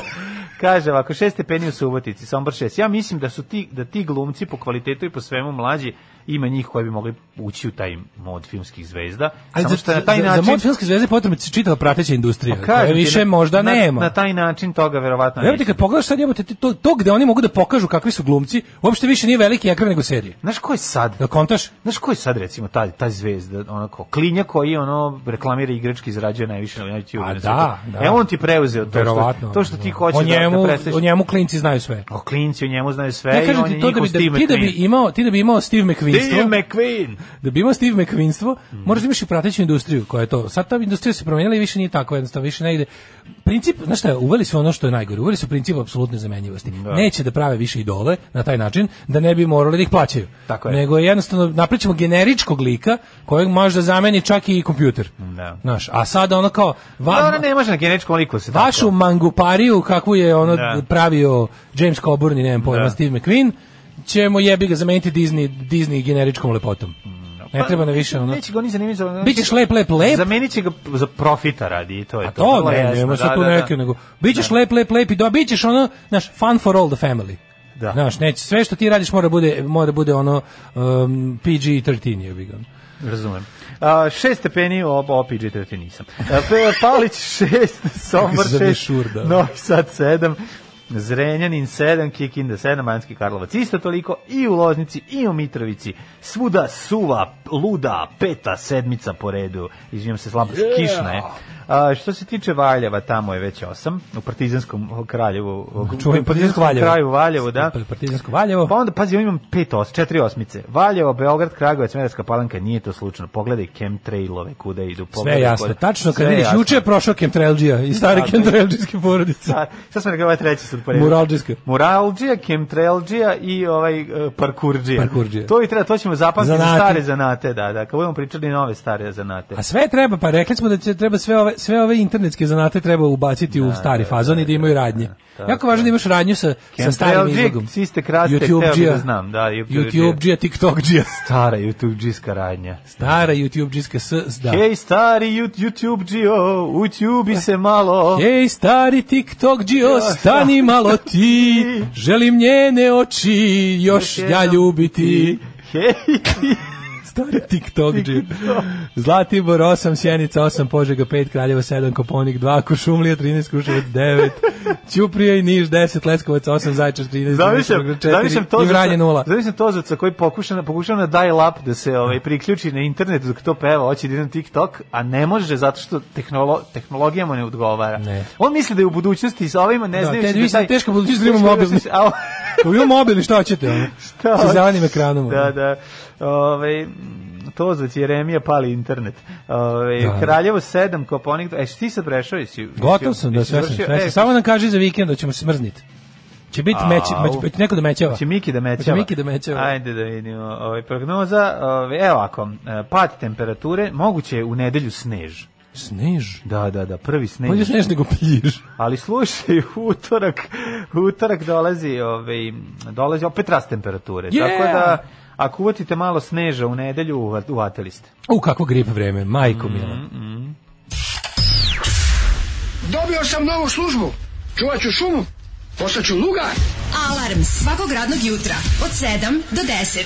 S7: Kaže ovako, šest stepeni u Subotici, Sombor 6. Ja mislim da su ti, da ti glumci po kvalitetu i po svemu mlađi, ima njih koji bi mogli ući u taj mod filmskih zvezda.
S8: Ali
S7: Samo
S8: za,
S7: što na taj
S8: za,
S7: način...
S8: za mod filmske zvezde potrebno ti čitava prateća industrija.
S7: Pa
S8: Kažem,
S7: kažem ti,
S8: više
S7: na-
S8: možda
S7: na,
S8: nema.
S7: Na taj način toga verovatno
S8: Evo ti
S7: neće.
S8: kad pogledaš sad jebote ti to, to gde oni mogu da pokažu kakvi su glumci, uopšte više nije veliki ekran nego serije.
S7: Znaš ko je sad?
S8: Da kontaš?
S7: Znaš ko je sad recimo ta, ta zvezda, onako, klinja koji ono reklamira igrački izrađuje najviše na YouTube.
S8: A
S7: na
S8: Pa da,
S7: svetu.
S8: da.
S7: Evo on ti preuzeo to
S8: Verovatno.
S7: što, to što ti
S8: da.
S7: hoćeš
S8: o
S7: da-
S8: njemu,
S7: da predstaviš.
S8: O njemu klinci znaju sve.
S7: O klinci o njemu znaju sve
S8: Ja
S7: i
S8: kažem
S7: on je
S8: ti to da
S7: njihov
S8: bi, da,
S7: Steve
S8: ti, da bi
S7: McQueen.
S8: imao, ti da bi imao Steve
S7: Steve
S8: McQueenstvo,
S7: McQueen!
S8: da bi imao Steve McQueenstvo,
S7: Mhm.
S8: moraš da imaš i prateću industriju koja je to. Sad ta industrija se promijenila i više nije tako jednostavno, više ne ide. Princip, znaš šta, je, uveli su ono što je najgore, uveli su princip apsolutne zamenjivosti. Neće da prave više idole na taj način, da ne bi morali da ih plaćaju.
S7: Tako je.
S8: Nego jednostavno napričamo generičkog lika kojeg može da zameni čak i kompjuter.
S7: Da.
S8: Znaš, a sada ono kao... van-
S7: Da, ona ne može na genetičkom liku se tako.
S8: vašu mangupariju kakvu je ono
S7: Da.
S8: pravio James Coburn i nemam pojma
S7: Da.
S8: Steve McQueen ćemo jebi ga zameniti Disney, Disney generičkom lepotom. Ne
S7: Pa,
S8: treba na više ono.
S7: Neće ga ni zanimati za...
S8: Bićeš lep, lep, lep.
S7: Zamenit će ga za profita radi i to je
S8: A
S7: to. Vrlo
S8: to ne,
S7: jasno,
S8: nema
S7: da,
S8: sad tu
S7: da, da.
S8: neke, nego bićeš lep, lep, lep i do, bićeš ono, znaš, fun for all the family.
S7: Da.
S8: Znaš, neće, sve što ti radiš mora bude, mora bude ono um, PG-13 jebi ga.
S7: Razumem. A, šest stepeni, ob, opiđe te nisam. A, Pe- Palić šest, Sombor
S8: Kako se zove
S7: šest,
S8: Šur, da.
S7: Novi Sad sedam, Zrenjanin 7, Kikinda 7, Manjski Karlovac isto toliko, i u Loznici, i u Mitrovici, svuda suva, luda, peta sedmica po redu, izvinjam se slabo, kišna je. A, što se tiče Valjeva, tamo je već 8, u Partizanskom kraljevu,
S8: Čujem
S7: u Partizanskom
S8: Valjevo.
S7: kraju Valjevu, da.
S8: Partizansko Valjevo.
S7: Pa onda, pazi, ja imam pet os, četiri osmice. Valjevo, Beograd, Kragovac, Smederska palanka, nije to slučajno. Pogledaj chemtrailove kuda idu.
S8: Sve
S7: Pogledaj
S8: je jasno.
S7: kuda-
S8: Tačno, kad
S7: Sve je
S8: vidiš,
S7: jasno.
S8: juče je prošao Kemtrailđija i stare
S7: Tako je.
S8: Kemtrailđijske porodice.
S7: Sad, sad sam rekao ovaj treći sad poredio.
S8: Muralđijske.
S7: Muralđija, chemtrailđija i ovaj e, parkurdžija.
S8: Parkurdžija.
S7: To i treba, to ćemo zapamtiti za
S8: Zanati.
S7: stare zanate, da, da. Kad budemo pričali nove stare zanate.
S8: A sve treba, pa rekli smo da će, treba sve ove, sve ove internetske zanate treba ubaciti u stari fazon i da imaju radnje. jako važno da imaš radnju sa, sa starim
S7: Chemtrailđija,
S8: izlogom.
S7: siste kraste, hteo bih da znam, da, YouTubeđija.
S8: YouTube-đija, TikTok-đija.
S7: Stara YouTube džiska radnja.
S8: Stara YouTube-đijska s, s- da.
S7: Hej, stari YouTube džio, utubi se malo.
S8: Ej, stari TikTok-đio, stani malo ti, želim njene oči, još
S7: Još
S8: ja
S7: jednom
S8: ljubiti.
S7: Hej,
S8: Stari TikTok džip. Zlatibor 8, Sjenica 8, Požega 5, Kraljevo 7, Koponik 2, Kušumlija 13, Kruševac 9, Ćuprija i Niš 10, Leskovac 8, Zajčar 13,
S7: Zamišljam,
S8: Dimitrovgrad 4
S7: zamišljam
S8: i
S7: Tozovca,
S8: Vranje 0.
S7: zamišljam Tozovca koji pokuša, pokušava na dial up da se ovaj, priključi na internet dok to peva, hoće da ide na TikTok, a ne može zato što tehnolo, tehnologija mu ne odgovara.
S8: Ne.
S7: On misli da je u budućnosti sa ovima ne
S8: Da,
S7: znajući
S8: te-
S7: da
S8: vi ste
S7: taj-
S8: teško budućnost, da imamo mobilni.
S7: A on-
S8: Ko vi mobilni, šta hoćete? ono?
S7: Da,
S8: Sa zelenim ekranom.
S7: Da,
S8: ono.
S7: da. Ove, Tozac Jeremija pali internet. Ove,
S8: Da.
S7: Kraljevo 7, Koponik... E, što ti sad prešao? Jesi,
S8: Gotov sam, da
S7: jesi
S8: sve sam,
S7: završio?
S8: sve sam.
S7: E,
S8: Samo nam kaži za vikend da ćemo se smrzniti. Će biti
S7: Au.
S8: meč, meč, će neko da mećava.
S7: Hoće Miki da mećava.
S8: Hoće Miki da mećava.
S7: Ajde da vidimo. Ovaj prognoza, ovaj evo ako pad temperature, moguće je u nedelju snež.
S8: Snež.
S7: Da, da, da, prvi snež.
S8: Bolje snež nego pljiž.
S7: Ali slušaj, u utorak, u utorak dolazi, ovaj dolazi opet rast temperature.
S8: Yeah!
S7: Tako da ako uvatite malo sneža u nedelju, uva- uvatili ste.
S8: U, kakvo grip vreme, majko mila.
S7: Mm.
S5: Dobio sam novu službu. Čuvat ću šumu. Postaću lugar.
S6: Alarm svakog radnog jutra od 7 do 10.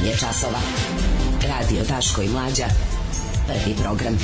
S10: 8 je časova. Radio Daško i Mlađa. Prvi program.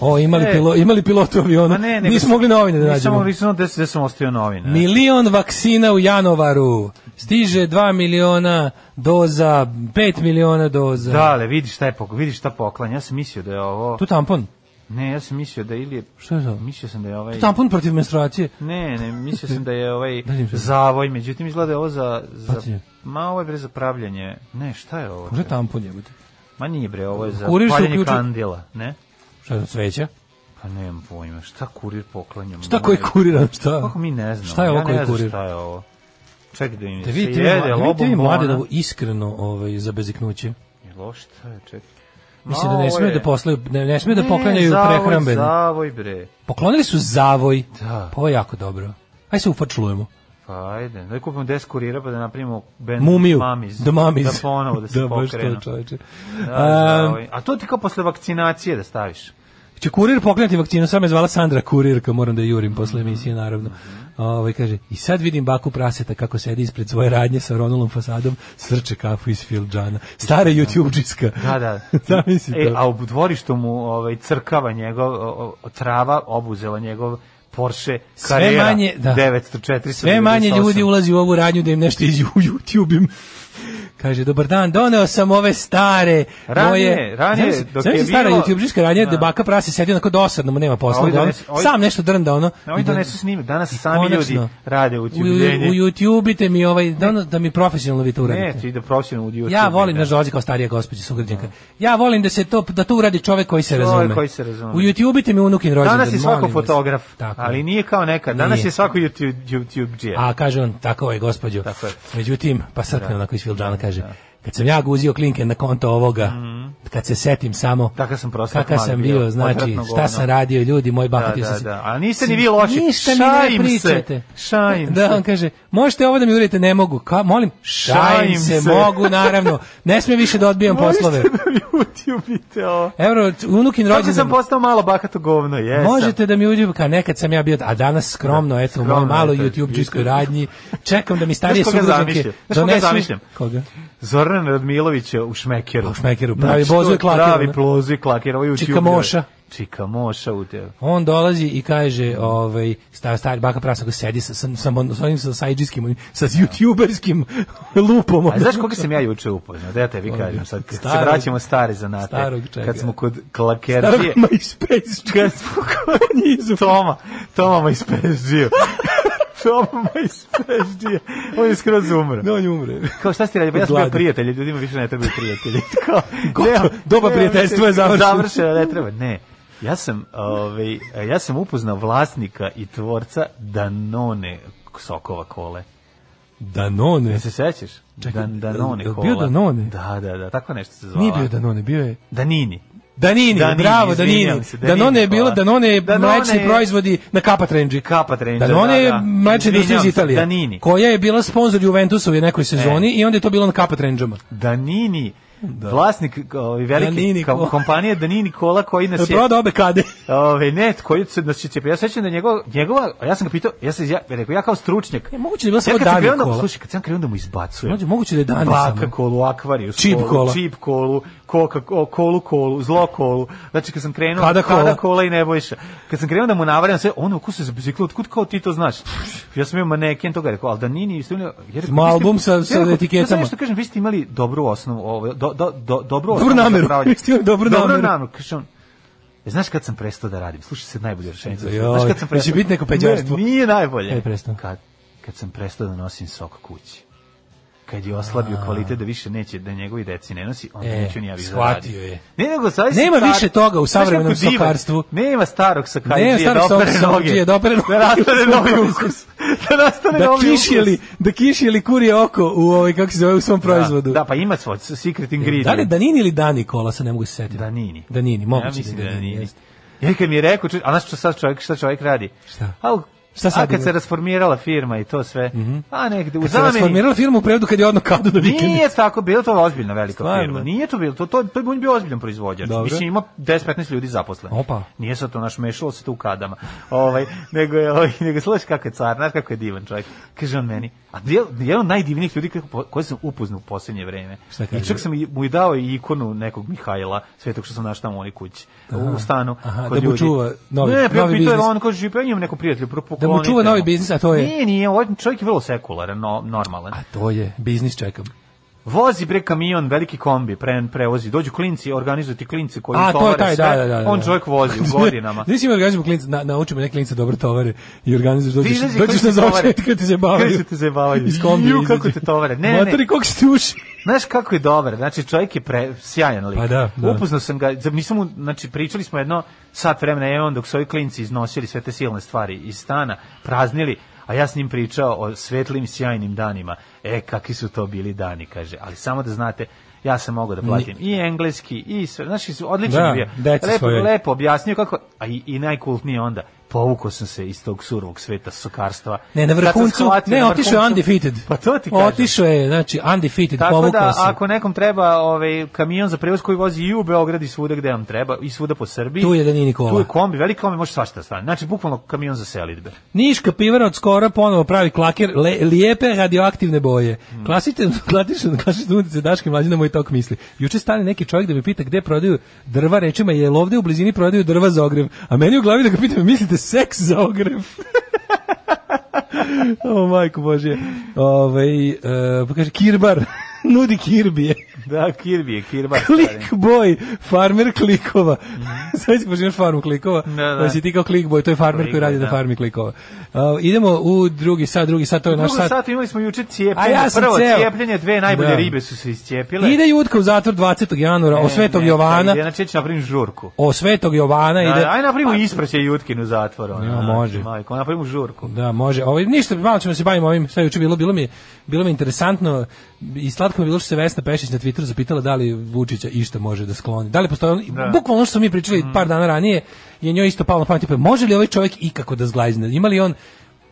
S8: O, imali,
S7: E.
S8: pilo, imali pilot u avionu.
S7: Ma ne, nego
S8: Nismo
S7: sam-
S8: mogli novine da nađemo.
S7: Nisam, nisam, gde, gde sam ostavio novine.
S8: Milion vakcina u Janovaru. Stiže 2 miliona doza, 5 miliona doza.
S7: Da, ali vidi šta je pok- vidi šta poklanja. Ja sam mislio da je ovo...
S8: Tu tampon.
S7: Ne, ja sam mislio da ili je...
S8: Šta je to?
S7: Mislio sam da je ovaj...
S8: Tu tampon protiv menstruacije.
S7: Ne, ne, mislio sam da je ovaj
S8: Daj im sad.
S7: zavoj, međutim izgleda je ovo za, za
S8: Pazi.
S7: ma ovo je bre za pravljanje. Ne, šta je ovo?
S8: Može tampon jebote.
S7: Ma nije bre, ovo je za
S8: Kurir se
S7: paljenje
S8: uključio.
S7: kandila, ne?
S8: Šta je to cveća?
S7: Pa nemam pojma, šta kurir poklanja?
S8: Šta koji
S7: Majko,
S8: kurira? Šta?
S7: Kako mi ne znamo?
S8: Šta je ovo
S7: ja
S8: koji
S7: ne znam
S8: kurir?
S7: šta je ovo. Ček da im
S8: Da
S7: se
S8: vidite,
S7: jede,
S8: vidite vi
S7: lobom
S8: mlade da
S7: bona.
S8: ovo iskreno ovaj, za beziknuće.
S7: Jel ovo šta je, ček.
S8: Mislim da ne
S7: Malo
S8: smeju
S7: je.
S8: da poslaju, ne, ne smeju da
S7: Ne,
S8: poklanjaju
S7: zavoj,
S8: prehrambenu.
S7: Zavoj, bre.
S8: Poklonili su zavoj.
S7: Da.
S8: Pa ovo je jako dobro. Aj se ufačlujemo.
S7: Pa ajde, da kupimo 10 kurira pa da napravimo bend
S8: Mumiju.
S7: Mamiz.
S8: The Mummies.
S7: Da ponovo da se
S8: Da, baš to,
S7: pokrenu.
S8: čoveče.
S7: Da,
S8: Ehm,
S7: zavoj. A to ti kao posle vakcinacije da staviš.
S8: Će kurir pokrenuti vakcinu, sam je zvala Sandra kurirka, moram da je jurim posle emisije, naravno. Ovaj kaže, i sad vidim baku praseta kako sedi ispred svoje radnje sa Ronulom fasadom, srče kafu iz filđana. Stara YouTubečiska.
S7: Da, da.
S8: Zamisli
S7: e,
S8: to.
S7: a u dvorištu mu ovaj, crkava njegov, o, o, trava obuzela njegov Porsche
S8: Sve
S7: Carrera
S8: manje, da.
S7: 904.
S8: Sve manje ljudi ulazi u ovu radnju da im nešto iz YouTube Kaže, dobar dan, doneo sam ove stare.
S7: Ranije,
S8: moje...
S7: ranije,
S8: Zamisli-
S7: dok
S8: zamisli
S7: je
S8: stara
S7: bilo-
S8: YouTubečiska radnja, da.
S7: Da.
S8: baka prase sedi onako dosadno, mu nema
S7: A
S8: posla.
S7: ovi
S8: Da ono,
S7: donesu- ovi-
S8: sam nešto drnda, ono.
S7: Oni
S8: i da-
S7: donesu snime. Danas
S8: i
S7: sami
S8: konačno.
S7: ljudi rade u
S8: u, u, u
S7: tjubljenje.
S8: YouTube-ite mi ovaj, da, ono- da mi profesionalno vi to uradite.
S7: Ne, ti ide profesionalno u YouTube.
S8: Ja volim naš dolazi kao starija gospođa sugrađanka. Ja volim da se to da to uradi čovek koji se
S7: Čovek
S8: razume.
S7: koji se razume.
S8: U YouTube-ite mi unukin rođendan.
S7: Danas je svako
S8: molim vas.
S7: fotograf,
S8: Tako je.
S7: ali nije kao nekad. Danas
S8: Nije.
S7: je svako YouTube, YouTube džije.
S8: A kaže on, tako je gospođo.
S7: Tako je.
S8: Međutim, pa srkne onako iz Filđana kaže, kad sam ja guzio klinke na konto ovoga, kad se setim samo
S7: Mhm. Takav sam prostak
S8: kakav
S7: mali
S8: sam
S7: bio,
S8: bio, znači
S7: odvratno
S8: šta
S7: govno.
S8: sam radio ljudi, moj bahatio
S7: Da,
S8: sam
S7: da,
S8: se.
S7: da. A niste ni vi loši.
S8: Ništa mi ne
S7: Šajim se.
S8: pričate.
S7: Šajim
S8: da,
S7: se.
S8: on kaže, možete ovo da mi uradite, ne mogu. Ka, molim, šajim,
S7: Šajim
S8: se,
S7: se.
S8: mogu, naravno. Ne smije više da odbijam poslove.
S7: Možete da mi YouTube-ite ovo.
S8: Evo, unukin
S7: Kako
S8: rođendan.
S7: sam postao malo bakato govno, jesam.
S8: Možete da mi uđe, ka nekad sam ja bio, a danas skromno, eto, u mojoj
S7: skromno,
S8: maloj
S7: eto,
S8: YouTube-čijskoj
S7: YouTube.
S8: radnji, čekam da mi starije
S7: Znaš koga
S8: sugrađanke
S7: zamišljam? Znaš koga
S8: donesu...
S7: zamišljam?
S8: Koga?
S7: Zoran Radmilović je u šmekeru.
S8: U šmekeru, pravi
S7: Znači, to
S8: bozu i
S7: je
S8: klaker, ono.
S7: Pravi plozu i klaker, ovo je YouTube.
S8: Čikamoša.
S7: Čikamoša u te.
S8: On dolazi i kaže, ovaj, star, star, baka prasa koji sedi sa, sa, sa, sa onim sa sajđijskim, onim, sa youtuberskim lupom.
S7: A znaš koga sam ja juče upoznao? Da ja tebi kažem sad, kad se
S8: Starog-
S7: vraćamo stari zanate.
S8: starog čega?
S7: Kad smo kod
S8: Starog
S7: klakerđije.
S8: MySpace.
S7: Kad smo kod njizu. Toma, Toma MySpace-điju. Toma MySpace-đija. On je skroz umro.
S8: Ne, on je umre.
S7: Kao šta ste radili? Ja
S8: Od
S7: sam bio
S8: gladi.
S7: prijatelj, ljudima više ne trebaju prijatelji. Kao,
S8: Gotovo,
S7: nema-
S8: doba
S7: nema
S8: prijateljstva je
S7: više-
S8: završena.
S7: Završena, ne treba. Ne. Ja sam, ovaj, ja sam upoznao vlasnika i tvorca Danone sokova kole.
S8: Danone.
S7: Ne se sećaš?
S8: Čekaj,
S7: Dan, Danone
S8: je li
S7: kola.
S8: bio Danone?
S7: Da, da, da, tako nešto se zvala.
S8: Nije bio Danone, bio je...
S7: Danini.
S8: Danini,
S7: Danini,
S8: bravo,
S7: izvinjam
S8: Danini.
S7: se, Danini,
S8: Danone je bilo,
S7: hvala.
S8: Danone je
S7: Danone
S8: mlečni
S7: je-
S8: proizvodi na Kapa Trenđi.
S7: Kapa Trenđa,
S8: Danone
S7: da,
S8: je
S7: da.
S8: mlačna industrija iz
S7: Izvinjavam se,
S8: Italije.
S7: Danini. E.
S8: Koja je bila sponsor Juventusa u nekoj sezoni i onda je to bilo na Kapa Trenđama.
S7: Danini. Vlasnik ovaj, velike
S8: Danini
S7: kom-
S8: kola.
S7: kompanije Danini Kola koji nas je
S8: Proda obe kade.
S7: Ove, ne, koji se nas je cepio. Ja sećam da njegova, njegova, a ja sam ga pitao, ja sam ja, rekao, ja kao stručnjak.
S8: E, moguće da je bila samo
S7: kad sam
S8: Dani
S7: krenuo da-
S8: kola.
S7: Slušaj, kad sam krenuo da mu izbacujem.
S8: Mlađe, moguće da je Dani
S7: Baka
S8: samo.
S7: kolu, akvarijus
S8: Čip
S7: kolu,
S8: kola.
S7: čip kolu, koka, ko- kolu kolu, zlo kolu. Znači kad sam krenuo,
S8: Kada kola.
S7: i nebojša. Kad sam krenuo da mu navaram sve, on ukusa za biciklu, otkud kao ti to znaš? Ja sam imao maneken toga, rekao, al da nini, isto ja rekao,
S8: Ma,
S7: vi ste-
S8: album sa-
S7: ja
S8: sa
S7: rekao,
S8: etiketama.
S7: Ja sam nešto kažem, vi ste imali dobru osnovu, ovo, do, do, do, dobru
S8: Dobru
S7: osnovu za
S8: nameru.
S7: pravljenje.
S8: Vi ste imali dobru nameru.
S7: Kaže on, E, znaš kad sam prestao da radim? Slušaj se najbolje rešenje.
S8: Joj,
S7: Znaš kad sam prestao?
S8: će biti neko peđarstvo.
S7: Ne, nije najbolje.
S8: Kad je prestao?
S7: Kad, kad sam prestao da nosim sok kući. Kad je oslabio kvalitet da više neće da njegovi deci ne nosi, onda
S8: E,
S7: neću ni ja više
S8: shvatio
S7: da radim.
S8: je.
S7: Ne, nego sad si
S8: Nema
S7: car-
S8: više toga u
S7: Znaš kako
S8: savremenom
S7: divan?
S8: sokarstvu.
S7: Nema starog
S8: Ne,
S7: sokarđije
S8: starog
S7: da opere
S8: sokarđije
S7: noge.
S8: da opere
S7: Da nastane novi ukus. Da nastane
S8: Da
S7: novi ukus.
S8: kišjeli, da kišjeli kurje oko u ovaj kako se zove u svom proizvodu.
S7: Da, da, pa ima svoj secret ingredient.
S8: Da li Danini ili Dani kola, sad ne mogu se setiti.
S7: Danini.
S8: Danini, moguće
S7: ja mislim
S8: da
S7: da
S8: je Danini,
S7: Danini.
S8: jeste.
S7: Ja kad mi je rekao, ču- a znaš što sad čovjek, šta čovjek radi?
S8: Šta?
S7: Al,
S8: Šta sad
S7: a kad
S8: ima? Mhm.
S7: se rasformirala firma i to sve, a negde u
S8: Kad se rasformirala firma u prevodu kad je odno kadu na vikendu.
S7: Nije tako, bilo to ozbiljna velika
S8: Stvarno?
S7: firma. Nije to bilo, to, to, to je on bio ozbiljan proizvođač.
S8: Dobro.
S7: Mislim, ima 10-15 ljudi zaposlenih.
S8: Opa.
S7: Nije sad to naš mešalo se tu u kadama. Ovaj, nego, je, ovaj, nego slušaj kako je car, znaš kako je divan čovjek. Kaže on meni, a je- jedan od najdivnijih ljudi kako- po- koje sam upoznao u posljednje vreme.
S8: Šta kaže?
S7: I čak sam i- mu i dao i ikonu nekog Mihajla, svetog što sam našao tamo u onoj kući, u stanu.
S8: Aha,
S7: kod
S8: da mu
S7: ljudi.
S8: čuva novi-
S7: ne,
S8: novi
S7: Ne,
S8: biznis.
S7: on kaže, pa ja imam neko prijatelju,
S8: Da mu čuva novi biznis, a to je...
S7: Nije, nije, ovaj čovjek je vrlo sekularan, no, normalan.
S8: A to je, biznis čekam.
S7: Vozi bre kamion, veliki kombi, pre, prevozi. Dođu klinci, organizuju ti klinci koji
S8: A, to je
S7: utovare
S8: taj,
S7: sve.
S8: da, da, da, da.
S7: On čovjek vozi u godinama.
S8: Nisi mi organizujemo klinca, na, naučimo neke klinca dobro tovare i organizuješ, dođeš,
S7: izađi
S8: dođeš
S7: klinci
S8: na
S7: tovare.
S8: završet kad ti se bavaju.
S7: Kad se te zabavaju.
S8: Iz kombija
S7: Ju, kako
S8: izađe.
S7: te tovare. Ne, ne, ne.
S8: Materi, kako ste uši.
S7: Znaš kako je dobar, znači čovjek je pre, sjajan lik.
S8: Pa da, da.
S7: Upoznao sam ga, za- nisam mu, znači pričali smo jedno sat vremena, je on dok su ovi klinci iznosili sve te silne stvari iz stana, praznili, a ja s njim pričao o svetlim, sjajnim danima. E, kakvi su to bili dani, kaže. Ali samo da znate, ja sam mogao da platim i engleski i sve, znaš, odlično
S8: Da,
S7: je bio.
S8: deci
S7: lepo,
S8: svoje.
S7: lepo objasnio kako, a i, i najkultnije onda, povukao sam se iz tog surovog sveta sokarstva.
S8: Ne, na
S7: Kad sam
S8: vrhuncu,
S7: shvatio
S8: ne,
S7: na
S8: otišao je
S7: vrhuncu-
S8: undefeated.
S7: Pa to ti kažem.
S8: Otišao je, znači, undefeated,
S7: Tako
S8: povukao
S7: da,
S8: se.
S7: ako nekom treba ovaj, kamion za prevoz koji vozi i u Beograd i svuda gde vam treba, i svuda po Srbiji,
S8: Tu je Danini kola.
S7: Tu je kombi, veliki kombi, može svašta da stane. Znači, bukvalno kamion za selitbe.
S8: Niška pivara od skora ponovo pravi klaker, le, lijepe radioaktivne boje. Klasičan, klasičan, klasičan utjece Daške mlađe na moj tok misli. Juče stane neki čovjek da me pita gde prodaju drva, rečima je ovdje u blizini prodaju drva za ogrev. A meni u glavi da ga pitam, mislite seks za ogrev? o, majko Božje. Ovaj, e, pa kaže, kirbar. Nudi kirbije.
S7: Da, Kirby je, Kirba.
S8: Klik boy, farmer klikova. Sad ćeš imaš farmu klikova.
S7: Mhm. Da, da.
S8: Znači ti kao klik boy, to je farmer
S7: Click
S8: koji radi
S7: boy,
S8: na
S7: da.
S8: farmi klikova. A, idemo u drugi sat, drugi sat, to je naš
S7: Drugo
S8: sat.
S7: sat imali smo juče cijepljenje.
S8: A ja sam
S7: Prvo
S8: ceo.
S7: cijepljenje, dve najbolje
S8: Da.
S7: ribe su se iscijepile. E,
S8: Ide Jutka u zatvor 20. januara, o Svetog
S7: Ne,
S8: Jovana,
S7: Ide, znači, će napravim žurku.
S8: o Svetog Jovana
S7: Da,
S8: ide...
S7: Ajde napravimo ispraćaj Jutkinu zatvor. Ona,
S8: Ja, može.
S7: Majko, napravimo žurku.
S8: Da, može. Ovaj ništa, malo ćemo se bavimo ovim šta je juče bilo, bilo mi je- bilo mi je interesantno i slatko mi je bilo što se Vesna Pešić na Twitteru zapitala da li Vučića išta može da skloni. Da li postoji on,
S7: Da. Mhm.
S8: bukvalno ono što smo mi pričali par dana ranije, je njoj isto palo na pamet, tipa, može li ovaj čovjek ikako da zglajzne? Ima li on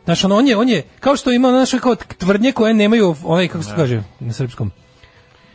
S8: Znaš, ono, on je, on je, kao što ima, ono, znaš, kao tvrdnje koje nemaju, onaj, kako se to kaže, na srpskom,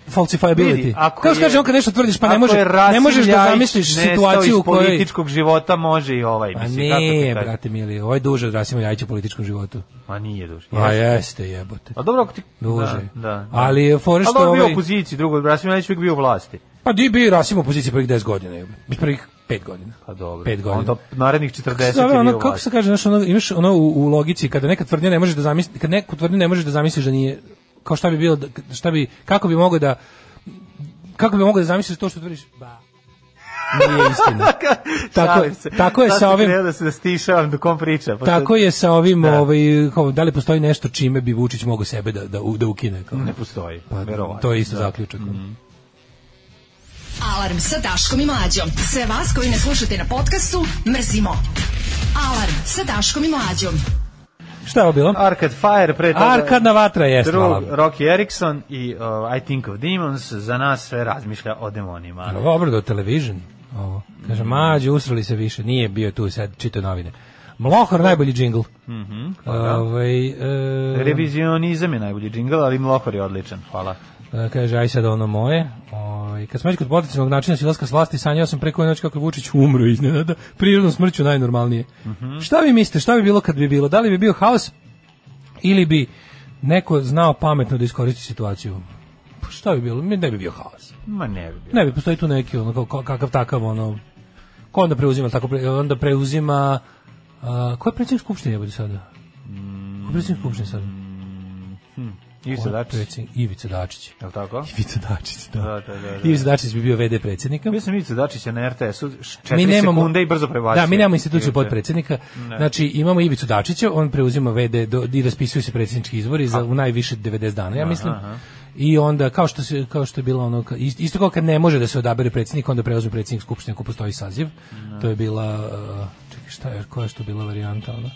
S8: falsifiability.
S7: Vidi, ako
S8: Kao što
S7: je-
S8: kaže, on kad nešto tvrdiš, pa ne,
S7: ako
S8: može,
S7: je Rasim
S8: ne možeš da
S7: Ljajić
S8: zamisliš
S7: nestao
S8: situaciju u
S7: iz
S8: kojoj... Pa
S7: političkog života može i ovaj.
S8: A
S7: Mislim, kako ti
S8: ne,
S7: kažem?
S8: brate mili, ovo je duže od Rasima Ljajića u političkom životu.
S7: Ma nije duže.
S8: A
S7: Jeste.
S8: jeste jebote.
S7: A Pa dobro ako ti...
S8: Duže.
S7: Da, da.
S8: Ali je fora što
S7: Ali on je bio
S8: ovaj-
S7: u opoziciji, drugo, Rasim Ljajić uvijek bio u vlasti.
S8: Pa di bi Rasim u opoziciji prvih 10 godina, jebote. prvih 5 godina.
S7: Pa dobro.
S8: Pet godina.
S7: Onda narednih 40
S8: Kako se
S7: je
S8: zove
S7: bio
S8: ono,
S7: u
S8: kako
S7: vlasti.
S8: se kaže, znaš, ono, imaš ono u, u logici, kada neka tvrdnja ne možeš da zamisliš, kad neku tvrdnju ne možeš da zamisliš da nije, kao šta bi bilo, da- šta bi, kako bi mogao da, kako bi mogao da zamisliš to što tvrdiš? Ba. Nije istina. tako,
S7: Šalim se.
S8: tako je
S7: Sad
S8: sa
S7: sam
S8: ovim,
S7: krenuo da se da stišavam dok on priča. pošto-
S8: tako je sa ovim,
S7: Da.
S8: ovaj, kao, da li postoji nešto čime bi Vučić mogao sebe da, da, u- da ukine? Kao?
S7: Ne postoji,
S8: Pa,
S7: verovatno.
S8: to je isto zaključak.
S6: Alarm sa Daškom i Mlađom. Sve vas koji ne slušate na podcastu, mrzimo. Alarm sa Daškom i Mlađom.
S8: Šta je ovo bilo?
S7: Arcade Fire, pre toga...
S8: Arkadna vatra jeste.
S7: Drug,
S8: hvala.
S7: Rocky Erickson i uh, I Think of Demons za nas sve razmišlja o demonima.
S8: Ovo obrado television. Ovo. Kaže, mađe, usrali se više. Nije bio tu sad, čito novine. Mlohor, najbolji Ovaj, e, džingl. Mm
S7: Revizionizam je najbolji džingl, ali Mlohor je odličan. Hvala.
S8: kaže, aj sad ono moje. Ovaj, kad smo već kod potencijalnog načina silaska s vlasti, sanjao sam preko noć kako je Vučić umro iznenada. Prirodnom smrću najnormalnije.
S7: Mhm.
S8: Šta vi mislite, šta bi bilo kad bi bilo? Da li bi bio haos ili bi neko znao pametno da iskoristi situaciju? Pa Šta bi bilo? Ne bi bio haos.
S7: Ma ne bi bio.
S8: Ne bi, postoji tu neki, ono, kao- kao- kakav takav, ono, ko onda preuzima, tako, pre- onda preuzima, a, ko je predsjednik Skupštine, jebodi sada? Ko je predsjednik Skupštine sada?
S7: Ivica
S8: Ko je
S7: Dačić,
S8: predsjednik? Ivica Dačić.
S7: je li tako?
S8: Ivica Dačić, da.
S7: Da, da, da, da.
S8: Ivica Dačić bi bio VD predsjednika.
S7: Bio sam Ivica Dačića na RTS-u, 4
S8: Mi nemamo,
S7: sekunde i brzo prebacio.
S8: Da, mi nemamo instituciju
S7: Ivica.
S8: podpredsjednika. Znači, imamo Ivicu Dačića, on preuzima VD do, i raspisuju se predsjednički izbori za u najviše 90 dana, ja mislim. I onda, kao što, se, kao što je bilo ono, ka- ist- isto kao kad ne može da se odabere predsjednik, onda preuzme predsjednik Skupštine ako postoji saziv. To je bila, uh, čekaj, šta je, koja je što bila varijanta, ona?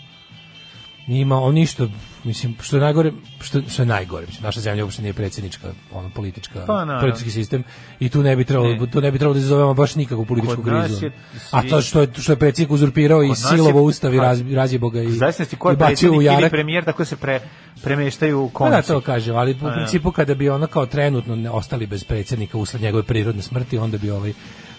S8: Ima on ništa, mislim, što je najgore, što, što je najgore, mislim, naša zemlja uopšte nije predsjednička, ono, politička,
S7: Pa, naravno.
S8: politički sistem i tu ne bi trebalo,
S7: Ne.
S8: tu ne bi trebalo da izazovemo baš nikakvu političku
S7: Kod nas
S8: krizu.
S7: je
S8: A to što je, što je predsjednik uzurpirao i
S7: nas je-
S8: silovo ustav i
S7: a,
S8: raz, razjebo ga i,
S7: Zavisnosti ko
S8: i
S7: je
S8: bacio u
S7: predsjednik ili
S8: jarak.
S7: premijer, tako se pre, premeštaju u
S8: Pa da,
S7: konci.
S8: to kažem, ali u
S7: ja.
S8: principu kada bi ono kao trenutno ne ostali bez predsjednika usled njegove prirodne smrti, onda bi ovaj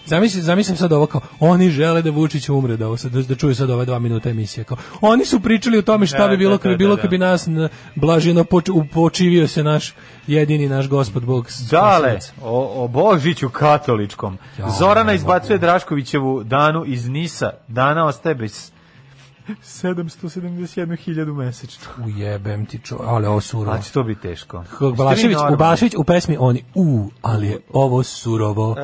S8: Zamislim, zamislim sad ovo kao, oni žele da Vučić umre, da, ovo sad, da, da čuju sad ove dva minuta emisije. Kao, oni su pričali o tome šta
S7: Da,
S8: bi bilo
S7: da,
S8: kad bi
S7: da,
S8: bilo
S7: da,
S8: kad bi nas n- blaženo poč, upočivio se naš jedini naš gospod Bog.
S7: Dale,
S8: spasilac.
S7: o, o Božiću katoličkom.
S8: Ja,
S7: Zorana
S8: ne
S7: izbacuje Draškovićevu Danu iz Nisa. Dana ostaje bez 771.000 mesečno.
S8: Ujebem ti čo, ali ovo surovo.
S7: Znači, to bi teško.
S8: Kako Balašević, u Balašević u pesmi oni u, ali je ovo surovo.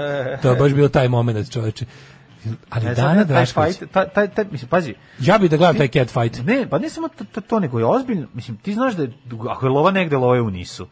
S8: To je baš bio taj moment, čoveče. Ali
S7: E. Ne znam,
S8: Dana
S7: taj
S8: Drašković.
S7: fight, taj, taj, taj, mislim, pazi,
S8: Ja bih da gledam taj cat fight.
S7: Ne, pa ne samo to, to, to, nego je ozbiljno. Mislim, ti znaš da je, ako je lova negde, lova je u nisu.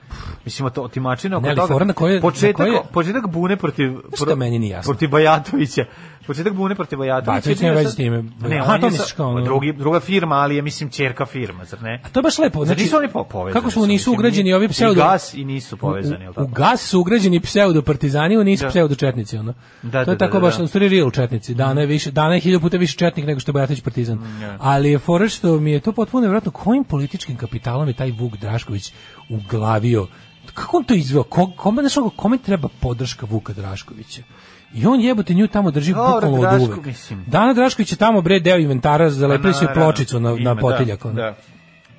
S7: Mislim, to, otimačina oko
S8: Ne, ali
S7: toga.
S8: fora na koje-
S7: početak,
S8: na koje-
S7: početak bune protiv...
S8: Šta meni nije jasno?
S7: Protiv Bajatovića. Početak bune protiv Bajatovića.
S8: Bajatović nema
S7: Bio
S8: veze
S7: sad-
S8: s njime.
S7: Ne,
S8: Aha,
S7: on
S8: to
S7: je
S8: misliš
S7: sa, pa
S8: kao ono-
S7: drugi, druga firma, ali je, mislim, čerka firma, zar ne?
S8: A to je baš lepo.
S7: Zar
S8: Znači,
S7: nisu oni po- povezani?
S8: Kako su nisu
S7: Mislim,
S8: ugrađeni
S7: i-
S8: ovi
S7: i
S8: pseudo...
S7: gas i nisu povezani, jel
S8: U, u
S7: tako?
S8: gas su ugrađeni pseudo partizani, oni nisu
S7: Da.
S8: pseudo četnici, ono.
S7: Da,
S8: to je
S7: da,
S8: tako
S7: da, da,
S8: baš,
S7: da.
S8: u stvari real četnici. Dana je više, Dana je hiljadu puta više četnik nego što je Bajatović partizan.
S7: Mm,
S8: Ali je fora što mi je to potpuno nevjerojatno kojim političkim kapitalom je taj Vuk Drašković uglavio kako on to izveo? Ko, kome, znaš, ono, kome treba podrška Vuka Draškovića? I on jebote nju tamo drži
S7: Dobro,
S8: bukvalno od
S7: Draško,
S8: uvek.
S7: mislim.
S8: Dana Drašković je tamo bre deo inventara, zalepili su i
S7: naravno,
S8: pločicu na,
S7: ima,
S8: na
S7: da,
S8: potiljak. ono.
S7: Da.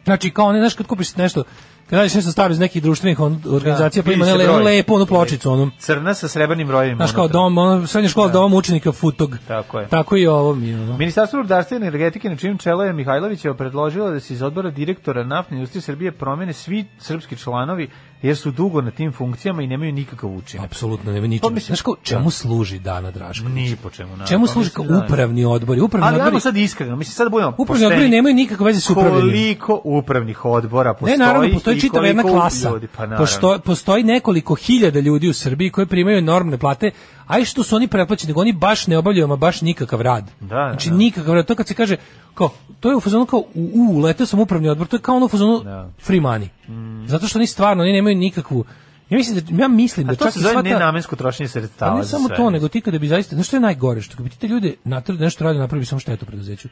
S8: Znači kao one, znaš kad kupiš nešto, kad radiš nešto staro iz nekih društvenih on, organizacija, pa
S7: vidi
S8: ima
S7: se
S8: ne,
S7: broj.
S8: lepo onu pločicu, onu,
S7: Crna sa srebrnim brojevima.
S8: znaš kao
S7: unutra.
S8: dom, ono, srednja škola dom učenika futog.
S7: Tako je.
S8: Tako i ovo mi je, ono.
S7: Ministarstvo rudarstva i energetike na čijem čelu je Mihajlovićeva predložilo da se iz odbora direktora naftne industrije Srbije promene svi srpski članovi jer su dugo na tim funkcijama i nemaju nikakav učinak.
S8: Apsolutno, nema ničega.
S7: Pa mislim-
S8: Znaš kao, čemu služi Dana Drašković?
S7: Ni po čemu. naravno.
S8: Čemu
S7: Pa
S8: služi kao
S7: mislim da-
S8: upravni odbori? Upravni
S7: Ali ajmo
S8: odbori,
S7: sad iskreno, mislim sad da budemo
S8: upravni odbori
S7: pošteni.
S8: nemaju nikakve veze s upravljanjem.
S7: Koliko upravnih odbora postoji?
S8: Ne, naravno,
S7: i
S8: postoji čitava jedna
S7: koliko
S8: klasa.
S7: Ljudi, pa naravno.
S8: Pošto, postoji nekoliko hiljada ljudi u Srbiji koji primaju enormne plate, a i što su oni pretplaćeni, nego oni baš ne obavljaju, ama baš nikakav rad.
S7: Da, da,
S8: znači,
S7: da.
S8: nikakav rad. To kad se kaže, kao, to je u fazonu kao, u, u letao sam u upravni odbor, to je kao ono u fazonu free money.
S7: Mm.
S8: Zato što oni stvarno, oni nemaju nikakvu... Ja mislim da, ja mislim da
S7: A to
S8: čak
S7: se
S8: i
S7: zove
S8: sva ta-
S7: nenamensko trošenje sredstava.
S8: pa ne
S7: za
S8: samo
S7: sve.
S8: to, nego ti kada bi zaista, znaš što je najgore, što kada bi ti te ljude natrali da nešto radi, napravi bi samo štetu preduzeću.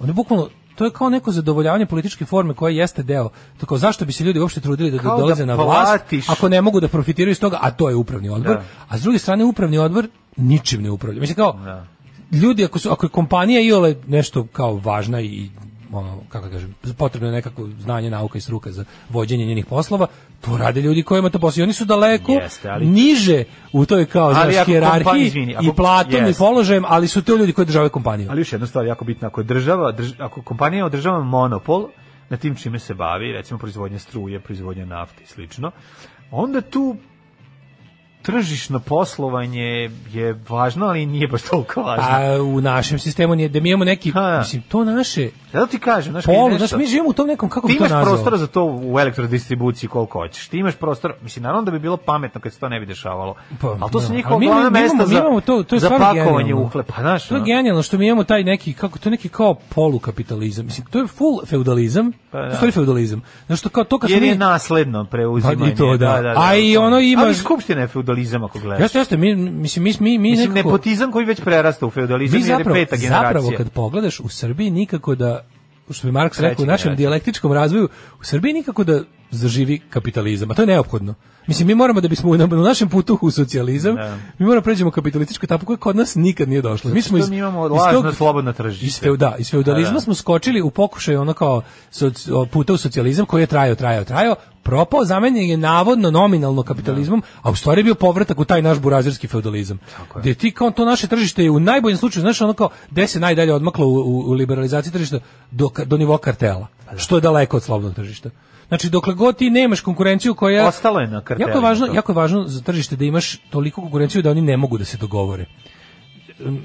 S8: Oni bukvalno, to je kao neko zadovoljavanje političke forme koja jeste deo. Tako zašto bi se ljudi uopšte trudili da
S7: Kao
S8: dolaze
S7: da
S8: na vlast
S7: platiš.
S8: ako ne mogu da profitiraju iz toga, a to je upravni odbor,
S7: Da.
S8: a s druge strane upravni odbor ničim ne upravlja. Mislim kao ljudi ako su ako je kompanija iole nešto kao važna i ono kako da kažem potrebno je nekako znanje nauka i struka za vođenje njenih poslova to rade ljudi kojima to posao i oni su daleko
S7: Jeste, ali-
S8: niže u toj kao
S7: Ali
S8: znaš,
S7: ako kompanija-
S8: hijerarhiji
S7: izvini, ako-
S8: i platom i
S7: jest.
S8: položajem, ali su to ljudi koji državaju kompaniju.
S7: Ali još jedna stvar jako bitna, ako je država, drž- ako kompanija održava monopol na tim čime se bavi, recimo proizvodnja struje, proizvodnja nafte i slično, onda tu tržišno poslovanje je važno, ali nije baš toliko važno.
S8: A u našem sistemu nije, da mi imamo neki,
S7: Ha, da.
S8: mislim, to naše
S7: Zato ti kažem, znaš, kad je
S8: polu,
S7: nešto-
S8: znaš, mi živimo u tom nekom, kako
S7: ti
S8: bi to
S7: imaš
S8: nazvao?
S7: prostora za to u elektrodistribuciji koliko hoćeš. Ti imaš prostor, mislim, naravno da bi bilo pametno kad se to ne bi dešavalo.
S8: Pa,
S7: ali to su
S8: da.
S7: njihova
S8: Ali mi imamo-
S7: glavna
S8: mi imamo-
S7: mesta
S8: mi
S7: za,
S8: imamo to- to je
S7: za
S8: stvarno
S7: pakovanje
S8: genijalno.
S7: uklepa. Znaš,
S8: To je
S7: ono.
S8: genijalno što mi imamo taj neki kako to je neki kao polukapitalizam. Mislim to je full feudalizam.
S7: Pa da.
S8: To je stvari feudalizam. Znaš što kao to kad smo
S7: Jer
S8: mi
S7: je nasledno preuzimanje.
S8: Pa i to, da. A i ono ima-
S7: Ali skupština je feudalizam ako gledaš.
S8: Jeste, jeste, mi mislim mi mi mi
S7: Mislim,
S8: nekako-
S7: nepotizam koji već prerasta u feudalizam
S8: Vi
S7: jer je
S8: zapravo,
S7: peta generacija.
S8: zapravo kad pogledaš u Srbiji nikako da što bi Marks rekao u našem
S7: generacija.
S8: dijalektičkom razvoju, u Srbiji nikako da zaživi kapitalizam, a to je neophodno. Mislim, mi moramo da bismo na, na našem putu u socijalizam, mi moramo pređemo u kapitalističku etapu koja kod nas nikad nije došla. Mi smo
S7: Što
S8: iz,
S7: mi imamo
S8: iz
S7: lažno
S8: tog-
S7: slobodno tržište.
S8: iz feuda, iz feudalizma
S7: Da, da.
S8: smo skočili u pokušaj ono kao soc- o, puta u socijalizam koji je trajao, trajao, trajao, propao, zamenjen je navodno nominalno kapitalizmom, a u stvari je bio povratak u taj naš burazirski feudalizam. Gde ti kao to naše tržište je u najboljem slučaju, znaš ono kao gde se najdalje odmaklo u, u, u liberalizaciji tržišta do, ka- do nivoa kartela,
S7: Pa
S8: što je daleko od slobodnog tržišta. Znači, dokle god ti nemaš konkurenciju koja...
S7: Ostalo je na kartelima
S8: Jako je važno,
S7: to.
S8: jako je važno za tržište da imaš toliko konkurenciju da oni ne mogu da se dogovore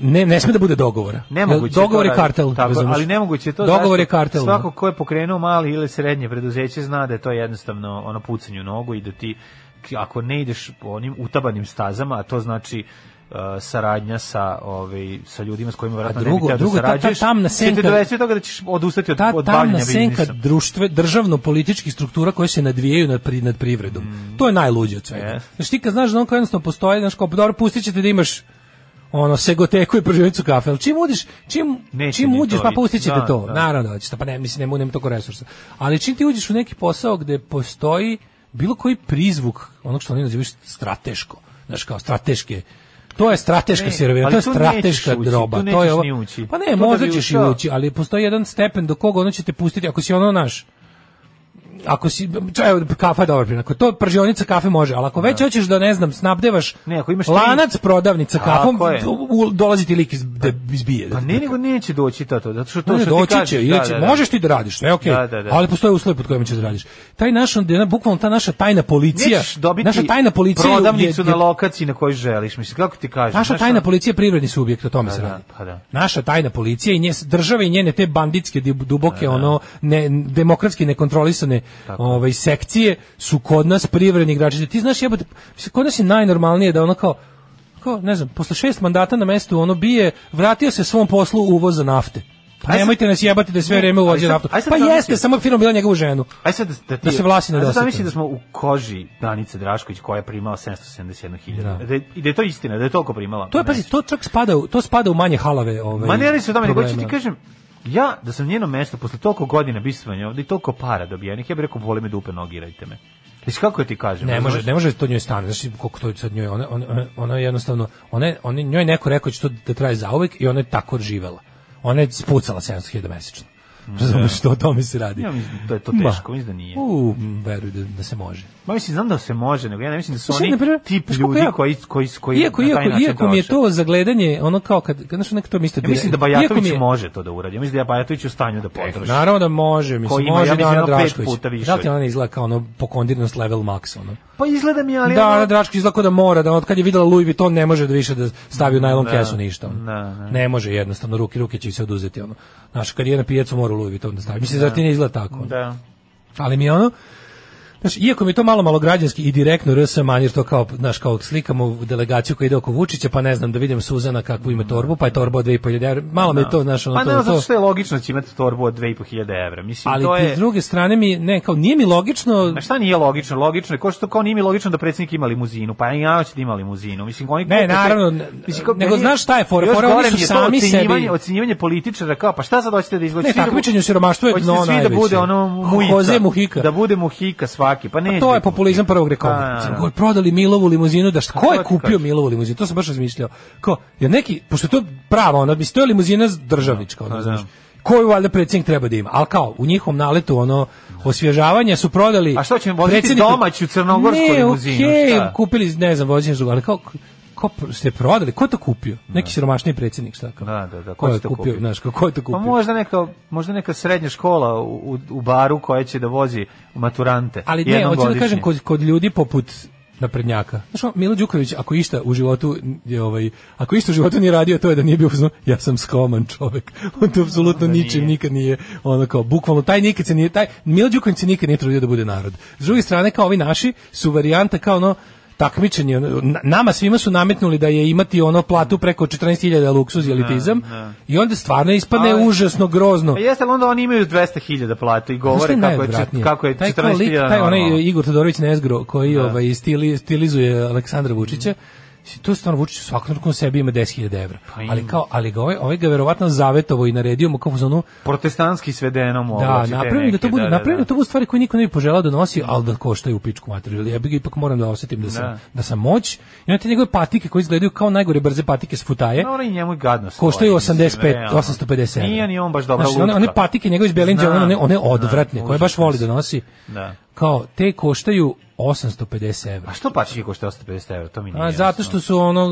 S8: ne ne sme da bude dogovora.
S7: Nemoguće
S8: Jel, dogovor
S7: to
S8: je
S7: raditi.
S8: kartel,
S7: Tako,
S8: razumeš?
S7: ali nemoguće je to.
S8: Dogovor
S7: zašto?
S8: je kartel. ono.
S7: Svako ko je pokrenuo mali ili srednje preduzeće zna da je to jednostavno ono pucanju nogu i da ti k- ako ne ideš po onim utabanim stazama, a to znači e, saradnja sa ovaj sa ljudima s kojima verovatno ne bi
S8: drugo-
S7: hteo
S8: drugo,
S7: da
S8: ta- ta
S7: sarađuješ.
S8: tamna
S7: će te
S8: senka-
S7: dovesti do toga da ćeš odustati od,
S8: ta
S7: od bavljenja
S8: tamna
S7: biznisa.
S8: senka društve, državno političkih struktura koje se nadvijaju nad, pri, nad privredom.
S7: Mm.
S8: To je najluđe od svega.
S7: Yes.
S8: Znači ti kad znaš da on kao jednostavno postoji, znaš kao, pa dobro, pustit ćete da imaš ono segoteku i prživicu kafe, ali čim uđeš, čim,
S7: Neće
S8: čim
S7: ni
S8: uđeš,
S7: to
S8: pa
S7: ići.
S8: pustit ćete
S7: Da,
S8: to.
S7: da.
S8: Naravno da hoćeš, pa ne, mislim, nema, nema toliko resursa. Ali čim ti uđeš u neki posao gde postoji bilo koji prizvuk onog što oni nazivaju strateško, znaš kao strateške, to je strateška
S7: Ne,
S8: sirovina,
S7: ali
S8: to je
S7: tu
S8: strateška
S7: nećeš ući,
S8: droba,
S7: tu
S8: to je
S7: nećeš
S8: ovo.
S7: ni ući.
S8: Pa ne,
S7: To da
S8: možda
S7: bi
S8: ćeš i
S7: ušao.
S8: ući, ali postoji jedan stepen do koga ono će te pustiti, ako si ono naš, ako si čaj, evo, kafa je dobar primjer. Ako to pržionica kafe može, ali ako već hoćeš da ne znam, snabdevaš
S7: Ne, ako imaš tri-
S8: lanac prodavnica
S7: Tako
S8: kafom,
S7: je.
S8: u- u- dolazi ti lik iz, da izbije. Dakle,
S7: Pa ne, nego neće doći to, to zato što to
S8: Ne, ne,
S7: što ti
S8: doći
S7: kažeš.
S8: će, ili će, možeš ti da radiš, sve je okej,
S7: Da, da, da.
S8: ali postoje uslovi pod kojima ćeš da radiš. Taj naš, on- ona- bukvalno ta naša tajna policija,
S7: Nećeš dobiti
S8: naša tajna policija je-
S7: prodavnicu
S8: je-
S7: na lokaciji na kojoj želiš. Mislim, kako ti kažeš?
S8: Naša
S7: Znaš
S8: tajna
S7: šta?
S8: policija je privredni subjekt, o tome
S7: Pa
S8: se
S7: da,
S8: radi.
S7: pa da.
S8: Naša tajna policija i nje države i njene te banditske dib- duboke ono ne demokratski nekontrolisane ovaj sekcije su kod nas privredni igrači. Ti znaš jebote, mislim, kod nas je najnormalnije da ono kao kao, ne znam, posle šest mandata na mestu ono bije, vratio se svom poslu uvoza nafte. Pa
S7: Aj sad-
S8: Nemojte nas jebati da je sve
S7: Ne,
S8: vrijeme
S7: ali
S8: uvozi
S7: sad-
S8: naftu.
S7: aj sad
S8: Pa
S7: zamisli-
S8: jeste, samo firma bila njegovu ženu.
S7: ono, Aj sad da, da, ti,
S8: Da se vlasi ne
S7: Aj sad
S8: dosete.
S7: zamisli da smo u koži Danice Drašković koja je primala 771.000.
S8: Da.
S7: Da. je- I da je to istina, da je toliko primala.
S8: To je,
S7: Pa ne.
S8: pazi, to čak spada u, to spada u manje halave. Ovaj,
S7: Ma ne radi se o tome, nego ću ti
S8: problema.
S7: kažem, ja da sam njeno mesto posle toliko godina bistvanja ovde i toliko para dobijenih, ja bih rekao, vole me dupe, nogirajte me. Mislim, kako ti kažem?
S8: Ne može,
S7: razumeš?
S8: ne može to njoj stane. Znaš koliko to sad njoj, ona, ona, ona- ona je jednostavno, ona, je- ona, je- njoj je neko rekao da će to da traje zauvek i ona je tako živela. Ona je spucala 700.000 mesečno. Razumeš što o tome se radi?
S7: Mm. Ja mislim da je to
S8: Ma.
S7: teško, mislim da nije.
S8: U, veruj da, da se može.
S7: Ma mislim, znam da se može, nego ja ne mislim da su
S8: Znaš,
S7: oni
S8: na primjer,
S7: tip
S8: znaš koliko
S7: ljudi
S8: ja-
S7: koji, koji, koji
S8: iako,
S7: na taj
S8: iako,
S7: način
S8: iako mi je
S7: troše.
S8: to zagledanje, ono kao kad, kad znaš, neko to mi isto
S7: Ja mislim da
S8: dire- iako
S7: Bajatović
S8: mi je-
S7: može to da uradi. Ja mislim da je Bajatović u stanju da potroši.
S8: Naravno da može, mislim,
S7: Koji ima,
S8: može
S7: ja
S8: da
S7: mislim,
S8: Ana
S7: jedno pet
S8: Drašković.
S7: puta više
S8: Da li ti
S7: od-
S8: ona izgleda kao ono pokondirnost level max, ono?
S7: Pa izgleda mi, ali...
S8: da,
S7: ono-
S8: ona Drašković izgleda kao da mora, da od kad je videla Louis Vuitton ne može da više da stavi u najlon
S7: Da,
S8: kesu ništa. ono.
S7: da, da.
S8: Ne može jednostavno, ruke, ruke će joj se oduzeti. Ono. Znaš, kad je na pijecu mora u Louis Vuitton da stavi. Mislim, da. ti ne izgleda tako. ono.
S7: Da.
S8: Ali mi je ono, Znaš, iako mi je to malo malo građanski i direktno RS manjer to kao, znaš, kao slikamo delegaciju koja ide oko Vučića, pa ne znam da vidim Suzana kakvu ima torbu, pa je torba od 2.500 evra. Malo mi je to, znaš, ono,
S7: Pa
S8: to,
S7: ne, zato
S8: to-
S7: što je logično da će imati torbu od 2500 evra. Mislim,
S8: ali
S7: to
S8: ti
S7: je...
S8: s druge strane mi, ne, kao, nije mi logično,
S7: Ma šta nije logično? Logično je, ko što kao nije mi logično da predsjednik ima limuzinu, pa ja hoće da ima limuzinu. Mislim, oni
S8: Ne,
S7: kupe te-
S8: naravno, ne-
S7: kao
S8: nego
S7: meni
S8: znaš šta je fora?
S7: još
S8: Fora, oni
S7: gore
S8: su
S7: mi je to
S8: sami sebi-
S7: ocenjivanje- Ocenjivanje političara kao, pa šta sad hoćete da izvlačite?
S8: Ne,
S7: Svi da bu-
S8: takmičenje u siromaštvu je
S7: hoćete
S8: dno
S7: svi da
S8: najveće.
S7: bude ono mujica.
S8: Jose Muhika.
S7: Da bude muhika svaki, pa ne.
S8: Pa to je populizam prvog rekorda. Mislim, ko je prodali Milovu limuzinu, da šta, ko je
S7: to ti
S8: kupio
S7: kažem.
S8: Milovu limuzinu? To sam baš razmišljao. Ko, jer neki, pošto je to prava, ona, mislim, to je limuzina državnička, ono,
S7: da.
S8: znaš, koju valjda predsjednik treba da ima. Ali kao, u njihovom naletu, ono, osvježavanja su prodali...
S7: A šta će, voziti
S8: predsjedniku-
S7: domaću crnogorsku limuzinu,
S8: Ne, okej,
S7: šta?
S8: kupili, ne znam, voziš drugo, ali kao, ko pr- ste prodali, ko je to kupio? Neki siromašniji predsjednik, šta kao?
S7: Da, da, da,
S8: Ko je
S7: će to
S8: to kupio,
S7: kupiti?
S8: znaš, kao, ko je to
S7: Pa
S8: kupio?
S7: možda neka, možda neka srednja škola u, u, u baru koja će da vozi maturante.
S8: Ali ne,
S7: jednom
S8: hoću da
S7: godišnje.
S8: kažem kod, kod ljudi poput naprednjaka. Znaš, ono, Milo Đuković, ako išta u životu je ovaj, ako išta u životu nije radio, to je da nije bio uzno, ja sam skoman čovek. On to apsolutno ničim nikad nije, ono kao, bukvalno, taj nikad se nije, taj, Milo Đuković se nikad nije trudio da bude narod. S druge strane, kao ovi naši, su varijanta kao ono, takmičenje, ono, na- nama svima su nametnuli da je imati ono platu preko 14.000 luksuz i elitizam i onda stvarno ispadne
S7: Ali-
S8: užasno grozno.
S7: Pa jeste, ali onda oni imaju 200.000 platu i
S8: Znaš šta
S7: govore
S8: je
S7: kako je,
S8: najodvratnije?
S7: čet- kako je ono, 14.000
S8: taj kao lik, taj onaj Igor Todorović Nezgro koji ovaj stili, stilizuje Aleksandra
S7: Mhm.
S8: Vučića. mislim, To stvarno Vučić u svakom trenutku na sebi ima 10.000 evra.
S7: Pa
S8: ali kao ali ga ovaj, ovaj ga verovatno zavetovo i naredio mu kao u zonu
S7: protestantski svedenom
S8: da
S7: ovlači te
S8: napravim da
S7: neke,
S8: to bude
S7: da,
S8: napravim da,
S7: da.
S8: to budu stvari koje niko ne bi poželao da nosi, ali da koštaju u pičku materiju. Ja bih ipak moram da osetim da sam da,
S7: Da.
S8: sam moć. I onda te njegove patike koje izgledaju kao najgore brze patike s futaje.
S7: No, ono i njemu i gadno stoji.
S8: Koštaju
S7: mislim,
S8: 85,
S7: realno.
S8: 850. evra.
S7: Nije ni on baš dobra
S8: Znaš,
S7: lutka.
S8: one, one patike njegove iz Belinđe,
S7: Znam,
S8: one, one
S7: znam,
S8: odvratne, koje baš
S7: užasne
S8: voli
S7: su.
S8: da nosi.
S7: Da.
S8: Kao, te koštaju 850 evra.
S7: A što patike košta 150 evra, to mi nije
S8: A, zato što su ono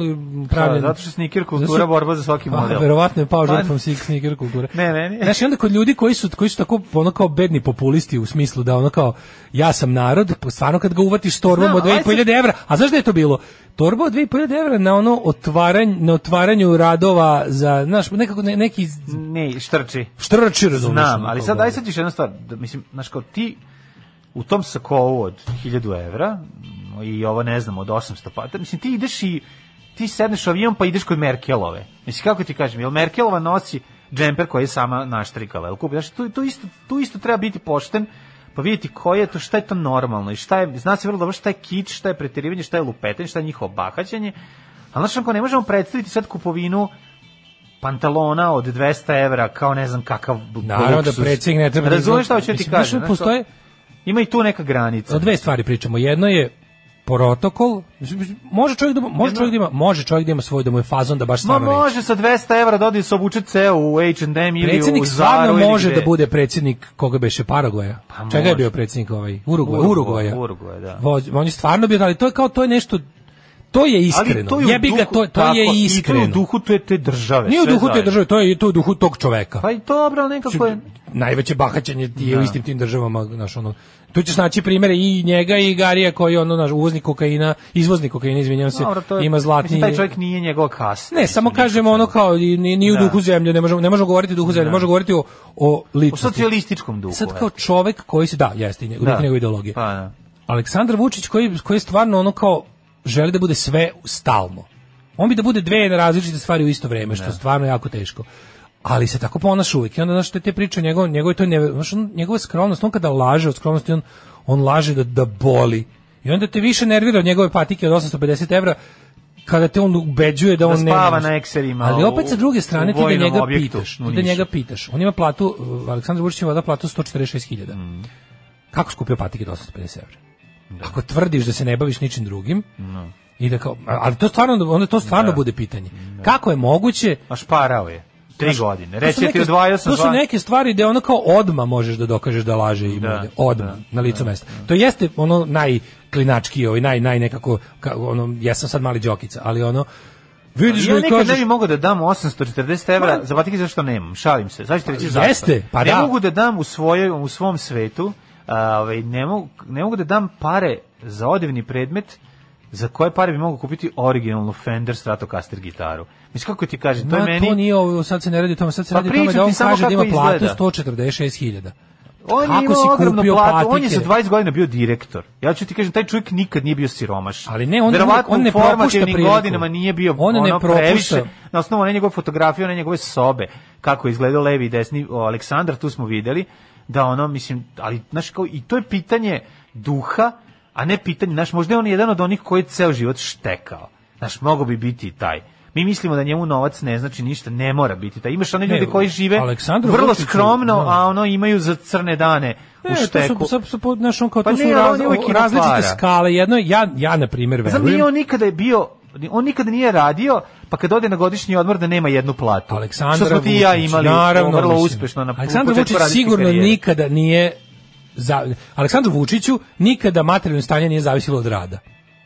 S8: pravljeni...
S7: Da, zato što sneaker kultura,
S8: Zato što-
S7: borba za svaki
S8: Pa,
S7: model.
S8: verovatno je pao
S7: Pa-
S8: žrtvom sik- sneaker kulture.
S7: Ne, ne, ne.
S8: Znaš, i onda kod ljudi koji su, koji su tako, ono kao bedni populisti u smislu da ono kao, ja sam narod, pa stvarno kad ga uvatiš torbom
S7: Znam,
S8: od
S7: ali
S8: 2500 evra, a znaš da je to bilo? Torba od 2500 evra na ono otvaranj, na otvaranju radova za, znaš, nekako, ne- neki
S7: Ne, štrči.
S8: štrči, razumiješ.
S7: Mm. Znam, ali sad, aj sad ćeš jednu stvar. Da, mislim, znaš, kao ti u tom sakovu od 1000 evra i ovo ne znam, od 800 pata, mislim, ti ideš i ti sedneš u avion pa ideš kod Merkelove. Mislim, kako ti kažem, jel Merkelova nosi džemper koji je sama naštrikala, jel kupi? Znaš, tu, tu, isto, tu isto treba biti pošten pa vidjeti koje je to, šta je to normalno i šta je, zna se vrlo dobro šta je kič, šta je preterivanje, šta je lupetanje, šta je njihovo bahaćenje, ali znaš, ako ne možemo predstaviti sad kupovinu pantalona od 200 evra kao ne znam kakav b-
S8: Naravno da
S7: luksuz.
S8: predsjednik ne treba... da
S7: Razumeš
S8: izgleda-
S7: šta hoću ti
S8: Mislim,
S7: kažem?
S8: znaš,
S7: znaš,
S8: Postoje,
S7: Ima i tu neka granica.
S8: o dve stvari pričamo. Jedno je protokol može čovjek da može čovjek da ima može čovjek da ima svoj da mu je fazon da baš
S7: Ma
S8: stvarno neće.
S7: može sa 200 evra da odi se obuče ceo u H&M ili u
S8: Predsjednik
S7: Zaru
S8: stvarno
S7: ili
S8: može
S7: gde.
S8: da bude predsjednik koga beše Paragoja.
S7: Pa
S8: Čega je
S7: može.
S8: bio predsjednik ovaj?
S7: Urugvaja,
S8: Urugvaja. Urugvaja.
S7: Urugvaja, da.
S8: Voz- on je stvarno bio, ali to je kao to je nešto to je iskreno.
S7: to je u
S8: Jebi ga,
S7: duhu-
S8: to, to
S7: tako, i to
S8: je
S7: je u
S8: iskreno.
S7: duhu te- te države,
S8: Nije u
S7: sve
S8: duhu te
S7: zajedno.
S8: države, to je to je u duhu tog čoveka.
S7: Pa i dobro, ali nekako je...
S8: Najveće bahaćenje je u
S7: Da.
S8: istim tim državama, znaš, ono, tu ćeš naći primere i njega i Garija koji je ono naš uvoznik kokaina, izvoznik kokaina, izvinjavam se,
S7: Dobro, to je-
S8: ima zlatni.
S7: Mislim, taj čovjek nije njegova kasta.
S8: Ne, samo kažemo ono kao ni, ni, ni u
S7: Da.
S8: duhu zemlje, ne možemo ne možemo govoriti o duhu zemlje,
S7: Da.
S8: možemo govoriti o o
S7: U
S8: ličnosti.
S7: socijalističkom duhu.
S8: Sad
S7: eto.
S8: kao čovek koji se da, jeste, u
S7: Da.
S8: da. njegove ideologije.
S7: Pa, da.
S8: Aleksandar Vučić koji koji stvarno ono kao želi da bude sve stalno. On bi da bude dve različite stvari u isto vrijeme, što je stvarno jako teško. Ali se tako ponaša uvijek. I onda znaš te, te priče njegov njegov to ne, znaš, on- njegova skromnost, on kada laže od skromnosti on on laže da da boli. I onda te više nervira od njegove patike od 850 evra kada te on ubeđuje da
S7: Da
S8: on ne
S7: spava
S8: može.
S7: na ekserima
S8: Ali
S7: u-
S8: opet sa druge strane
S7: u
S8: ti da
S7: vojnom
S8: njega
S7: objektu
S8: pitaš,
S7: u
S8: ti da
S7: Nišu.
S8: njega pitaš. On ima platu, uh, Aleksandar Vučić ima valjda platu 146.000.
S7: Mm.
S8: Kako skupio patike do 850 evra? Ako tvrdiš da se ne baviš ničim drugim, i da kao, ali to stvarno, onda to stvarno bude pitanje. Kako je moguće
S7: A šparao je. Tri
S8: Znaš,
S7: godine.
S8: to su
S7: Reći je ti
S8: neke-
S7: odvajao sam
S8: To su
S7: dva-
S8: neke stvari gde ono kao odma možeš da dokažeš da laže i
S7: Da,
S8: mulje. Odma,
S7: da,
S8: na licu mesta. To jeste ono najklinački, ovaj, naj, naj nekako, ka, ono, ja sam sad mali džokica, ali ono, vidiš
S7: Ja
S8: me i
S7: nekad ne
S8: kažeš,
S7: bi mogao da dam 840 evra za patike zašto nemam, šalim se. Sad ćete reći zašto.
S8: Jeste, pa
S7: ne
S8: da.
S7: mogu da dam u, svojoj, u svom svetu, a, ovaj, ne, mogu, ne mogu da dam pare za odevni predmet za koje pare bi mogao kupiti originalnu Fender Stratocaster gitaru. Mislim, kako ti kaže, to je
S8: Ma,
S7: meni...
S8: to nije ovo, sad se ne radi o tome, sad se
S7: Pa
S8: radi o tome
S7: pričam
S8: da
S7: ti
S8: on
S7: samo
S8: kaže da ima
S7: kako
S8: platu
S7: izgleda.
S8: 146.000.
S7: On je
S8: Kako
S7: imao
S8: si
S7: ogromnu
S8: kupio
S7: platu, on je
S8: patike?
S7: sa 20 godina bio direktor. Ja ću ti kažem, taj čovjek nikad nije bio siromaš.
S8: Ali ne, on-
S7: Verovatno
S8: on ne
S7: u formativnim
S8: propušta priliku.
S7: godinama nije bio
S8: On ne
S7: ono
S8: propušta.
S7: previše. Na osnovu one njegove fotografije, one njegove sobe, kako je izgledao levi i desni o, Aleksandar, tu smo videli, da ono, mislim, ali, znaš, kao, i to je pitanje duha, a ne pitanje, znaš, možda je on jedan od onih koji je ceo život štekao. Znaš, mogo bi biti i taj. Mi mislimo da njemu novac ne znači ništa, ne mora biti taj. Imaš one
S8: Ne,
S7: ljude koji žive
S8: Aleksandru
S7: vrlo
S8: Vučiću,
S7: skromno,
S8: da.
S7: a ono imaju za crne dane u
S8: Ne, E, to
S7: šteku.
S8: su, sa, sa, po- znaš, on kao,
S7: Pa
S8: to su
S7: ne, ali
S8: raz-
S7: on je uvijek imao
S8: različite
S7: para.
S8: skale. Jedno, je- ja, ja na primjer
S7: Znam, nije
S8: verujem,
S7: on nikada je bio on nikada nije radio, pa kad ode na godišnji odmor da nema jednu platu.
S8: Aleksandra
S7: Što smo ti i ja imali
S8: naravno,
S7: vrlo
S8: mislim.
S7: uspešno na
S8: Aleksandar
S7: početku
S8: Vučić
S7: radijske
S8: sigurno
S7: karijere.
S8: nikada nije za, Aleksandru Vučiću nikada materijalno stanje nije zavisilo od rada.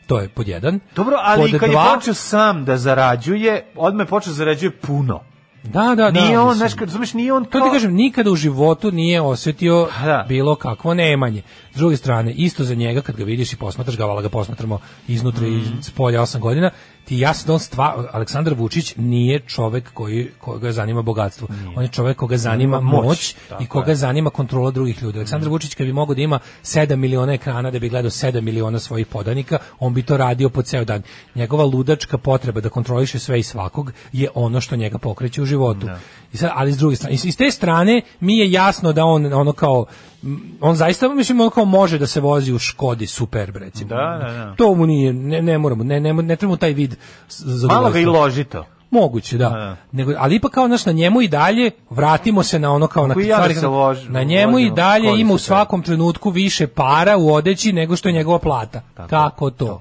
S8: To je pod jedan.
S7: Dobro, ali
S8: pod
S7: kad
S8: dva,
S7: je počeo sam da zarađuje, odmah je počeo da zarađuje puno.
S8: da, da, da,
S7: nije on,
S8: mislim.
S7: znaš, kad razumeš, nije on
S8: To ti kažem, nikada u životu nije osjetio
S7: Pa da.
S8: bilo kakvo nemanje. S druge strane, isto za njega, kad ga vidiš i posmatraš ga, vala ga posmatramo iznutra i s polja osam godina, ti je jasno da on stva, Aleksandar Vučić nije čovek koji, koga zanima bogatstvo. On je čovek koga zanima
S7: Moć,
S8: moć, Mm.
S7: tako
S8: i koga zanima kontrola drugih ljudi. Aleksandar Vučić kad bi mogao da ima 7 miliona ekrana da bi gledao 7 miliona svojih podanika, on bi to radio po ceo dan. Njegova ludačka potreba da kontroliše sve i svakog je ono što njega pokreće u životu. I sad, ali s druge strane, iz, iz te strane mi je jasno da on ono kao m, on zaista mislim on kao može da se vozi u Škodi Superb recimo.
S7: Da, da, da.
S8: To mu nije ne ne moramo ne ne, ne treba mu taj vid s- zadovoljstva.
S7: Malo ga i ložito.
S8: Moguće, da.
S7: Da.
S8: Nego, ali ipak kao naš na njemu i dalje vratimo se na ono kao na
S7: Kako i ja da se lož-
S8: na njemu i
S7: ložim,
S8: dalje
S7: koristim
S8: ima u
S7: se.
S8: svakom trenutku više para u odeći nego što je njegova plata. Kako to?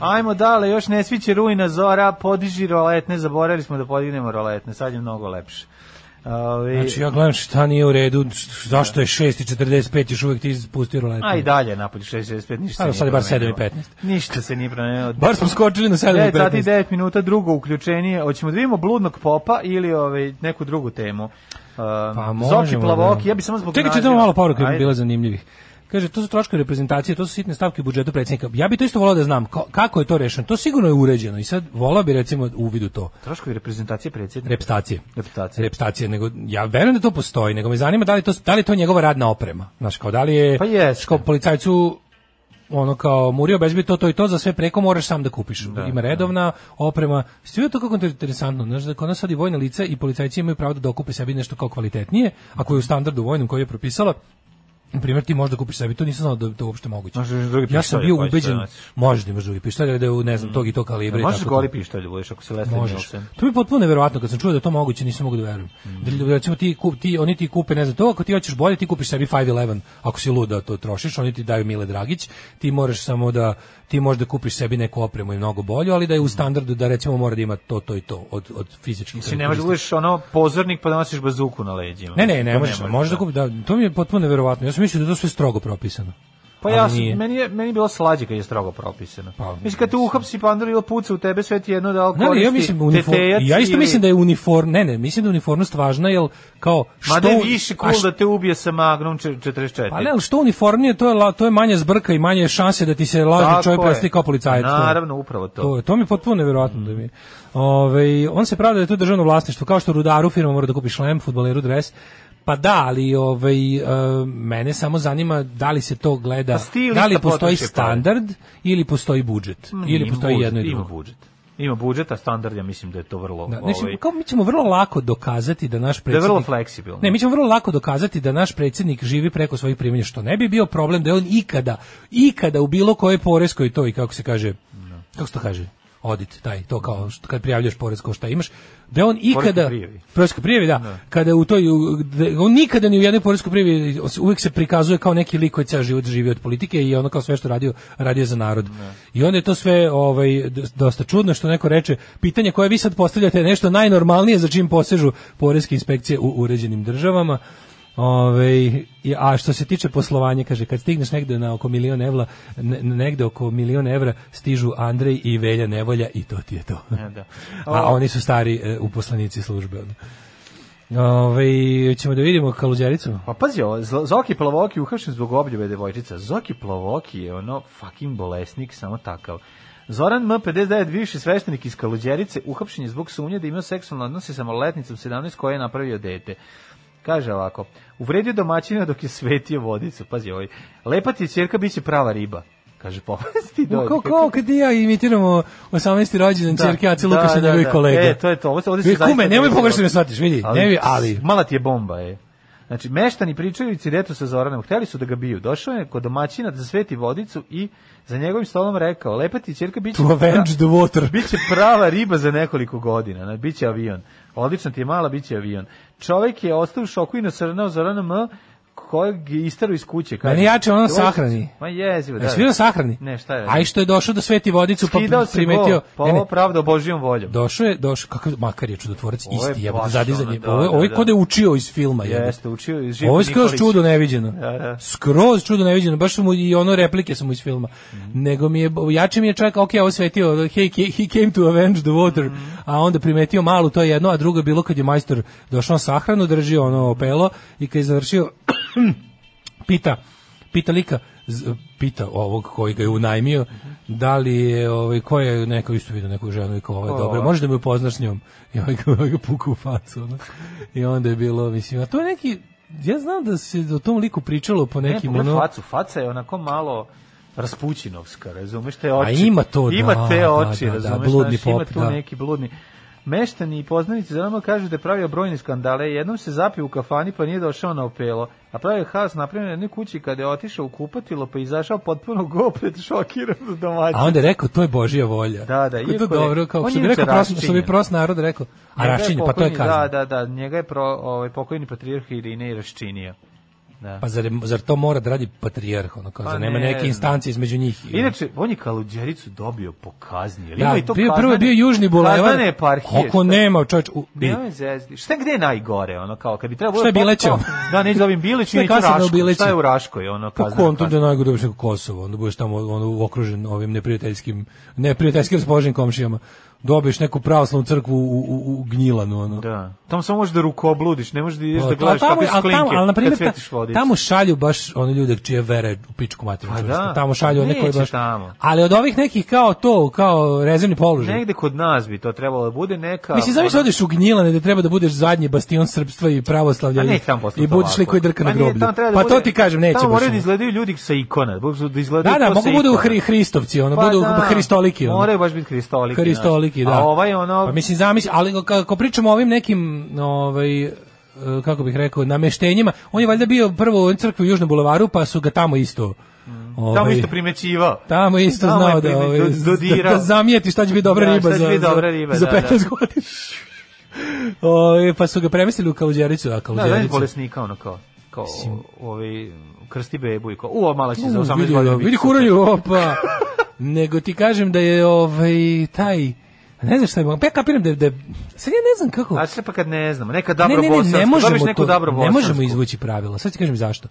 S7: Ajmo dale, još ne sviće rujna zora, podiži roletne, zaboravili smo da podignemo roletne, sad je mnogo lepše. Ovi,
S8: Znači ja gledam šta nije u redu, š- zašto je 6.45 još uvijek ti spustio roletu.
S7: A i dalje napolje 6.65, ništa
S8: Ajmo,
S7: se
S8: sad
S7: nije
S8: je bar 7:15.
S7: promenilo. Ništa se nije promenilo.
S8: Bar smo skočili na 7 i
S7: 9 sati i
S8: 15.
S7: 9 minuta, drugo uključenije. Hoćemo da vidimo bludnog popa ili ovaj, neku drugu temu.
S8: Pa
S7: Um,
S8: možemo,
S7: Zoki Plavoki, ja bi samo zbog
S8: Čekaj,
S7: naziva-
S8: čitamo malo poruka, bi
S7: Ajde.
S8: bila zanimljivih. Kaže, to su troškovi reprezentacije, to su sitne stavke u budžetu predsjednika. Ja bi to isto volao da znam, ko- kako je to rešeno. To sigurno je uređeno i sad volao bi recimo uvid u to.
S7: Troškovi reprezentacije predsjednika.
S8: repstacije.
S7: Repstacije.
S8: Repstacije, nego ja verujem da to postoji, nego me zanima da li to da li je to njegova radna oprema. Znaš, kao da li je
S7: Pa jeste.
S8: kao policajcu ono kao murio bezbi to to i to za sve preko moraš sam da kupiš. Ima redovna oprema. Sve to kako interesantno, znaš da kod nas sad i vojna lica i policajci imaju pravo da dokupe sebi nešto kao kvalitetnije, ako je u standardu vojnom koji je propisala na primjer ti možda kupiš sebi, to nisam znao da je to uopšte moguće.
S7: Možeš drugi
S8: ja sam
S7: pištolj
S8: bio
S7: da hoćeš da
S8: ubeđen,
S7: nosiš.
S8: možda imaš drugi pištolj, da je u, ne znam, tog i tog kalibra. i
S7: Možeš
S8: tako
S7: goli
S8: to.
S7: pištolj da budeš ako si Leslie
S8: Možeš.
S7: Nielsen.
S8: To mi je potpuno neverovatno kad sam čuo da je to moguće, nisam mogu da verujem.
S7: Mm.
S8: Da li- recimo ti kup ti oni ti kupe ne znam to, ako ti hoćeš bolje ti kupiš sebi 511. Ako si lud da to trošiš, oni ti daju Mile Dragić, ti moraš samo da ti možeš da kupiš sebi neku opremu i mnogo bolju, ali da je
S7: Mm.
S8: u standardu da recimo mora da ima to to i to od od fizičkih.
S7: Mislim, ne možeš da budeš ono pozornik pa da nosiš bazuku na leđima.
S8: Ne, ne,
S7: To
S8: ne možeš, možeš da kupiš, da, to mi je potpuno neverovatno. Ja sam mislio da je to sve strogo propisano.
S7: Pa
S8: Ali
S7: ja sam,
S8: nije.
S7: meni je, meni je bilo slađe kad je strogo propisano.
S8: Pa,
S7: mislim, kad te uhapsi pandor ili puca u tebe, sve ti jedno da li
S8: Ne, ne,
S7: koristi
S8: ja mislim uniform,
S7: tetejac
S8: ja isto
S7: ili-
S8: mislim da je uniform, ne, ne, mislim da je uniformnost važna jel kao što
S7: Ma da je više
S8: a
S7: cool
S8: što-
S7: da te ubije sa Magnum čet- 44.
S8: Pa ne, ali što uniformnije, to je, la- to je manje zbrka i manje šanse da ti se lažni
S7: Tako
S8: čovjek
S7: je.
S8: predstavi kao policajac. To je-
S7: Naravno, upravo to.
S8: To, je- to mi je potpuno nevjerojatno da mi je. Ovaj, on se pravda da je to državno vlasništvo, kao što rudaru firma mora da kupi šlem, futboleru dres. Pa da, ali ovaj, e, mene samo zanima da li se to gleda,
S7: Pa stilista
S8: da li postoji
S7: potroši pare.
S8: standard ili postoji budžet.
S7: Mm,
S8: ili
S7: ima
S8: postoji
S7: budžet,
S8: jedno i
S7: ima
S8: drugo.
S7: budžet. Ima budžet, a standard, ja mislim da je to vrlo...
S8: Da,
S7: ovaj,
S8: znači, kao mi ćemo vrlo lako dokazati da naš
S7: da je
S8: predsjednik...
S7: vrlo fleksibilno.
S8: Ne, mi ćemo vrlo lako dokazati da naš predsjednik živi preko svojih primanja, što ne bi bio problem da je on ikada, ikada u bilo kojoj poreskoj toj, kako se kaže, kako se to kaže, odit, taj, to kao što, kad prijavljaš poresko šta imaš, da je on ikada,
S7: prijavi.
S8: poreskoj prijavi, da, kada u toj, u- da on nikada ni u jednoj poreskoj prijavi uvijek se prikazuje kao neki lik koji ceo život živi od politike i ono kao sve što radio, radio za narod. I onda je to sve ovaj, d- dosta čudno što neko reče, pitanje koje vi sad postavljate je nešto najnormalnije za čim posežu poreske inspekcije u uređenim državama. Ove, i- a što se tiče poslovanja, kaže, kad stigneš negde na oko milion evra, ne, negde oko milion evra stižu Andrej i Velja Nevolja i to ti je to.
S7: E, da.
S8: A oni su stari e, uposlenici službe. ono. Ove, ćemo da vidimo kaluđericu.
S7: Pa pazi, ovo, Zlo- Zoki Plavoki uhapšen zbog obljube devojčica. Zoki Plavoki je ono fucking bolesnik, samo takav. Zoran M59, bivši sveštenik iz Kaluđerice, uhapšen je zbog sumnje da je imao seksualne odnose sa maloletnicom 17 koja je napravio dete. Kaže ovako, uvredio domaćina dok je svetio vodicu. Pazi, ovaj, lepa ti je ćerka, bit će prava riba. Kaže, povesti
S8: No,
S7: dođe.
S8: kao, kao kad i ja imitiramo 18. rođendan
S7: Da,
S8: čerke Ace
S7: da,
S8: Lukasa i
S7: da,
S8: njegovih
S7: da.
S8: kolega.
S7: E, to je to. Ovo se- ovdje se
S8: Vidi,
S7: zaista
S8: kume, nemoj
S7: desi
S8: pogrešno
S7: ovo.
S8: me shvatiš, vidi, ne vi, ali...
S7: Mala ti je bomba, je. Znači, meštani pričaju i ciretu sa Zoranom. Hteli su da ga biju. Došao je kod domaćina da sveti vodicu i za njegovim stolom rekao, lepa ti čerka, bit će,
S8: To avenge the water.
S7: biće prava riba za nekoliko godina. Na, biće avion. Odlično ti je mala, biće avion. Čovek je ostao u šoku i nasrnao Zorana M, kojeg je istaru iz kuće. Kaže,
S8: Meni jače ono
S7: "Joj,
S8: sahrani."
S7: Ma jezivo, da.
S8: Jesi vidio sahrani?
S7: Ne, šta je?
S8: A i što je došao do Sveti Vodicu, pa
S7: Skidao se
S8: primetio...
S7: go, pa
S8: Ne, ne,
S7: ovo pravda božijom voljom.
S8: Došao je, došao, kakav makar je čudotvorac,
S7: Ovo je
S8: isti je,
S7: baš
S8: zadizanje,
S7: ono, da,
S8: ovo je,
S7: da,
S8: ovo je
S7: da.
S8: kod je učio iz filma. jebote.
S7: Jeste, učio je Živko
S8: Ovo je skroz
S7: Nikolić.
S8: čudo neviđeno.
S7: Da, da.
S8: Skroz čudo neviđeno. Baš su mu i ono replike su mu iz filma.
S7: Mhm.
S8: Nego mi je, jače mi je čak, ok, ovo je svetio, hey, he came to avenge the water.
S7: Mhm.
S8: A onda primetio malu, to je jedno, a drugo je bilo kad je majstor došao na sahranu, držio ono opelo i kad je završio, pita, pita lika, z- pita ovog koji ga je unajmio, da li je, ovaj, ko je neko isto vidio neku ženu i kao, ovo je dobro, možeš da me upoznaš s njom? I ovaj ga, ovaj ga puku u facu. ono. I onda je bilo, mislim, a to je neki, ja znam da se o tom liku pričalo po
S7: Ne,
S8: nekim,
S7: pogledaj
S8: ono,
S7: facu, faca je onako malo raspućinovska, razumeš te oči.
S8: A ima to, da,
S7: Ima te
S8: da,
S7: oči,
S8: da, da,
S7: razumeš,
S8: bludni
S7: znaš, ima
S8: pop,
S7: tu
S8: da.
S7: neki bludni. Meštani i poznanici za nama kažu da je pravio brojne skandale. Jednom se zapio u kafani pa nije došao na opelo. A pravio je haos napravio na jednoj kući kada je otišao u kupatilo pa je izašao potpuno gopet šokiran od domaćina.
S8: a onda je rekao, to je Božija volja.
S7: Da, da,
S8: Kako je
S7: iako
S8: to
S7: je-
S8: dobro, kao
S7: on
S8: što
S7: je
S8: bi rekao,
S7: inače
S8: prost, što bi
S7: raščinjen.
S8: prost narod rekao, a
S7: Njega je
S8: raščinje, pa to je
S7: pokojni-
S8: kazna.
S7: Da, da, da, njega je pro, ovaj, pokojni patrijarh Irinej raščinio. Da.
S8: Pa zar, je- zar to mora da radi patrijarh, ono, kao,
S7: Pa
S8: zar nema
S7: ne
S8: neke
S7: znam.
S8: instancije između njih?
S7: Inače, on je Kaluđericu dobio po kazni. jel
S8: Da,
S7: ima i to
S8: bio, prvo je
S7: kaznene-
S8: bio Južni bulevar.
S7: Kaznene eparhije.
S8: Kako
S7: šta-
S8: nema, čovječ, u, vidi,
S7: Nemoj zezdi. Šta gde je najgore, ono kao kad bi trebalo
S8: Šta je Bilećevo?
S7: Kao, Da, neću da ovim Bilić,
S8: Šta je
S7: neću
S8: kasarna u
S7: Raško.
S8: Bileću?
S7: Šta je u Raškoj, ono
S8: Pa
S7: kazneno.
S8: kontom da je najgore da budeš u Kosovo, onda budeš tamo ono, okružen ovim neprijateljskim, neprijateljskim raspoloženim komšijama. Dobiješ neku pravoslavnu crkvu u, u, u Gnjilanu, ono.
S7: Da. Tamo samo možeš da rukobludiš, ne možeš da ideš da
S8: A
S7: gledaš
S8: Pa tamo,
S7: kakve su
S8: ali
S7: klinke
S8: tamo, ali na
S7: kad
S8: primjer, ta-
S7: svetiš vodicu.
S8: tamo šalju baš one ljude čije vere u pičku materinu.
S7: Pa
S8: čvrsto.
S7: da,
S8: tamo šalju one koji
S7: neće
S8: baš...
S7: tamo.
S8: Ali od ovih nekih kao to, kao rezervni položaj.
S7: Negde kod nas bi to trebalo da bude neka... ono,
S8: Mislim, zamisli odeš u Gnjilane da treba da budeš zadnji bastion srpstva i pravoslavlja
S7: A
S8: i,
S7: ne tamo posle
S8: i budiš li koji drka na groblju. pa to ti kažem, neće
S7: Tamo
S8: baš
S7: moraju da
S8: ono.
S7: izgledaju ljudi sa ikona, da budu- da
S8: Da,
S7: izgledaju
S8: da,
S7: ko
S8: mogu
S7: sa
S8: budu
S7: ikona.
S8: hri, Hristovci, ono, budu Hristoliki. Ono.
S7: Pa Moraju baš biti Hristoliki.
S8: Hristoliki,
S7: znaš.
S8: da.
S7: A ovaj ono...
S8: Pa mislim, zamisli, ali ako pričamo o ovim nekim, ovaj, e, kako bih rekao, nameštenjima. On je valjda bio prvo u crkvi u Južnom bulevaru, pa su ga tamo isto...
S7: Tamo
S8: ovaj,
S7: isto primećivao.
S8: Tamo je isto
S7: Tamo je
S8: znao da,
S7: prime-
S8: ovaj,
S7: do-
S8: da,
S7: dodirao.
S8: da zamijeti šta će biti dobra
S7: Da,
S8: riba
S7: šta će
S8: za,
S7: biti dobra riba,
S8: za
S7: da,
S8: 15
S7: da.
S8: godina. Ovaj, pa su ga premestili u Kaluđericu, a
S7: Da, da je
S8: Kaluđericu.
S7: bolesnika, ono kao, kao ovaj, krsti bebu i kao, u, ova mala će za
S8: U,
S7: 18
S8: vidi,
S7: godina.
S8: ga,
S7: biti
S8: Vidi
S7: super.
S8: kurulju, opa. Nego ti kažem da je ovaj taj ne znam šta je, pa ja kapiram da je, da je, sad ja ne znam kako.
S7: A sve pa kad ne znamo, neka
S8: ne,
S7: dobro
S8: ne, ne, ne možemo
S7: dobiš neku
S8: to,
S7: dobro
S8: ne možemo izvući pravila. Sad ti kažem zašto.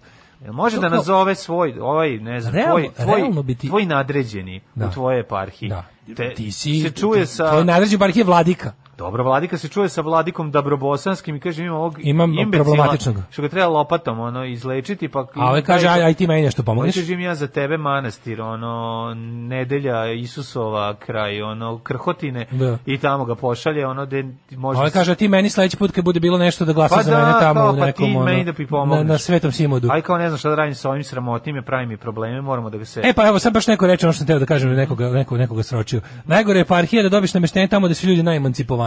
S7: Može da
S8: To kao-
S7: nazove svoj, ovaj, ne znam,
S8: Realno-
S7: tvoj, tvoj,
S8: realno bi ti-
S7: tvoj nadređeni
S8: Da.
S7: u tvojoj eparhiji.
S8: Da.
S7: Te,
S8: Ti si
S7: se čuje sa...
S8: Tvoj nadređen bar je vladika.
S7: Dobro, Vladika se čuje sa Vladikom Dabrobosanskim i kaže imam ovog
S8: Imam
S7: imbecila
S8: problematičnog.
S7: Što ga treba lopatom ono, izlečiti, pa...
S8: A ovaj kaže, aj, aj ti meni nešto pomogneš.
S7: Hoćeš im ja za tebe manastir, ono, nedelja Isusova kraj, ono, krhotine,
S8: Da.
S7: i tamo ga pošalje, ono, de, možda...
S8: Ovaj kaže, a ti meni sledeći put kad bude bilo nešto da glasa
S7: Pa
S8: za
S7: da,
S8: mene tamo
S7: kao,
S8: u
S7: pa
S8: nekom,
S7: ti
S8: ono,
S7: meni da mi
S8: na,
S7: pomogneš.
S8: na svetom simodu.
S7: Aj kao ne znam šta da radim sa ovim sramotnim, je pravi mi probleme, moramo da ga se...
S8: E pa evo, sad baš neko reče ono što sam teo da kažem, nekoga, nekoga, nekoga sročio. Najgore je parhija da dobiš nameštenje tamo da su ljudi najemancipovaniji.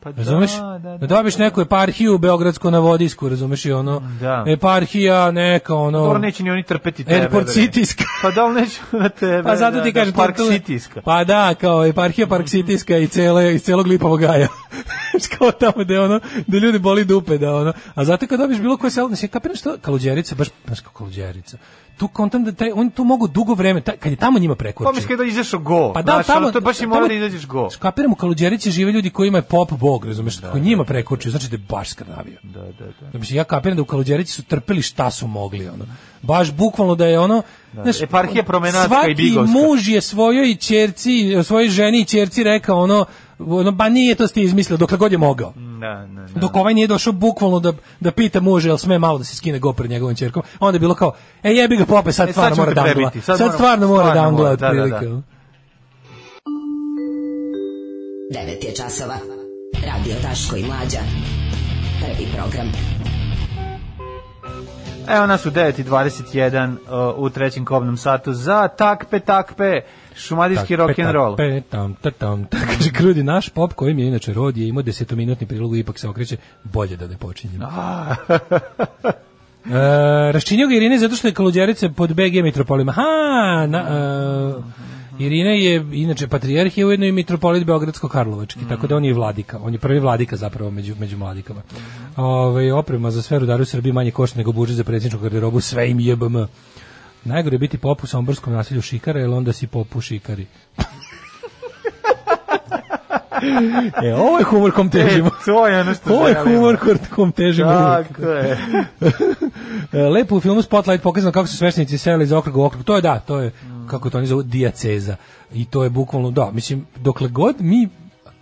S7: pa da,
S8: Razumeš?
S7: Da, da,
S8: Dobiš neku eparhiju beogradsku na Vodisku, razumeš i ono.
S7: Da.
S8: Eparhija neka ono.
S7: Dobro, neće ni oni trpeti tebe.
S8: Airport
S7: bre.
S8: Cityska.
S7: Pa da li neće na tebe?
S8: Pa zato ti
S7: da,
S8: kažem
S7: da, Park
S8: tu- tu-
S7: Cityska.
S8: Pa da, kao eparhija Park Cityska i cele iz celog Lipavog gaja. Znaš, kao tamo gde ono da ljudi boli dupe da ono. A zato kad dobiš bilo koje selo, znači kapiram što Kaluđerica baš baš kao Kaluđerica. Tu kontam da taj oni tu mogu dugo vreme, taj, kad je tamo njima prekoči.
S7: Pomiš kada izašao go.
S8: Pa da,
S7: znaš,
S8: tamo-
S7: ono, to baš i mora
S8: tamo-
S7: da izađeš go.
S8: Skapiram u Kaluđerici žive ljudi kojima je pop bog, razumeš, kako njima prekoči, znači da je baš skrnavio.
S7: Da, da, da.
S8: Da mislim, ja kapiram da u Kaluđerici su trpeli šta su mogli, ono. Baš bukvalno da je ono... znaš,
S7: Eparhija promenadska i bigovska.
S8: Svaki muž je svojoj čerci, svojoj ženi i čerci rekao ono, ono, ba nije to ste izmislio, dokle god je mogao.
S7: Da, da, Mm, da.
S8: Dok ovaj nije došao bukvalno da, da pita muže jel sme malo da se skine go pred njegovom čerkom, onda je bilo kao, e jebi ga pope, sad
S7: E, sad
S8: stvarno
S7: ćemo te
S8: mora da angla.
S7: prebiti,
S8: Sad,
S7: sad moramo-
S8: stvarno mora da
S7: stvarno
S8: angla,
S7: mora, da, da,
S8: otprilike. ono.
S7: da.
S10: 9 je časova. Radio Daško i Mlađa. Prvi program.
S7: Evo nas u 9.21 uh, u trećem kobnom satu za takpe, takpe, šumadijski rock and roll.
S8: Pe, tam, ta, tam, ta, kaže Krudi, naš pop kojim je inače rod je imao desetominutni prilog i ipak se okreće, bolje da ne počinjem. E, raščinio ga Irine zato što je Kaluđerica pod BG mitropolima. Ha, na, e, Irina je inače patrijarh je ujedno i mitropolit Beogradsko-Karlovački, tako da on je i vladika. On je prvi vladika zapravo među, među vladikama. Ove, oprema za sve rudare u Srbiji manje košta nego budžet za predsjedničku garderobu, sve im jebm. Najgore je biti pop u somborskom nasilju šikara, jer onda si pop u šikari. e, ovo je humor kom težimo.
S7: to je ono što
S8: Ovo je
S7: želimo.
S8: humor kom težimo. uvijek.
S7: Tako je.
S8: E, Lepo u filmu Spotlight pokazano kako su sveštenici seli iz okruga u okrug. To je da, to je kako to oni zovu dijaceza. I to je bukvalno da, mislim dokle god mi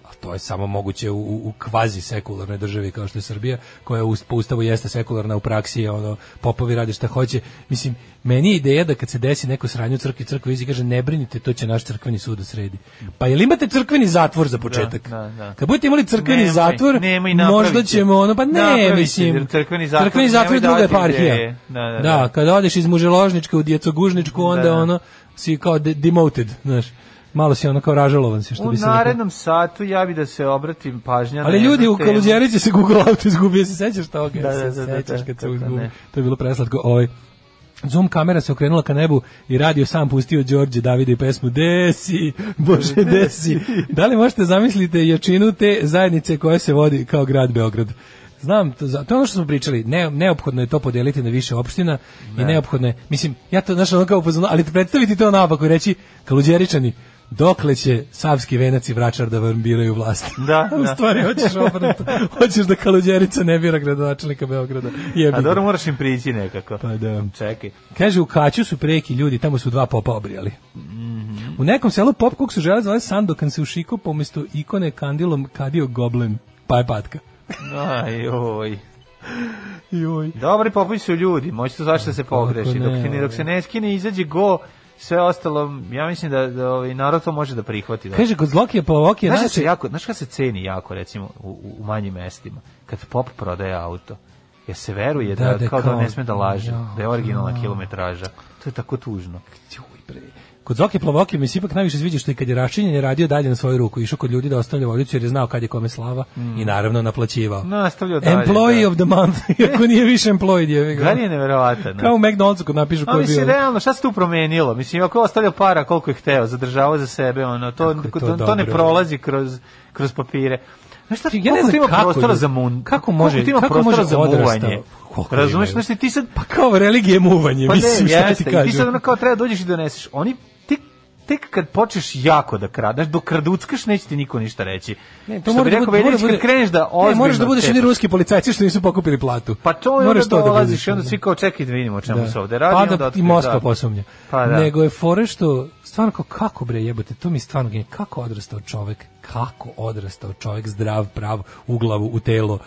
S8: a to je samo moguće u, u, u kvazi sekularnoj državi kao što je Srbija, koja u, po ustavu jeste sekularna u praksi, je ono, popovi radi šta hoće. Mislim, meni je ideja da kad se desi neko sranje u crkvi, crkva izi kaže ne brinite, to će naš crkveni sud u sredi. Pa jel imate crkveni zatvor za početak?
S7: da, da.
S8: Kad budete imali crkveni
S7: Nemoj,
S8: zatvor,
S7: nemoj,
S8: možda
S7: napravit će.
S8: ćemo ono, pa ne,
S7: Napravit će,
S8: mislim.
S7: jer crkveni zatvor
S8: crkveni zatvor je
S7: nemoj
S8: druga
S7: davati
S8: eparhija.
S7: ideje. Da, da,
S8: da,
S7: da.
S8: kada odeš iz muželožničke u djecogužničku, onda
S7: Da, da.
S8: ono si kao de- demoted, znaš. Malo si ono kao ražalovan si, što
S7: U
S8: bi se rekao.
S7: narednom satu ja bi da se obratim pažnja na
S8: Ali
S7: jednu
S8: ljudi u
S7: temu.
S8: Kaluđerici se Google Auto izgubio, se sećaš toga?
S7: Da, da,
S8: Se
S7: da, da,
S8: sećaš
S7: da,
S8: kad se
S7: kako
S8: izgubi.
S7: ne.
S8: To je bilo preslatko. Ovaj. Zoom kamera se okrenula ka nebu i radio sam pustio Đorđe Davida i pesmu Desi, Bože Desi. Da li možete zamisliti jačinu te zajednice koja se vodi kao grad Beograd? Znam, to, za- to je ono što smo pričali, ne, neophodno je to podeliti na više opština i neophodno je, mislim, ja to znaš ono kao upozono, ali predstaviti to naopako i reći, kaluđeričani, dokle će savski venac i vračar da vam biraju vlast?
S7: Da,
S8: U
S7: da.
S8: stvari, hoćeš obrnuto. hoćeš da Kaluđerica ne bira gradonačelnika Beograda. Jebi
S7: A
S8: ga.
S7: dobro, moraš im prići nekako.
S8: Pa da.
S7: Čekaj.
S8: Kaže, u Kaću su preki ljudi, tamo su dva popa obrijali. U nekom selu pop kog su žele zvali Sandokan se ušiko, pa umjesto ikone kandilom kadio goblen, pa je patka.
S7: Aj, oj.
S8: Joj.
S7: Dobri popovi su ljudi, moći to zašto se pogreši.
S8: ne,
S7: Dok, se ne, dok se ne skine, izađe go, sve ostalo, ja mislim da, da ovaj, narod to može da prihvati. Da.
S8: Kaže, znači- kod zlokije plavokije,
S7: Znaš, šta
S8: naše,
S7: se jako, znaš kada se ceni jako, recimo, u, u- u manjim mestima? Kad pop prodaje auto. jer se veruje da,
S8: Da, da je
S7: kao da on
S8: kao-
S7: ne sme da laže,
S8: Ja,
S7: da je originalna
S8: ja.
S7: kilometraža. To je tako tužno.
S8: Kod Zoke Plavoke mi se ipak najviše sviđa što i kad je raščinjen je radio dalje na svoju ruku, išao kod ljudi da ostavlja vodicu jer je znao kad je kome slava i naravno naplaćivao.
S7: Mm. Nastavljao dalje.
S8: Employee
S7: da.
S8: of the month, iako nije više employee, je
S7: Gari je neverovatan.
S8: Kao u McDonald'su kad napišu ko
S7: A
S8: je bio.
S7: mislim, realno, šta se tu promenilo? Mislim, ako je ostavljao para koliko je hteo, zadržavao za sebe, ono, to,
S8: Kako je
S7: to,
S8: to
S7: to, ne
S8: dobro.
S7: prolazi kroz, kroz papire. Znaš šta,
S8: Ja ne
S7: koliko
S8: znam
S7: ti ima
S8: kako
S7: prostora
S8: ljudi-
S7: za mun,
S8: kako može-
S7: ti ima
S8: kako
S7: prostora
S8: može
S7: za
S8: odrastao?
S7: muvanje?
S8: Koliko
S7: Razumeš,
S8: ima?
S7: znaš ti, ti sad,
S8: Pa kao religije muvanje,
S7: Pa
S8: mislim,
S7: ne,
S8: šta
S7: jeste,
S8: ti
S7: I ti
S8: kažem.
S7: sad ono kao treba dođeš i doneseš. Oni tek, tek kad počneš jako da kradeš, dok kraduckaš neće ti niko ništa reći.
S8: Ne,
S7: Što bi rekao Veljić, kad kreneš da ozbiljno...
S8: Ne, moraš da budeš
S7: cepaš.
S8: oni ruski policajci što nisu pokupili platu.
S7: Pa to je onda
S8: Moraš to da
S7: dolaziš
S8: budeš,
S7: i onda
S8: ono.
S7: svi kao čekaj da vidimo o čemu
S8: Da.
S7: se ovde radi.
S8: Pa
S7: onda
S8: da i
S7: otkriš,
S8: Moskva
S7: da.
S8: posumnja.
S7: Pa da.
S8: Nego je fore što, stvarno kao, kako bre jebote, to mi je stvarno genije, kako odrastao čovek, kako odrastao čovek, zdrav, prav, u glavu, u telo,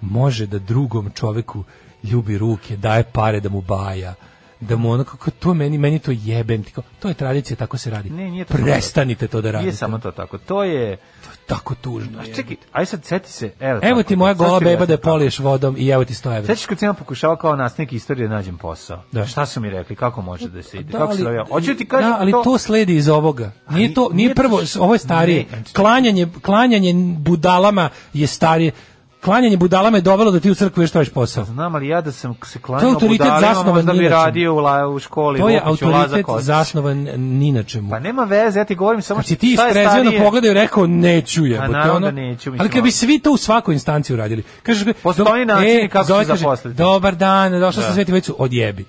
S8: može da drugom čoveku ljubi ruke, daje pare da mu baja, da mu ono kako to meni meni to jebem ti kao, to je tradicija tako se radi
S7: Ne, nije to tako.
S8: prestanite to da
S7: Nije
S8: radite
S7: samo to tako. To je...
S8: to je tako tužno
S7: A
S8: je.
S7: čekaj, aj sad seti se. Evo,
S8: evo
S7: tako,
S8: ti moja
S7: sad
S8: gola
S7: ti
S8: beba da je
S7: objasnim tako.
S8: poliješ vodom i evo ti 100 evra
S7: Sećaš kad sam ja pokušao kao nastavnik istorije da nađem posao.
S8: Da.
S7: Šta su mi rekli, kako može da se ide,
S8: Da,
S7: kako se
S8: ali-
S7: dobija. Hoću ti kažem
S8: da, ali to, sledi iz ovoga.
S7: Ali
S8: Nije to, nije,
S7: nije to
S8: prvo,
S7: s-
S8: ovo je starije.
S7: Ne, znači-
S8: Klanjanje, klanjanje budalama je starije. Klanjanje budalama je dovelo da ti u crkvi još tražiš posao.
S7: Znam, ali ja da sam se
S8: To je
S7: klanjao
S8: autoritet
S7: budalima,
S8: zasnovan
S7: možda
S8: ni
S7: bi
S8: na čemu.
S7: radio u, la, u školi,
S8: To je
S7: Vukiću, Laza
S8: autoritet
S7: Kostić.
S8: zasnovan ni na čemu.
S7: Pa nema veze, ja ti govorim samo
S8: Kad si
S7: što
S8: ti isprezirano pogledaju rekao neću je.
S7: Pa
S8: ono.
S7: naravno da neću, mislim, ono.
S8: ali kad bi svi to u svakoj instanciji uradili. Kažeš,
S7: Postoji
S8: do-
S7: načini kako se
S8: zove, kaže,
S7: zaposliti.
S8: Dobar dan, došla
S7: Da.
S8: sam sveti vecu, odjebi.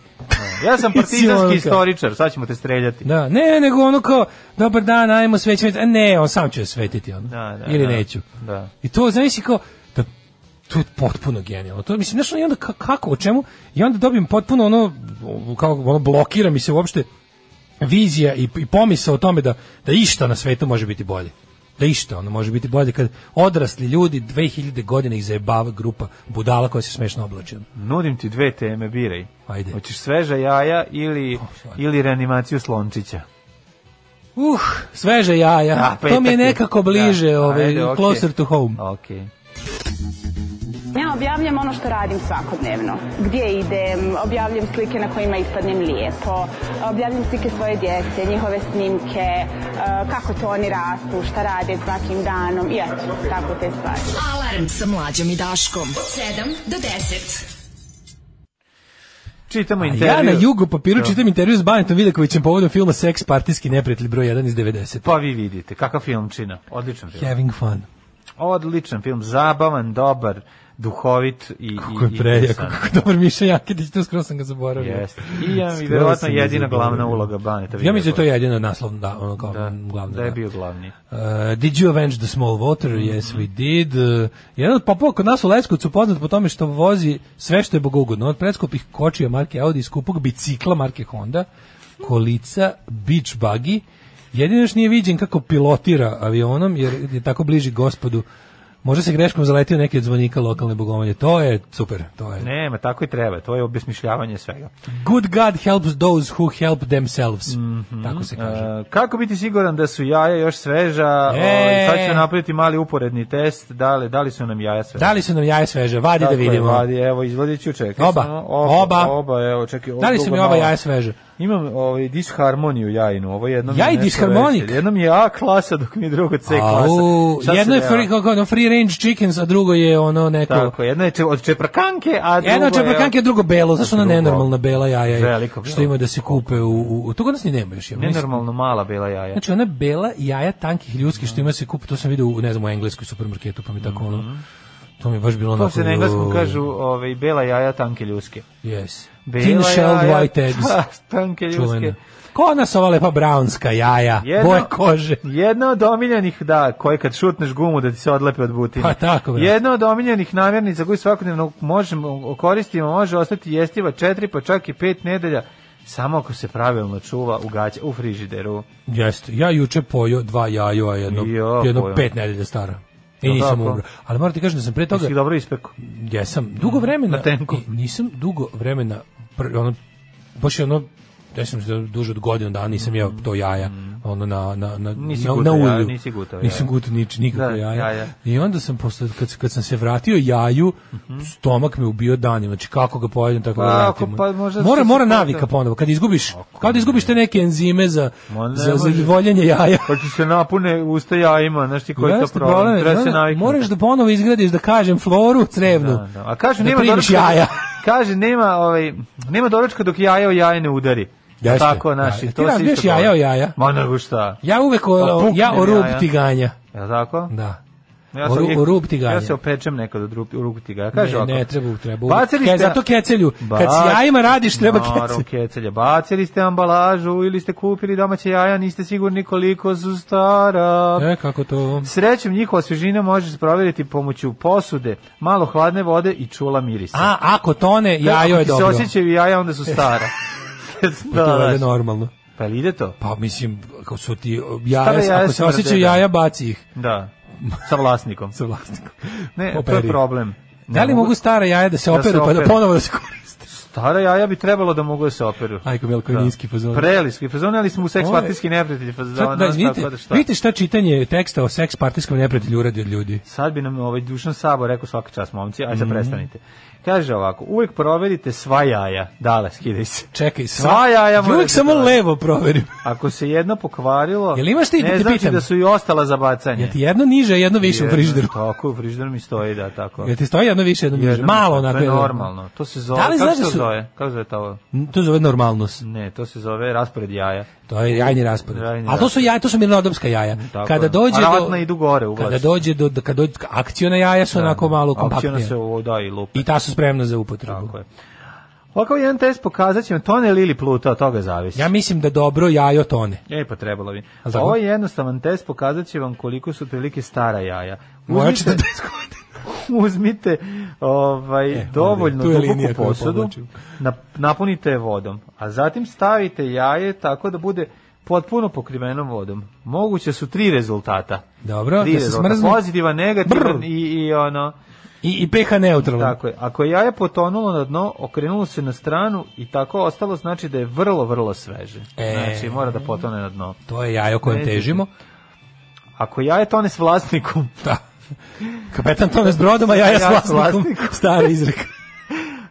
S7: Ja sam
S8: Mislim, ono
S7: partizanski
S8: kao-
S7: istoričar, sad ćemo te streljati.
S8: Da, ne, nego ono kao, dobar dan, ajmo sveći, sveći. A ne, on sam će svetiti, ono.
S7: Da, da,
S8: Ili
S7: da.
S8: neću.
S7: Da.
S8: I to, znaš, i kao, da, to je potpuno genijalno. To, mislim, znaš, ono, i onda ka- kako, o čemu? I onda dobijem potpuno ono, kao, ono, blokira mi se uopšte vizija i, i pomisao o tome da, da išta na svetu može biti bolje. Da išta, ono, može biti bolje kad odrasli ljudi 2000 godina ih zajebava grupa budala koja se smešno oblače. ono.
S7: Nudim ti dve teme, biraj.
S8: Ajde.
S7: Hoćeš sveža jaja ili,
S8: sad.
S7: ili reanimaciju slončića.
S8: Uh, sveže jaja.
S7: Da,
S8: to mi
S7: petak
S8: je
S7: je.
S8: nekako bliže,
S7: Da,
S8: ovaj,
S7: ajde, okej.
S8: closer to home.
S7: Ok.
S11: Ja objavljam ono što radim svakodnevno. Gdje idem, objavljam slike na kojima ispadnem lijepo, objavljam slike svoje djece, njihove snimke, eh, kako to oni rastu, šta rade svakim danom i eto, tako te stvari.
S10: Alarm sa mlađom i Daškom. Od 7 do 10.
S7: Čitamo
S8: A
S7: intervju.
S8: Ja na jugu papiru
S7: Da.
S8: čitam intervju s Banetom Vidakovićem povodom filma Seks partijski neprijatelj broj 1 iz 90.
S7: Pa vi vidite, kakav film čina. Odličan film.
S8: Having fun.
S7: Odličan film, zabavan, dobar, duhovit i...
S8: Kako
S7: i-
S8: je
S7: i
S8: prejak,
S7: interesantan.
S8: kako je dobar Miša Jakitić, to skoro sam ga zaboravio.
S7: Jeste. I ja mi
S8: Skroz
S7: verovatno
S8: sam ga
S7: jedina
S8: zaboravio.
S7: glavna uloga Baneta.
S8: Ja mislim da je to
S7: Vidakovića.
S8: jedino naslov, da, ono kao glavno.
S7: da je bio glavni. Mhm.
S8: Uh, did you avenge the small water? Yes, we did. Uh, jedan od popova kod nas u Leskovcu poznat po tome što vozi sve što je bogogodno. Od preskupih kočija marke Audi i skupog bicikla marke Honda, kolica, beach buggy. Jedino još nije viđen kako pilotira avionom, jer je tako bliži gospodu. Možda se greškom zaletio neki od zvonika lokalne bogovanje. To je super. To je.
S7: Nema, tako i treba, to je obesmišljavanje svega.
S8: Good God helps those who help themselves. Tako se kaže.
S7: E, kako biti siguran da su jaja još sveža?
S8: E.
S7: Ovaj, sad ću napraviti mali uporedni test, da li, da li su nam jaja sveža?
S8: da li su nam jaja sveže? Vadi
S7: Tako
S8: da
S7: je,
S8: vidimo.
S7: Vadi, evo, izvadit ću, čekaj.
S8: Oba.
S7: samo,
S8: Oba.
S7: Oba, evo, čekaj. ovo
S8: Da li su
S7: drugo
S8: mi ova
S7: malo.
S8: jaja sveže?
S7: Imam ovaj, disharmoniju jajnu, ovo je jednom...
S8: Jaj
S7: je nešto
S8: disharmonik?
S7: veće. Jednom je A klasa, dok mi je drugo C klasa.
S8: Au,
S7: Šta se
S8: jedno je
S7: deva?
S8: free, kako, ono, free range chickens, a drugo je ono neko...
S7: Tako, jedno je če- od čeprkanke, a drugo
S8: Jedno je čeprkanke, drugo belo, zašto ona
S7: Drugo.
S8: nenormalna bela jaja je,
S7: Veliko belo.
S8: što ima da se kupe u... u, u to kod nas ni nema još. Ja, mislim.
S7: Nenormalno mala bela jaja.
S8: Znači ona bela jaja tankih ljudskih što ima se kupe, to sam vidio u, ne znam, u engleskoj supermarketu, pa mi tako ono... To mi je baš bilo
S7: Mhm. To
S8: onako...
S7: se na engleskom
S8: "Jo,
S7: kažu ovaj, bela jaja, tanke ljuske.
S8: Yes.
S7: Bela
S8: Thin shelled
S7: jaja, Pa,
S8: white eggs.
S7: tanke ljuske.
S8: Čuvena. Ko nas ova lepa brownska jaja,
S7: Jedno-
S8: boje kože.
S7: Jedna od omiljenih, da, koje kad šutneš gumu da ti se odlepe od butine.
S8: Pa tako, brate.
S7: Jedna od omiljenih namirnica koju svakodnevno možemo koristimo, može ostati jestiva četiri, pa čak i pet nedelja, samo ako se pravilno čuva u gaće, u frižideru.
S8: Jeste, ja juče pojo dva jaja, jedno,
S7: Jo,
S8: jedno
S7: pojeo.
S8: pet nedelja stara. I
S7: Jel
S8: nisam
S7: tako?
S8: umro. Ali moram ti kažem da sam pre toga...
S7: Jesi ih dobro ispeku.
S8: Jesam, dugo vremena.
S7: Na tenku.
S8: i Nisam dugo vremena, pr, ono, baš je ono, ja sam se duže od godinu dana nisam jeo to jaja. ono na na na
S7: Mm. Nisi
S8: na,
S7: gutao
S8: na
S7: jaja,
S8: ulju.
S7: nisi gutao
S8: Nisam
S7: jaja.
S8: gutao nič nikako
S7: Da,
S8: jaja.
S7: jaja.
S8: I onda sam posle kad kad sam se vratio jaju, stomak me ubio danima. Znači kako ga pojedem tako
S7: Mhm. Pa,
S8: ga
S7: ako-
S8: vratim.
S7: pa možda
S8: mora
S7: si
S8: mora
S7: se
S8: navika
S7: pokušao.
S8: ponovo. Kad izgubiš, kad izgubiš te neke enzime za
S7: Ma ne
S8: za, za
S7: može.
S8: voljenje jaja.
S7: Pa ti se napune usta jajima, znaš ti koji je to
S8: Jeste,
S7: problem.
S8: je,
S7: Treba se
S8: znaš,
S7: naviknuti.
S8: moraš da ponovo izgradiš da kažem floru crevnu.
S7: Da, da. A kažu
S8: da
S7: nema
S8: primiš
S7: doručka.
S8: jaja.
S7: Kaže nema ovaj nema doručka dok jaje o jaje ne udari.
S8: Jeste.
S7: Tako naši,
S8: Da, ti
S7: to se
S8: razbiješ
S7: isto.
S8: jaja
S7: govori.
S8: o jaja.
S7: Ma nego šta?
S8: Ja uvek o,
S7: Pa pukne
S8: ja
S7: mi
S8: o rub
S7: jaja.
S8: ti ganja.
S7: Jel tako?
S8: Da.
S7: Ja
S8: O
S7: sam
S8: ru-
S7: uvijek-
S8: o rub ti ganja.
S7: Ja se opečem nekad od rub- rub ti ganja. Kaže
S8: ne,
S7: ovako.
S8: ne, treba, treba.
S7: Bacili
S8: Ke,
S7: ste-
S8: zato kecelju. Kad s
S7: Bac-
S8: jajima radiš, treba
S7: Naravno,
S8: kecelju.
S7: kecelje. Bacili ste ambalažu ili ste kupili domaće jaja, niste sigurni koliko su stara.
S8: E, kako to?
S7: Srećom, njihova svježina može se provjeriti pomoću posude, malo hladne vode i čula mirisa.
S8: A, ako tone, jajo
S7: Ako
S8: je
S7: ti
S8: dobro.
S7: se osjećaju jaja, onda su stara.
S8: Pa to je valjda
S7: da, da.
S8: normalno.
S7: Pa jel ide to?
S8: Pa mislim, ako su ti
S7: Stara
S8: jaja,
S7: jaja
S8: ako
S7: se
S8: se
S7: mrze,
S8: osjećaju
S7: da.
S8: jaja, baci ih
S7: Da. Sa vlasnikom.
S8: sa vlasnikom.
S7: Ne, to je
S8: Operi.
S7: problem. Ne
S8: Da li mogu stara jaja da se operu pa da ponovo da se koriste?
S7: Stara jaja bi trebalo da mogu da se operu.
S8: Ajko Milkovinski da. fazon.
S7: Preliski fazon, ali smo u seks
S8: Ovo je-
S7: partijski neprijatelji fazona.
S8: Sad, da, vidite, vidite šta čitanje teksta o seks partijskom neprijatelju uradi od ljudi.
S7: Sad bi nam ovaj Dušan Sabo rekao svaka čast momci, ajde
S8: Mhm.
S7: sad prestanite. Kaže ovako, uvek proverite sva jaja. Dale, skidaj se.
S8: Čekaj, sva,
S7: Sva jaja
S8: ja
S7: morate
S8: uvijek samo
S7: provjeriti.
S8: levo proverim.
S7: Ako se jedno pokvarilo,
S8: Jel imaš ti da
S7: ne
S8: te
S7: znači
S8: pitam?
S7: da su i ostala za bacanje.
S8: Jel ti jedno niže, jedno više u
S7: Jedno-
S8: frižideru?
S7: Tako, u frižideru mi stoji, da, tako.
S8: Jel ti stoji jedno više, jedno niže?
S7: Jedno-
S8: Malo onako.
S7: To je
S8: jedno-
S7: normalno. To se zove,
S8: Da li
S7: kako
S8: znaš
S7: se
S8: da
S7: to
S8: su-
S7: zove? Kako se zove to?
S8: To se zove normalnost.
S7: Ne, to se zove raspored jaja.
S8: To je jajni raspored.
S7: Jajni
S8: A to su
S7: raspored.
S8: jaja, to su mirnodopska jaja.
S7: Tako
S8: kada
S7: je.
S8: dođe
S7: A
S8: do
S7: ravatna idu gore u
S8: kada
S7: vlast.
S8: dođe do kada dođe akciona jaja su onako malo
S7: Opcijona
S8: kompaktnije.
S7: ono se ovo da i lupa.
S8: I ta su spremna za upotrebu.
S7: Tako je. Ovakav jedan test pokazat će vam tone li ili pluta, od toga zavisi.
S8: Ja mislim da dobro jajo tone.
S7: E, pa trebalo bi.
S8: Al tako?
S7: Ovo je jednostavan test, pokazat će vam koliko su otprilike stara jaja.
S8: Moja
S7: Uzmite,
S8: 40 godina.
S7: uzmite ovaj,
S8: E, ovdje,
S7: dovoljno
S8: tu je
S7: duboku
S8: linija koju
S7: posudu,
S8: povlačim.
S7: nap- napunite je vodom, a zatim stavite jaje tako da bude potpuno pokriveno vodom. Moguće su tri rezultata.
S8: Dobro,
S7: tri
S8: da se
S7: rezultata.
S8: smrznu.
S7: Pozitivan, negativan
S8: Brr.
S7: i, i ono...
S8: I, i pH neutralan.
S7: Tako je. Ako je jaje potonulo na dno, okrenulo se na stranu i tako ostalo znači da je vrlo, vrlo sveže.
S8: E.
S7: Znači mora da potone na dno.
S8: To je jajo kojem
S7: Nećete.
S8: težimo.
S7: Ako jaje tone s vlasnikom,
S8: Da. Kapetan tone s brodom, a jaja
S7: Jaja
S8: s
S7: s
S8: vlasnikom.
S7: vlasnikom.
S8: Stari izrek.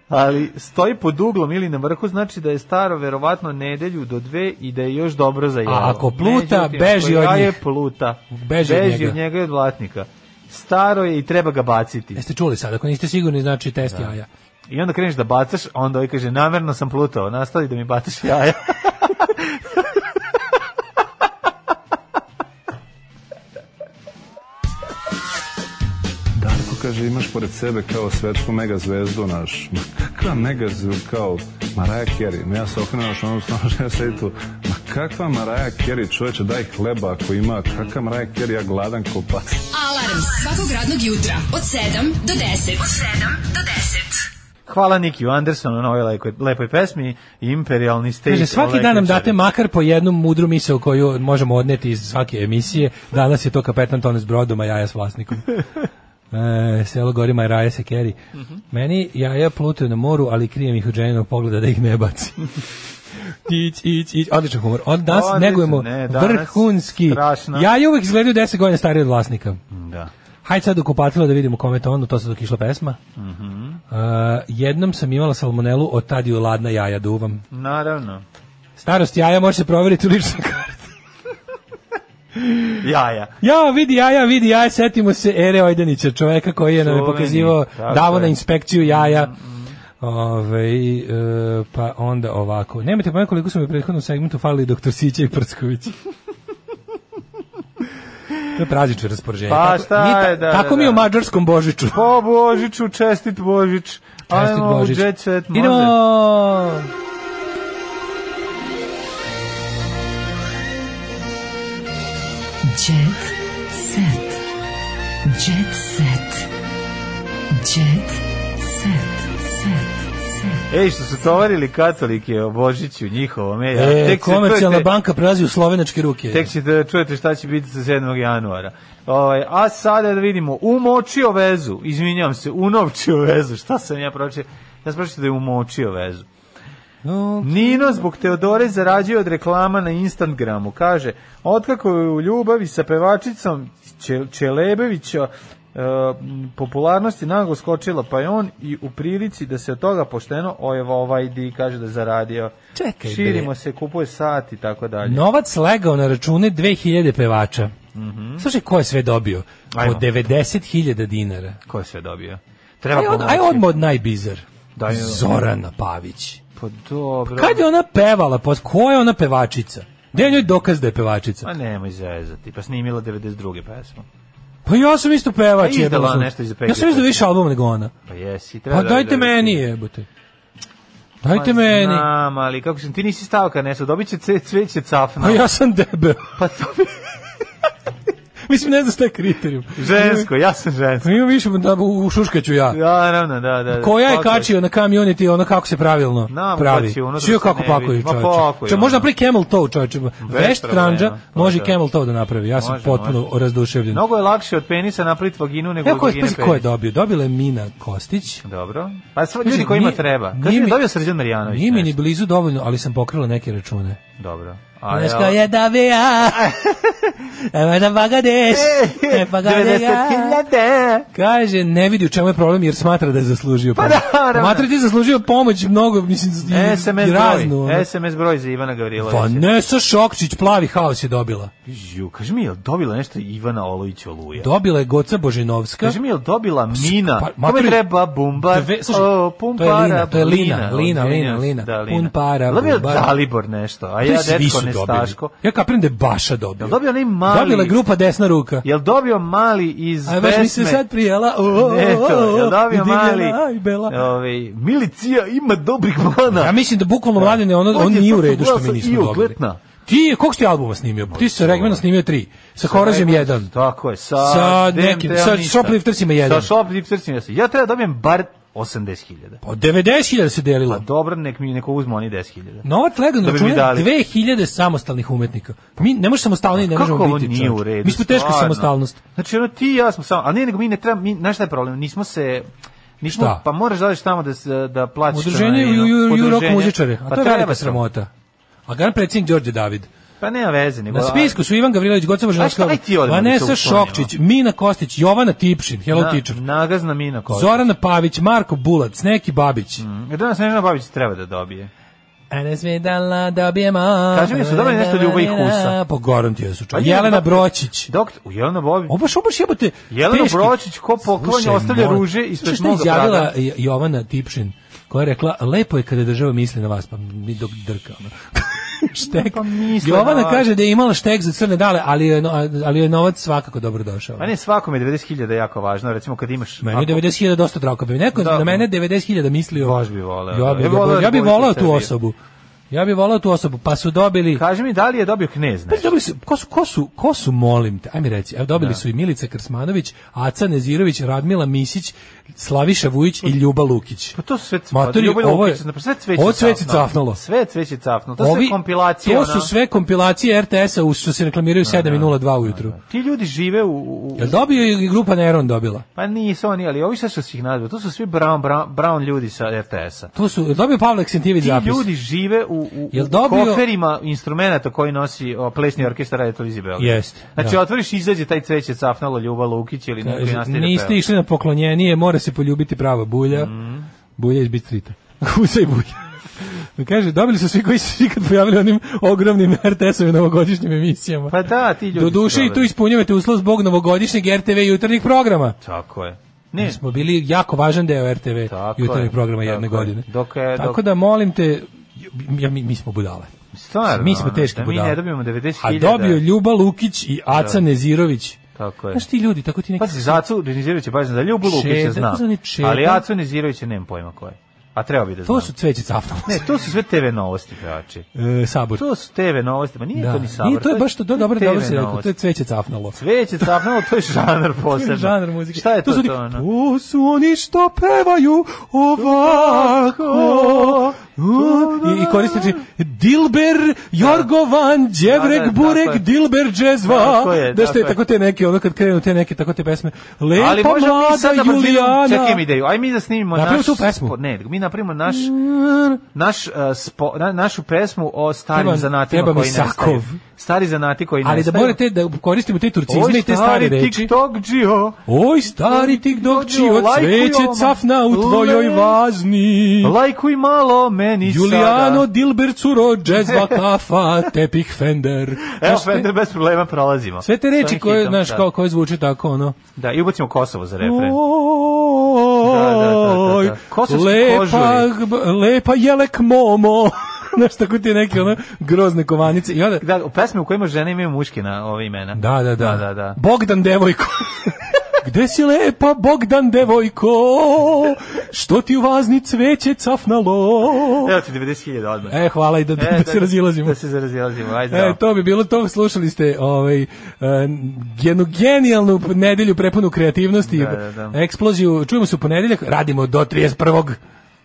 S7: ali stoji pod uglom ili na vrhu, znači da je staro verovatno nedelju do dve i da je još dobro za jelo.
S8: ako pluta,
S7: Međutim,
S8: beži
S7: ako
S8: od
S7: jaje
S8: njih.
S7: pluta,
S8: Beži od njega.
S7: od njega i od vlasnika. Staro je i treba ga baciti.
S8: Jeste čuli sad, ako niste sigurni, znači test jaja.
S7: I onda kreneš da bacaš, a onda ovaj kaže, namerno sam plutao, nastavi da mi bacaš jaja.
S12: Darko kaže, imaš pored sebe kao svetsku megazvezdu naš. Ma kakva megazvezdu kao Maraja Kerry? Ma ja se okrenuo što ono stano što ja sedi tu. Ma kakva Maraja Kerry, čoveče, daj hleba ako ima. Kakva Maraja Kerry, ja gladan ko pas.
S6: Alarm svakog radnog jutra od 7 do 10. Od 7 do 10.
S7: Hvala Nikiju Andersonu na ovoj lepoj, lepoj pesmi, imperialni state. ovaj, znači,
S8: Kaže, svaki dan nam date makar po jednu mudru misao koju možemo odneti iz svake emisije. Danas je to kapetan Tone s brodom, a jaja s vlasnikom. E, selo Gorima i Raja se keri.
S7: Mhm.
S8: Meni jaja plutaju na moru, ali krijem ih od ženjenog pogleda da ih ne baci. ić, ić, ić. Odličan humor. Od danas
S7: Odličan,
S8: negujemo
S7: ne, danas
S8: vrhunski.
S7: strašno.
S8: Jaja uvek izgledaju 10 godina stariji od vlasnika.
S7: Da.
S8: Hajde sad u kupatilo da vidimo kome je to ono, to sad dok je išla pesma.
S7: Mhm.
S8: E, jednom sam imala salmonelu, od tad ju ladna jaja duvam.
S7: Naravno.
S8: Starost jaja može se proveriti u ličnoj karti.
S7: Jaja.
S8: Ja, vidi jaja, vidi jaja, setimo se Ere Ojdanića, čoveka koji je nam je
S7: Čuveni,
S8: pokazivao,
S7: tako
S8: davo
S7: je. Mm,
S8: na inspekciju jaja. Ove, e, pa onda ovako. Nemate pojma koliko su mi u prethodnom segmentu falili doktor Sića i Prcković. to je tragično raspoređenje.
S7: Pa,
S8: Tako-
S7: šta
S8: nije ta-
S7: je, da,
S8: Tako
S7: da,
S8: mi je u
S7: da. Pa,
S8: mađarskom Božiću.
S7: Po Božiću, čestit Božić.
S8: Čestit
S7: Ajmo
S8: Božić.
S7: u jet set, može.
S8: Idemo!
S6: Jet set. Jet set. Jet set. Set. Set.
S7: Ej, što su tovarili katolike o Božiću njihovom. E, a
S8: E,
S7: tek se
S8: komercijalna
S7: čujete-
S8: banka prelazi u slovenačke ruke.
S7: Tek ćete da čujete šta će biti sa 7. januara. Ovaj, a sada da vidimo, umočio vezu, izvinjavam se, unovčio vezu, šta sam ja pročio? Ja sam pročio da je umočio vezu. Nino zbog Teodore zarađuje od reklama na Instagramu. Kaže, otkako je u ljubavi sa pevačicom Če- Čelebevića e, popularnost je naglo skočila, pa je on i u prilici da se od toga pošteno ojeva ovaj di kaže da je zaradio.
S8: Čekaj,
S7: Širimo se, kupuje sat i tako dalje.
S8: Novac legao na račune 2000 pevača. Slušaj, ko je sve dobio?
S7: Mhm. Ajmo.
S8: Od 90.000 dinara.
S7: Ko je sve dobio?
S8: Aj, od, aj odmah od najbizar. Zorana Pavić.
S7: Pa dobro.
S8: Kad je ona pevala? Pa ko je ona pevačica? Gde je njoj dokaz da je pevačica?
S7: Ma Pa nemoj zezati, pa snimila 92. pesmu.
S8: Pa ja sam isto
S7: Pa
S8: pevač.
S7: izdala
S8: jebala sam.
S7: nešto iz
S8: Ja sam izdala više albuma nego ona.
S7: Pa jesi, treba
S8: Pa
S7: da- da-
S8: dajte meni jebote. Dajte
S7: Pa
S8: meni.
S7: Znam, ali kako sam, ti nisi stavka nesu, dobit će ce- cveće cafna.
S8: A Pa ja sam debel.
S7: Pa
S8: Mislim, ne znam šta je kriterijum.
S7: Žensko, ja sam žensko.
S8: Ima više, da, u, u šuškaću ja.
S7: Da, naravno, da, da. da.
S8: Koja je
S7: Tako
S8: kačio na kamion i ti ono kako se pravilno
S7: Na,
S8: pravi.
S7: baci unutra
S8: Čio
S7: ono da se
S8: kako
S7: ne
S8: pakuje
S7: vidi. Ma
S8: čovječe.
S7: pakuje,
S8: Ča,
S7: ono.
S8: možda napravi camel toe čovječe. Veš
S7: problema,
S8: tranđa može i
S7: može.
S8: camel toe da napravi. Ja sam
S7: Može,
S8: potpuno
S7: može.
S8: razduševljen.
S7: Mnogo je lakše od penisa napraviti vaginu nego
S8: Evo
S7: od
S8: ko je,
S7: vagine
S8: pazi, ko je
S7: penis.
S8: dobio? Dobila je Mina Kostić.
S7: Dobro. Pa sva ljudi
S8: Znači,
S7: kojima
S8: nije-
S7: treba. Kaži
S8: nije
S7: mi
S8: mi-
S7: dobio Srđan Marjanović.
S8: Nije mi Ono ni blizu dovoljno, ali sam pokrila neke račune.
S7: Dobro. A
S8: Znaš
S7: ja-
S8: ko je dobija? Evo da bagadeš. E, bagadeš.
S7: 90.000.
S8: Kaže, ne vidi u čemu je problem jer smatra da je zaslužio pomoć.
S7: Pa da,
S8: Smatra ti je zaslužio pomoć mnogo, mislim, i,
S7: SMS
S8: i
S7: broj.
S8: raznu. Mm, ono. Pa
S7: SMS broj za Ivana Gavrilovića.
S8: Vanessa Šokčić, plavi haos je dobila.
S7: Ju, kaži mi, je li dobila nešto Ivana Olović Oluja?
S8: Dobila je Goca Božinovska.
S7: Kaži mi, je li dobila Mina?
S8: Pa,
S7: Kome
S8: matori-
S7: treba bumbar?
S8: Dve- slušaj,
S7: O, pum
S8: to je
S7: para,
S8: Lina, to je Lina, Lina,
S7: izvinjam
S8: Lina,
S7: se,
S8: Lina.
S7: Da,
S8: Pun para,
S7: Jel Dobio
S8: bumbar.
S7: Dalibor nešto, a ja
S8: To svi
S7: detko
S8: su
S7: nestaško.
S8: dobili. Ja kapiram da je Baša dobio.
S7: Jel dobio onaj mali?
S8: Dobila je grupa Desna ruka.
S7: Jel dobio mali iz
S8: Aj, baš
S7: pesme?
S8: mi se sad prijela. O, o, o,
S7: Eto, jel dobio
S8: i divljala,
S7: mali?
S8: aj, bela.
S7: Ovaj, Milicija ima dobrih plana.
S8: Ja mislim da bukvalno mladine, ono,
S7: On
S8: on
S7: je
S8: nije
S7: sad
S8: u redu što mi
S7: pogledao
S8: nismo
S7: i
S8: dobili.
S7: ogletna.
S8: Ti, je- koliko si ti albuma snimio? Ti si sa Regmana snimio tri. Sa Horazem
S7: Ajmo,
S8: jedan.
S7: Tako je, sa,
S8: Sa
S7: Dem-
S8: nekim,
S7: Dem-
S8: sa
S7: ništa.
S8: Shopliftersima jedan.
S7: Sa shopliftersima jedan. Ja treba da dobijem bar 80.000.
S8: Pa 90.000 se
S7: Pa
S8: delilo.
S7: dobro, nek mi neko uzme oni 10.000.
S8: Novac legan
S7: Da
S8: da
S7: bi mi
S8: računa
S7: dali.
S8: 2000 samostalnih umetnika. Mi ne možemo samostalni, ne
S7: Kako
S8: možemo
S7: ovo
S8: biti.
S7: nije
S8: čovječe.
S7: u redu?
S8: Mi smo teška
S7: stvarno?
S8: samostalnost.
S7: Znači, ono, ti i ja smo samo, ali ne, nego mi ne treba, mi, znaš šta je problem? Nismo se, nismo,
S8: Šta?
S7: pa moraš da odeš tamo da, se- da plaćaš.
S8: Udruženje
S7: članarinu.
S8: ju, ju, ju rock
S7: Udruženje.
S8: muzičare. A
S7: Pa
S8: to je
S7: treba
S8: velika
S7: to.
S8: sramota. A gran predsjednik Đorđe David.
S7: Pa nema veze, nego...
S8: Na spisku su Ivan Gavrilović, Goca Božanovska,
S7: Aj, šta, aj ti odmah da se
S8: Vanessa
S7: uklonimo.
S8: Šokčić, Mina Kostić, Jovana Tipšin, Hello
S7: Na-
S8: Teacher,
S7: Nagazna mina koja.
S8: Zorana Pavić, Marko Bulac, Neki Babić.
S7: Mm, Danas Snežana Babić treba da dobije.
S8: A ne sme dala dobijemo.
S7: Kaži mi, su dobili nešto Ljuba i Husa?
S8: Pa garantija su.
S7: Pa
S8: čovječe. Jelena
S7: Jelena-
S8: Bročić.
S7: Doktor, u Jelena Bobić.
S8: Ovo baš, ovo baš jebote.
S7: Jelena
S8: teški-
S7: Bročić, ko poklonja,
S8: Slušaj,
S7: ostavlja
S8: moram-
S7: ruže ispred
S8: Slušaj,
S7: moga
S8: šta je izjavila
S7: praga?
S8: J- Jovana Tipšin, koja je rekla, lepo je kada država misli na vas, pa mi dok drka. ono. štek.
S7: Pa misle
S8: Jovana
S7: na vas.
S8: kaže da je imala štek za crne dale, ali je, no- ali je novac svakako dobro došao.
S7: Pa ne, svakome 90.000 je jako važno, recimo kad imaš...
S8: Meni
S7: ako-
S8: je 90.000 dosta drago. Kad bi neko
S7: Da.
S8: na mene 90.000 mislio...
S7: Baš bi voleo, da.
S8: Ja bi,
S7: Ja bi voleo
S8: ja bi
S7: Republiku
S8: volao tu
S7: Srbiju.
S8: osobu. Ja bi volao tu osobu, pa su dobili...
S7: Kaži mi, da li je dobio knez
S8: Pa
S7: nešto?
S8: dobili su, ko su, ko su, ko su, molim te, ajme reci, evo dobili
S7: Da.
S8: su i Milica Krsmanović, Aca Nezirović, Radmila Misić, Slaviša Vujić i Ljuba Lukić.
S7: Pa to su sve
S8: Matori,
S7: Ljubo
S8: ovo je-
S7: Lukić, znači, sve cveće
S8: ovo cveće cafnulo.
S7: Sve cveće cafnulo. To su sve kompilacije. ono.
S8: to
S7: ona.
S8: su sve kompilacije RTS-a u- što se reklamiraju 7.02 ujutru.
S7: Ti ljudi žive u... u, u-
S8: Jel dobio je i grupa Neron dobila?
S7: pa nisu oni, ali ovi sve su svih nazvali. To su svi brown, brown, brown ljudi sa RTS-a.
S8: To su, jel dobio Pavle Ksentijević
S7: Ti
S8: zapis?
S7: ljudi žive u, u,
S8: Jel
S7: u
S8: dobio-
S7: koferima instrumenta koji nosi o, plesni orkestar Radio Televizije Beograd.
S8: Jeste,
S7: Znači,
S8: da.
S7: otvoriš, izađe taj cveće cafnalo Ljuba Lukić ili neko i
S8: Kaže,
S7: nastavi da
S8: Niste
S7: peva. Mm.
S8: išli na poklonjenije, mora se poljubiti prava bulja. Bulja iz Bistrita. Husa i bulja. Kaže, dobili su svi koji su se ikad pojavili u onim ogromnim RTS-ovim novogodišnjim emisijama.
S7: Pa da, ti ljudi
S8: Do
S7: su
S8: duše i tu
S7: dobri.
S8: ispunjavate uslov zbog novogodišnjeg RTV jutarnjih programa.
S7: Tako je.
S8: Mi
S7: Ne,
S8: smo bili jako važan deo RTV
S7: Tako
S8: jutarnjih
S7: je,
S8: programa jedne
S7: tako je.
S8: godine.
S7: Dok je-
S8: Tako
S7: dok-
S8: da molim te, ja, mi, mi smo budale.
S7: stvarno.
S8: mi smo
S7: ono,
S8: teški
S7: da mi
S8: budale.
S7: ne dobijemo 90.000.
S8: A dobio je Ljuba Lukić i Aca Nezirović.
S7: Tako je. Pa,
S8: Znaš ti ljudi, tako ti neki...
S7: Pazi, Zacu Denizirovića, pazi, da Ljubu
S8: Čeda,
S7: Lukića znam.
S8: kako se oni čeda?
S7: Ali Acu Denizirovića nemam pojma ko je. A treba bi da znam.
S8: To su cveće cafnalo.
S7: Ne, to su sve TV novosti, pevači.
S8: E, sabor.
S7: To su TV novosti, ma nije
S8: Da.
S7: to ni sabor.
S8: Nije, to je baš to, to je dobro,
S7: TV
S8: dobro si rekao,
S7: novosti.
S8: to je cveće cafnalo.
S7: Cveće cafnalo, to je žanar posebno.
S8: žanar muzike.
S7: Šta je to?
S8: su
S7: To,
S8: oni-
S7: ono?
S8: to su oni što pevaju ovako,
S7: Ovako,
S8: u, i, i koristeći Dilber, Jorgovan, Đevrek,
S7: Da, da,
S8: Burek,
S7: tako je.
S8: Dilber, Džezva.
S7: Tako je,
S8: Da što
S7: tako
S8: je
S7: je.
S8: tako te neke, ono kad krenu te neke, tako te pesme. Lepa
S7: Ali možemo
S8: E, pa mlada
S7: mi sad da baš
S8: Julijana.
S7: vidimo- Čekaj mi ideju. Aj mi da snimimo
S8: Napravimo
S7: naš
S8: tu pesmu. Mm.
S7: spo- ne, mi napravimo naš naš uh, spo, na, našu pesmu o starim
S8: Treba-
S7: zanatima
S8: treba mi
S7: koji nestaju.
S8: Sakov.
S7: Stari zanati koji
S8: Ali da
S7: nestaju.
S8: morate da koristimo te turcizme
S7: Oj,
S8: i te
S7: stari
S8: stare reči.
S7: TikTok džio.
S8: Oj, stari TikTok čio,
S7: Lajkuj
S8: cveće
S7: ovom.
S8: cafna u tvojoj
S7: Le-
S8: vazni.
S7: Lajkuj malo meni
S8: Julijano
S7: sada.
S8: Dilber Curo, džezva kafa, tepih Fender.
S7: Evo,
S8: Znaš, te-
S7: Fender, bez problema prolazimo.
S8: Sve te
S7: S
S8: reči
S7: ovim
S8: koje,
S7: hitom,
S8: znaš,
S7: da.
S8: kao, koje zvuče tako, ono.
S7: Da, i ubacimo Kosovo za refren.
S8: Oj,
S7: Da, da, da, da. Kosovski
S8: lepa,
S7: kožulj.
S8: g- lepa jelek momo. Znaš, tako ti neke, ono, grozne kovanice. I onda,
S7: Da, u pesmi u kojima žene imaju muške na ove imena.
S8: Da, da, da.
S7: Da, da, da.
S8: Bogdan devojko. Gde si lepa Bogdan devojko? Što ti u vazni cveće cafnalo?
S7: Evo ti 90.000 odmah.
S8: E, hvala i da, da,
S7: E,
S8: se razilazimo.
S7: Da se razilazimo, ajde.
S8: E, to bi bilo to, slušali ste ovaj, eh, jednu genijalnu nedelju prepunu kreativnosti,
S7: Da, da, da.
S8: eksploziju, čujemo se u ponedeljak, radimo do 31.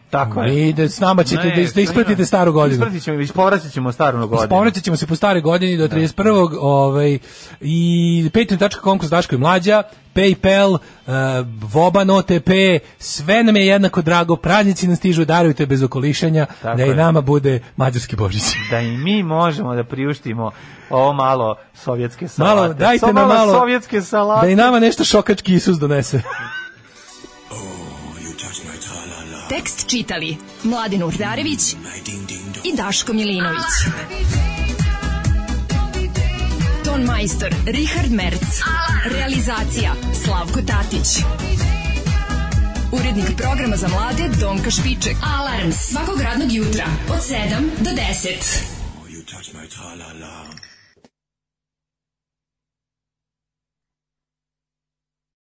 S7: Tako je.
S8: I da s nama ćete da, da ispratite staru godinu.
S7: Ispratit ćemo, ispovratit ćemo staru godinu.
S8: Povraćat ćemo se po stare godini do 31. ovaj, i patreon.com kroz Daško i Mlađa, Paypal, uh, Voban OTP, sve nam je jednako drago, praznici nam stižu, darujte bez okolišanja,
S7: Tako
S8: da i
S7: je.
S8: nama bude mađarski božić.
S7: Da i mi možemo da priuštimo ovo malo sovjetske salate.
S8: Malo, dajte
S7: Ovo
S8: nam malo
S7: sovjetske salate.
S8: Da i nama nešto šokački Isus donese.
S6: Tekst čitali Mladin Urdarević i Daško Milinović. Ton majstor Richard Merc. Realizacija Slavko Tatić. Urednik programa za mlade Donka Špiček. Alarms svakog radnog jutra od 7 do 10.
S13: You touch my tra-la-la.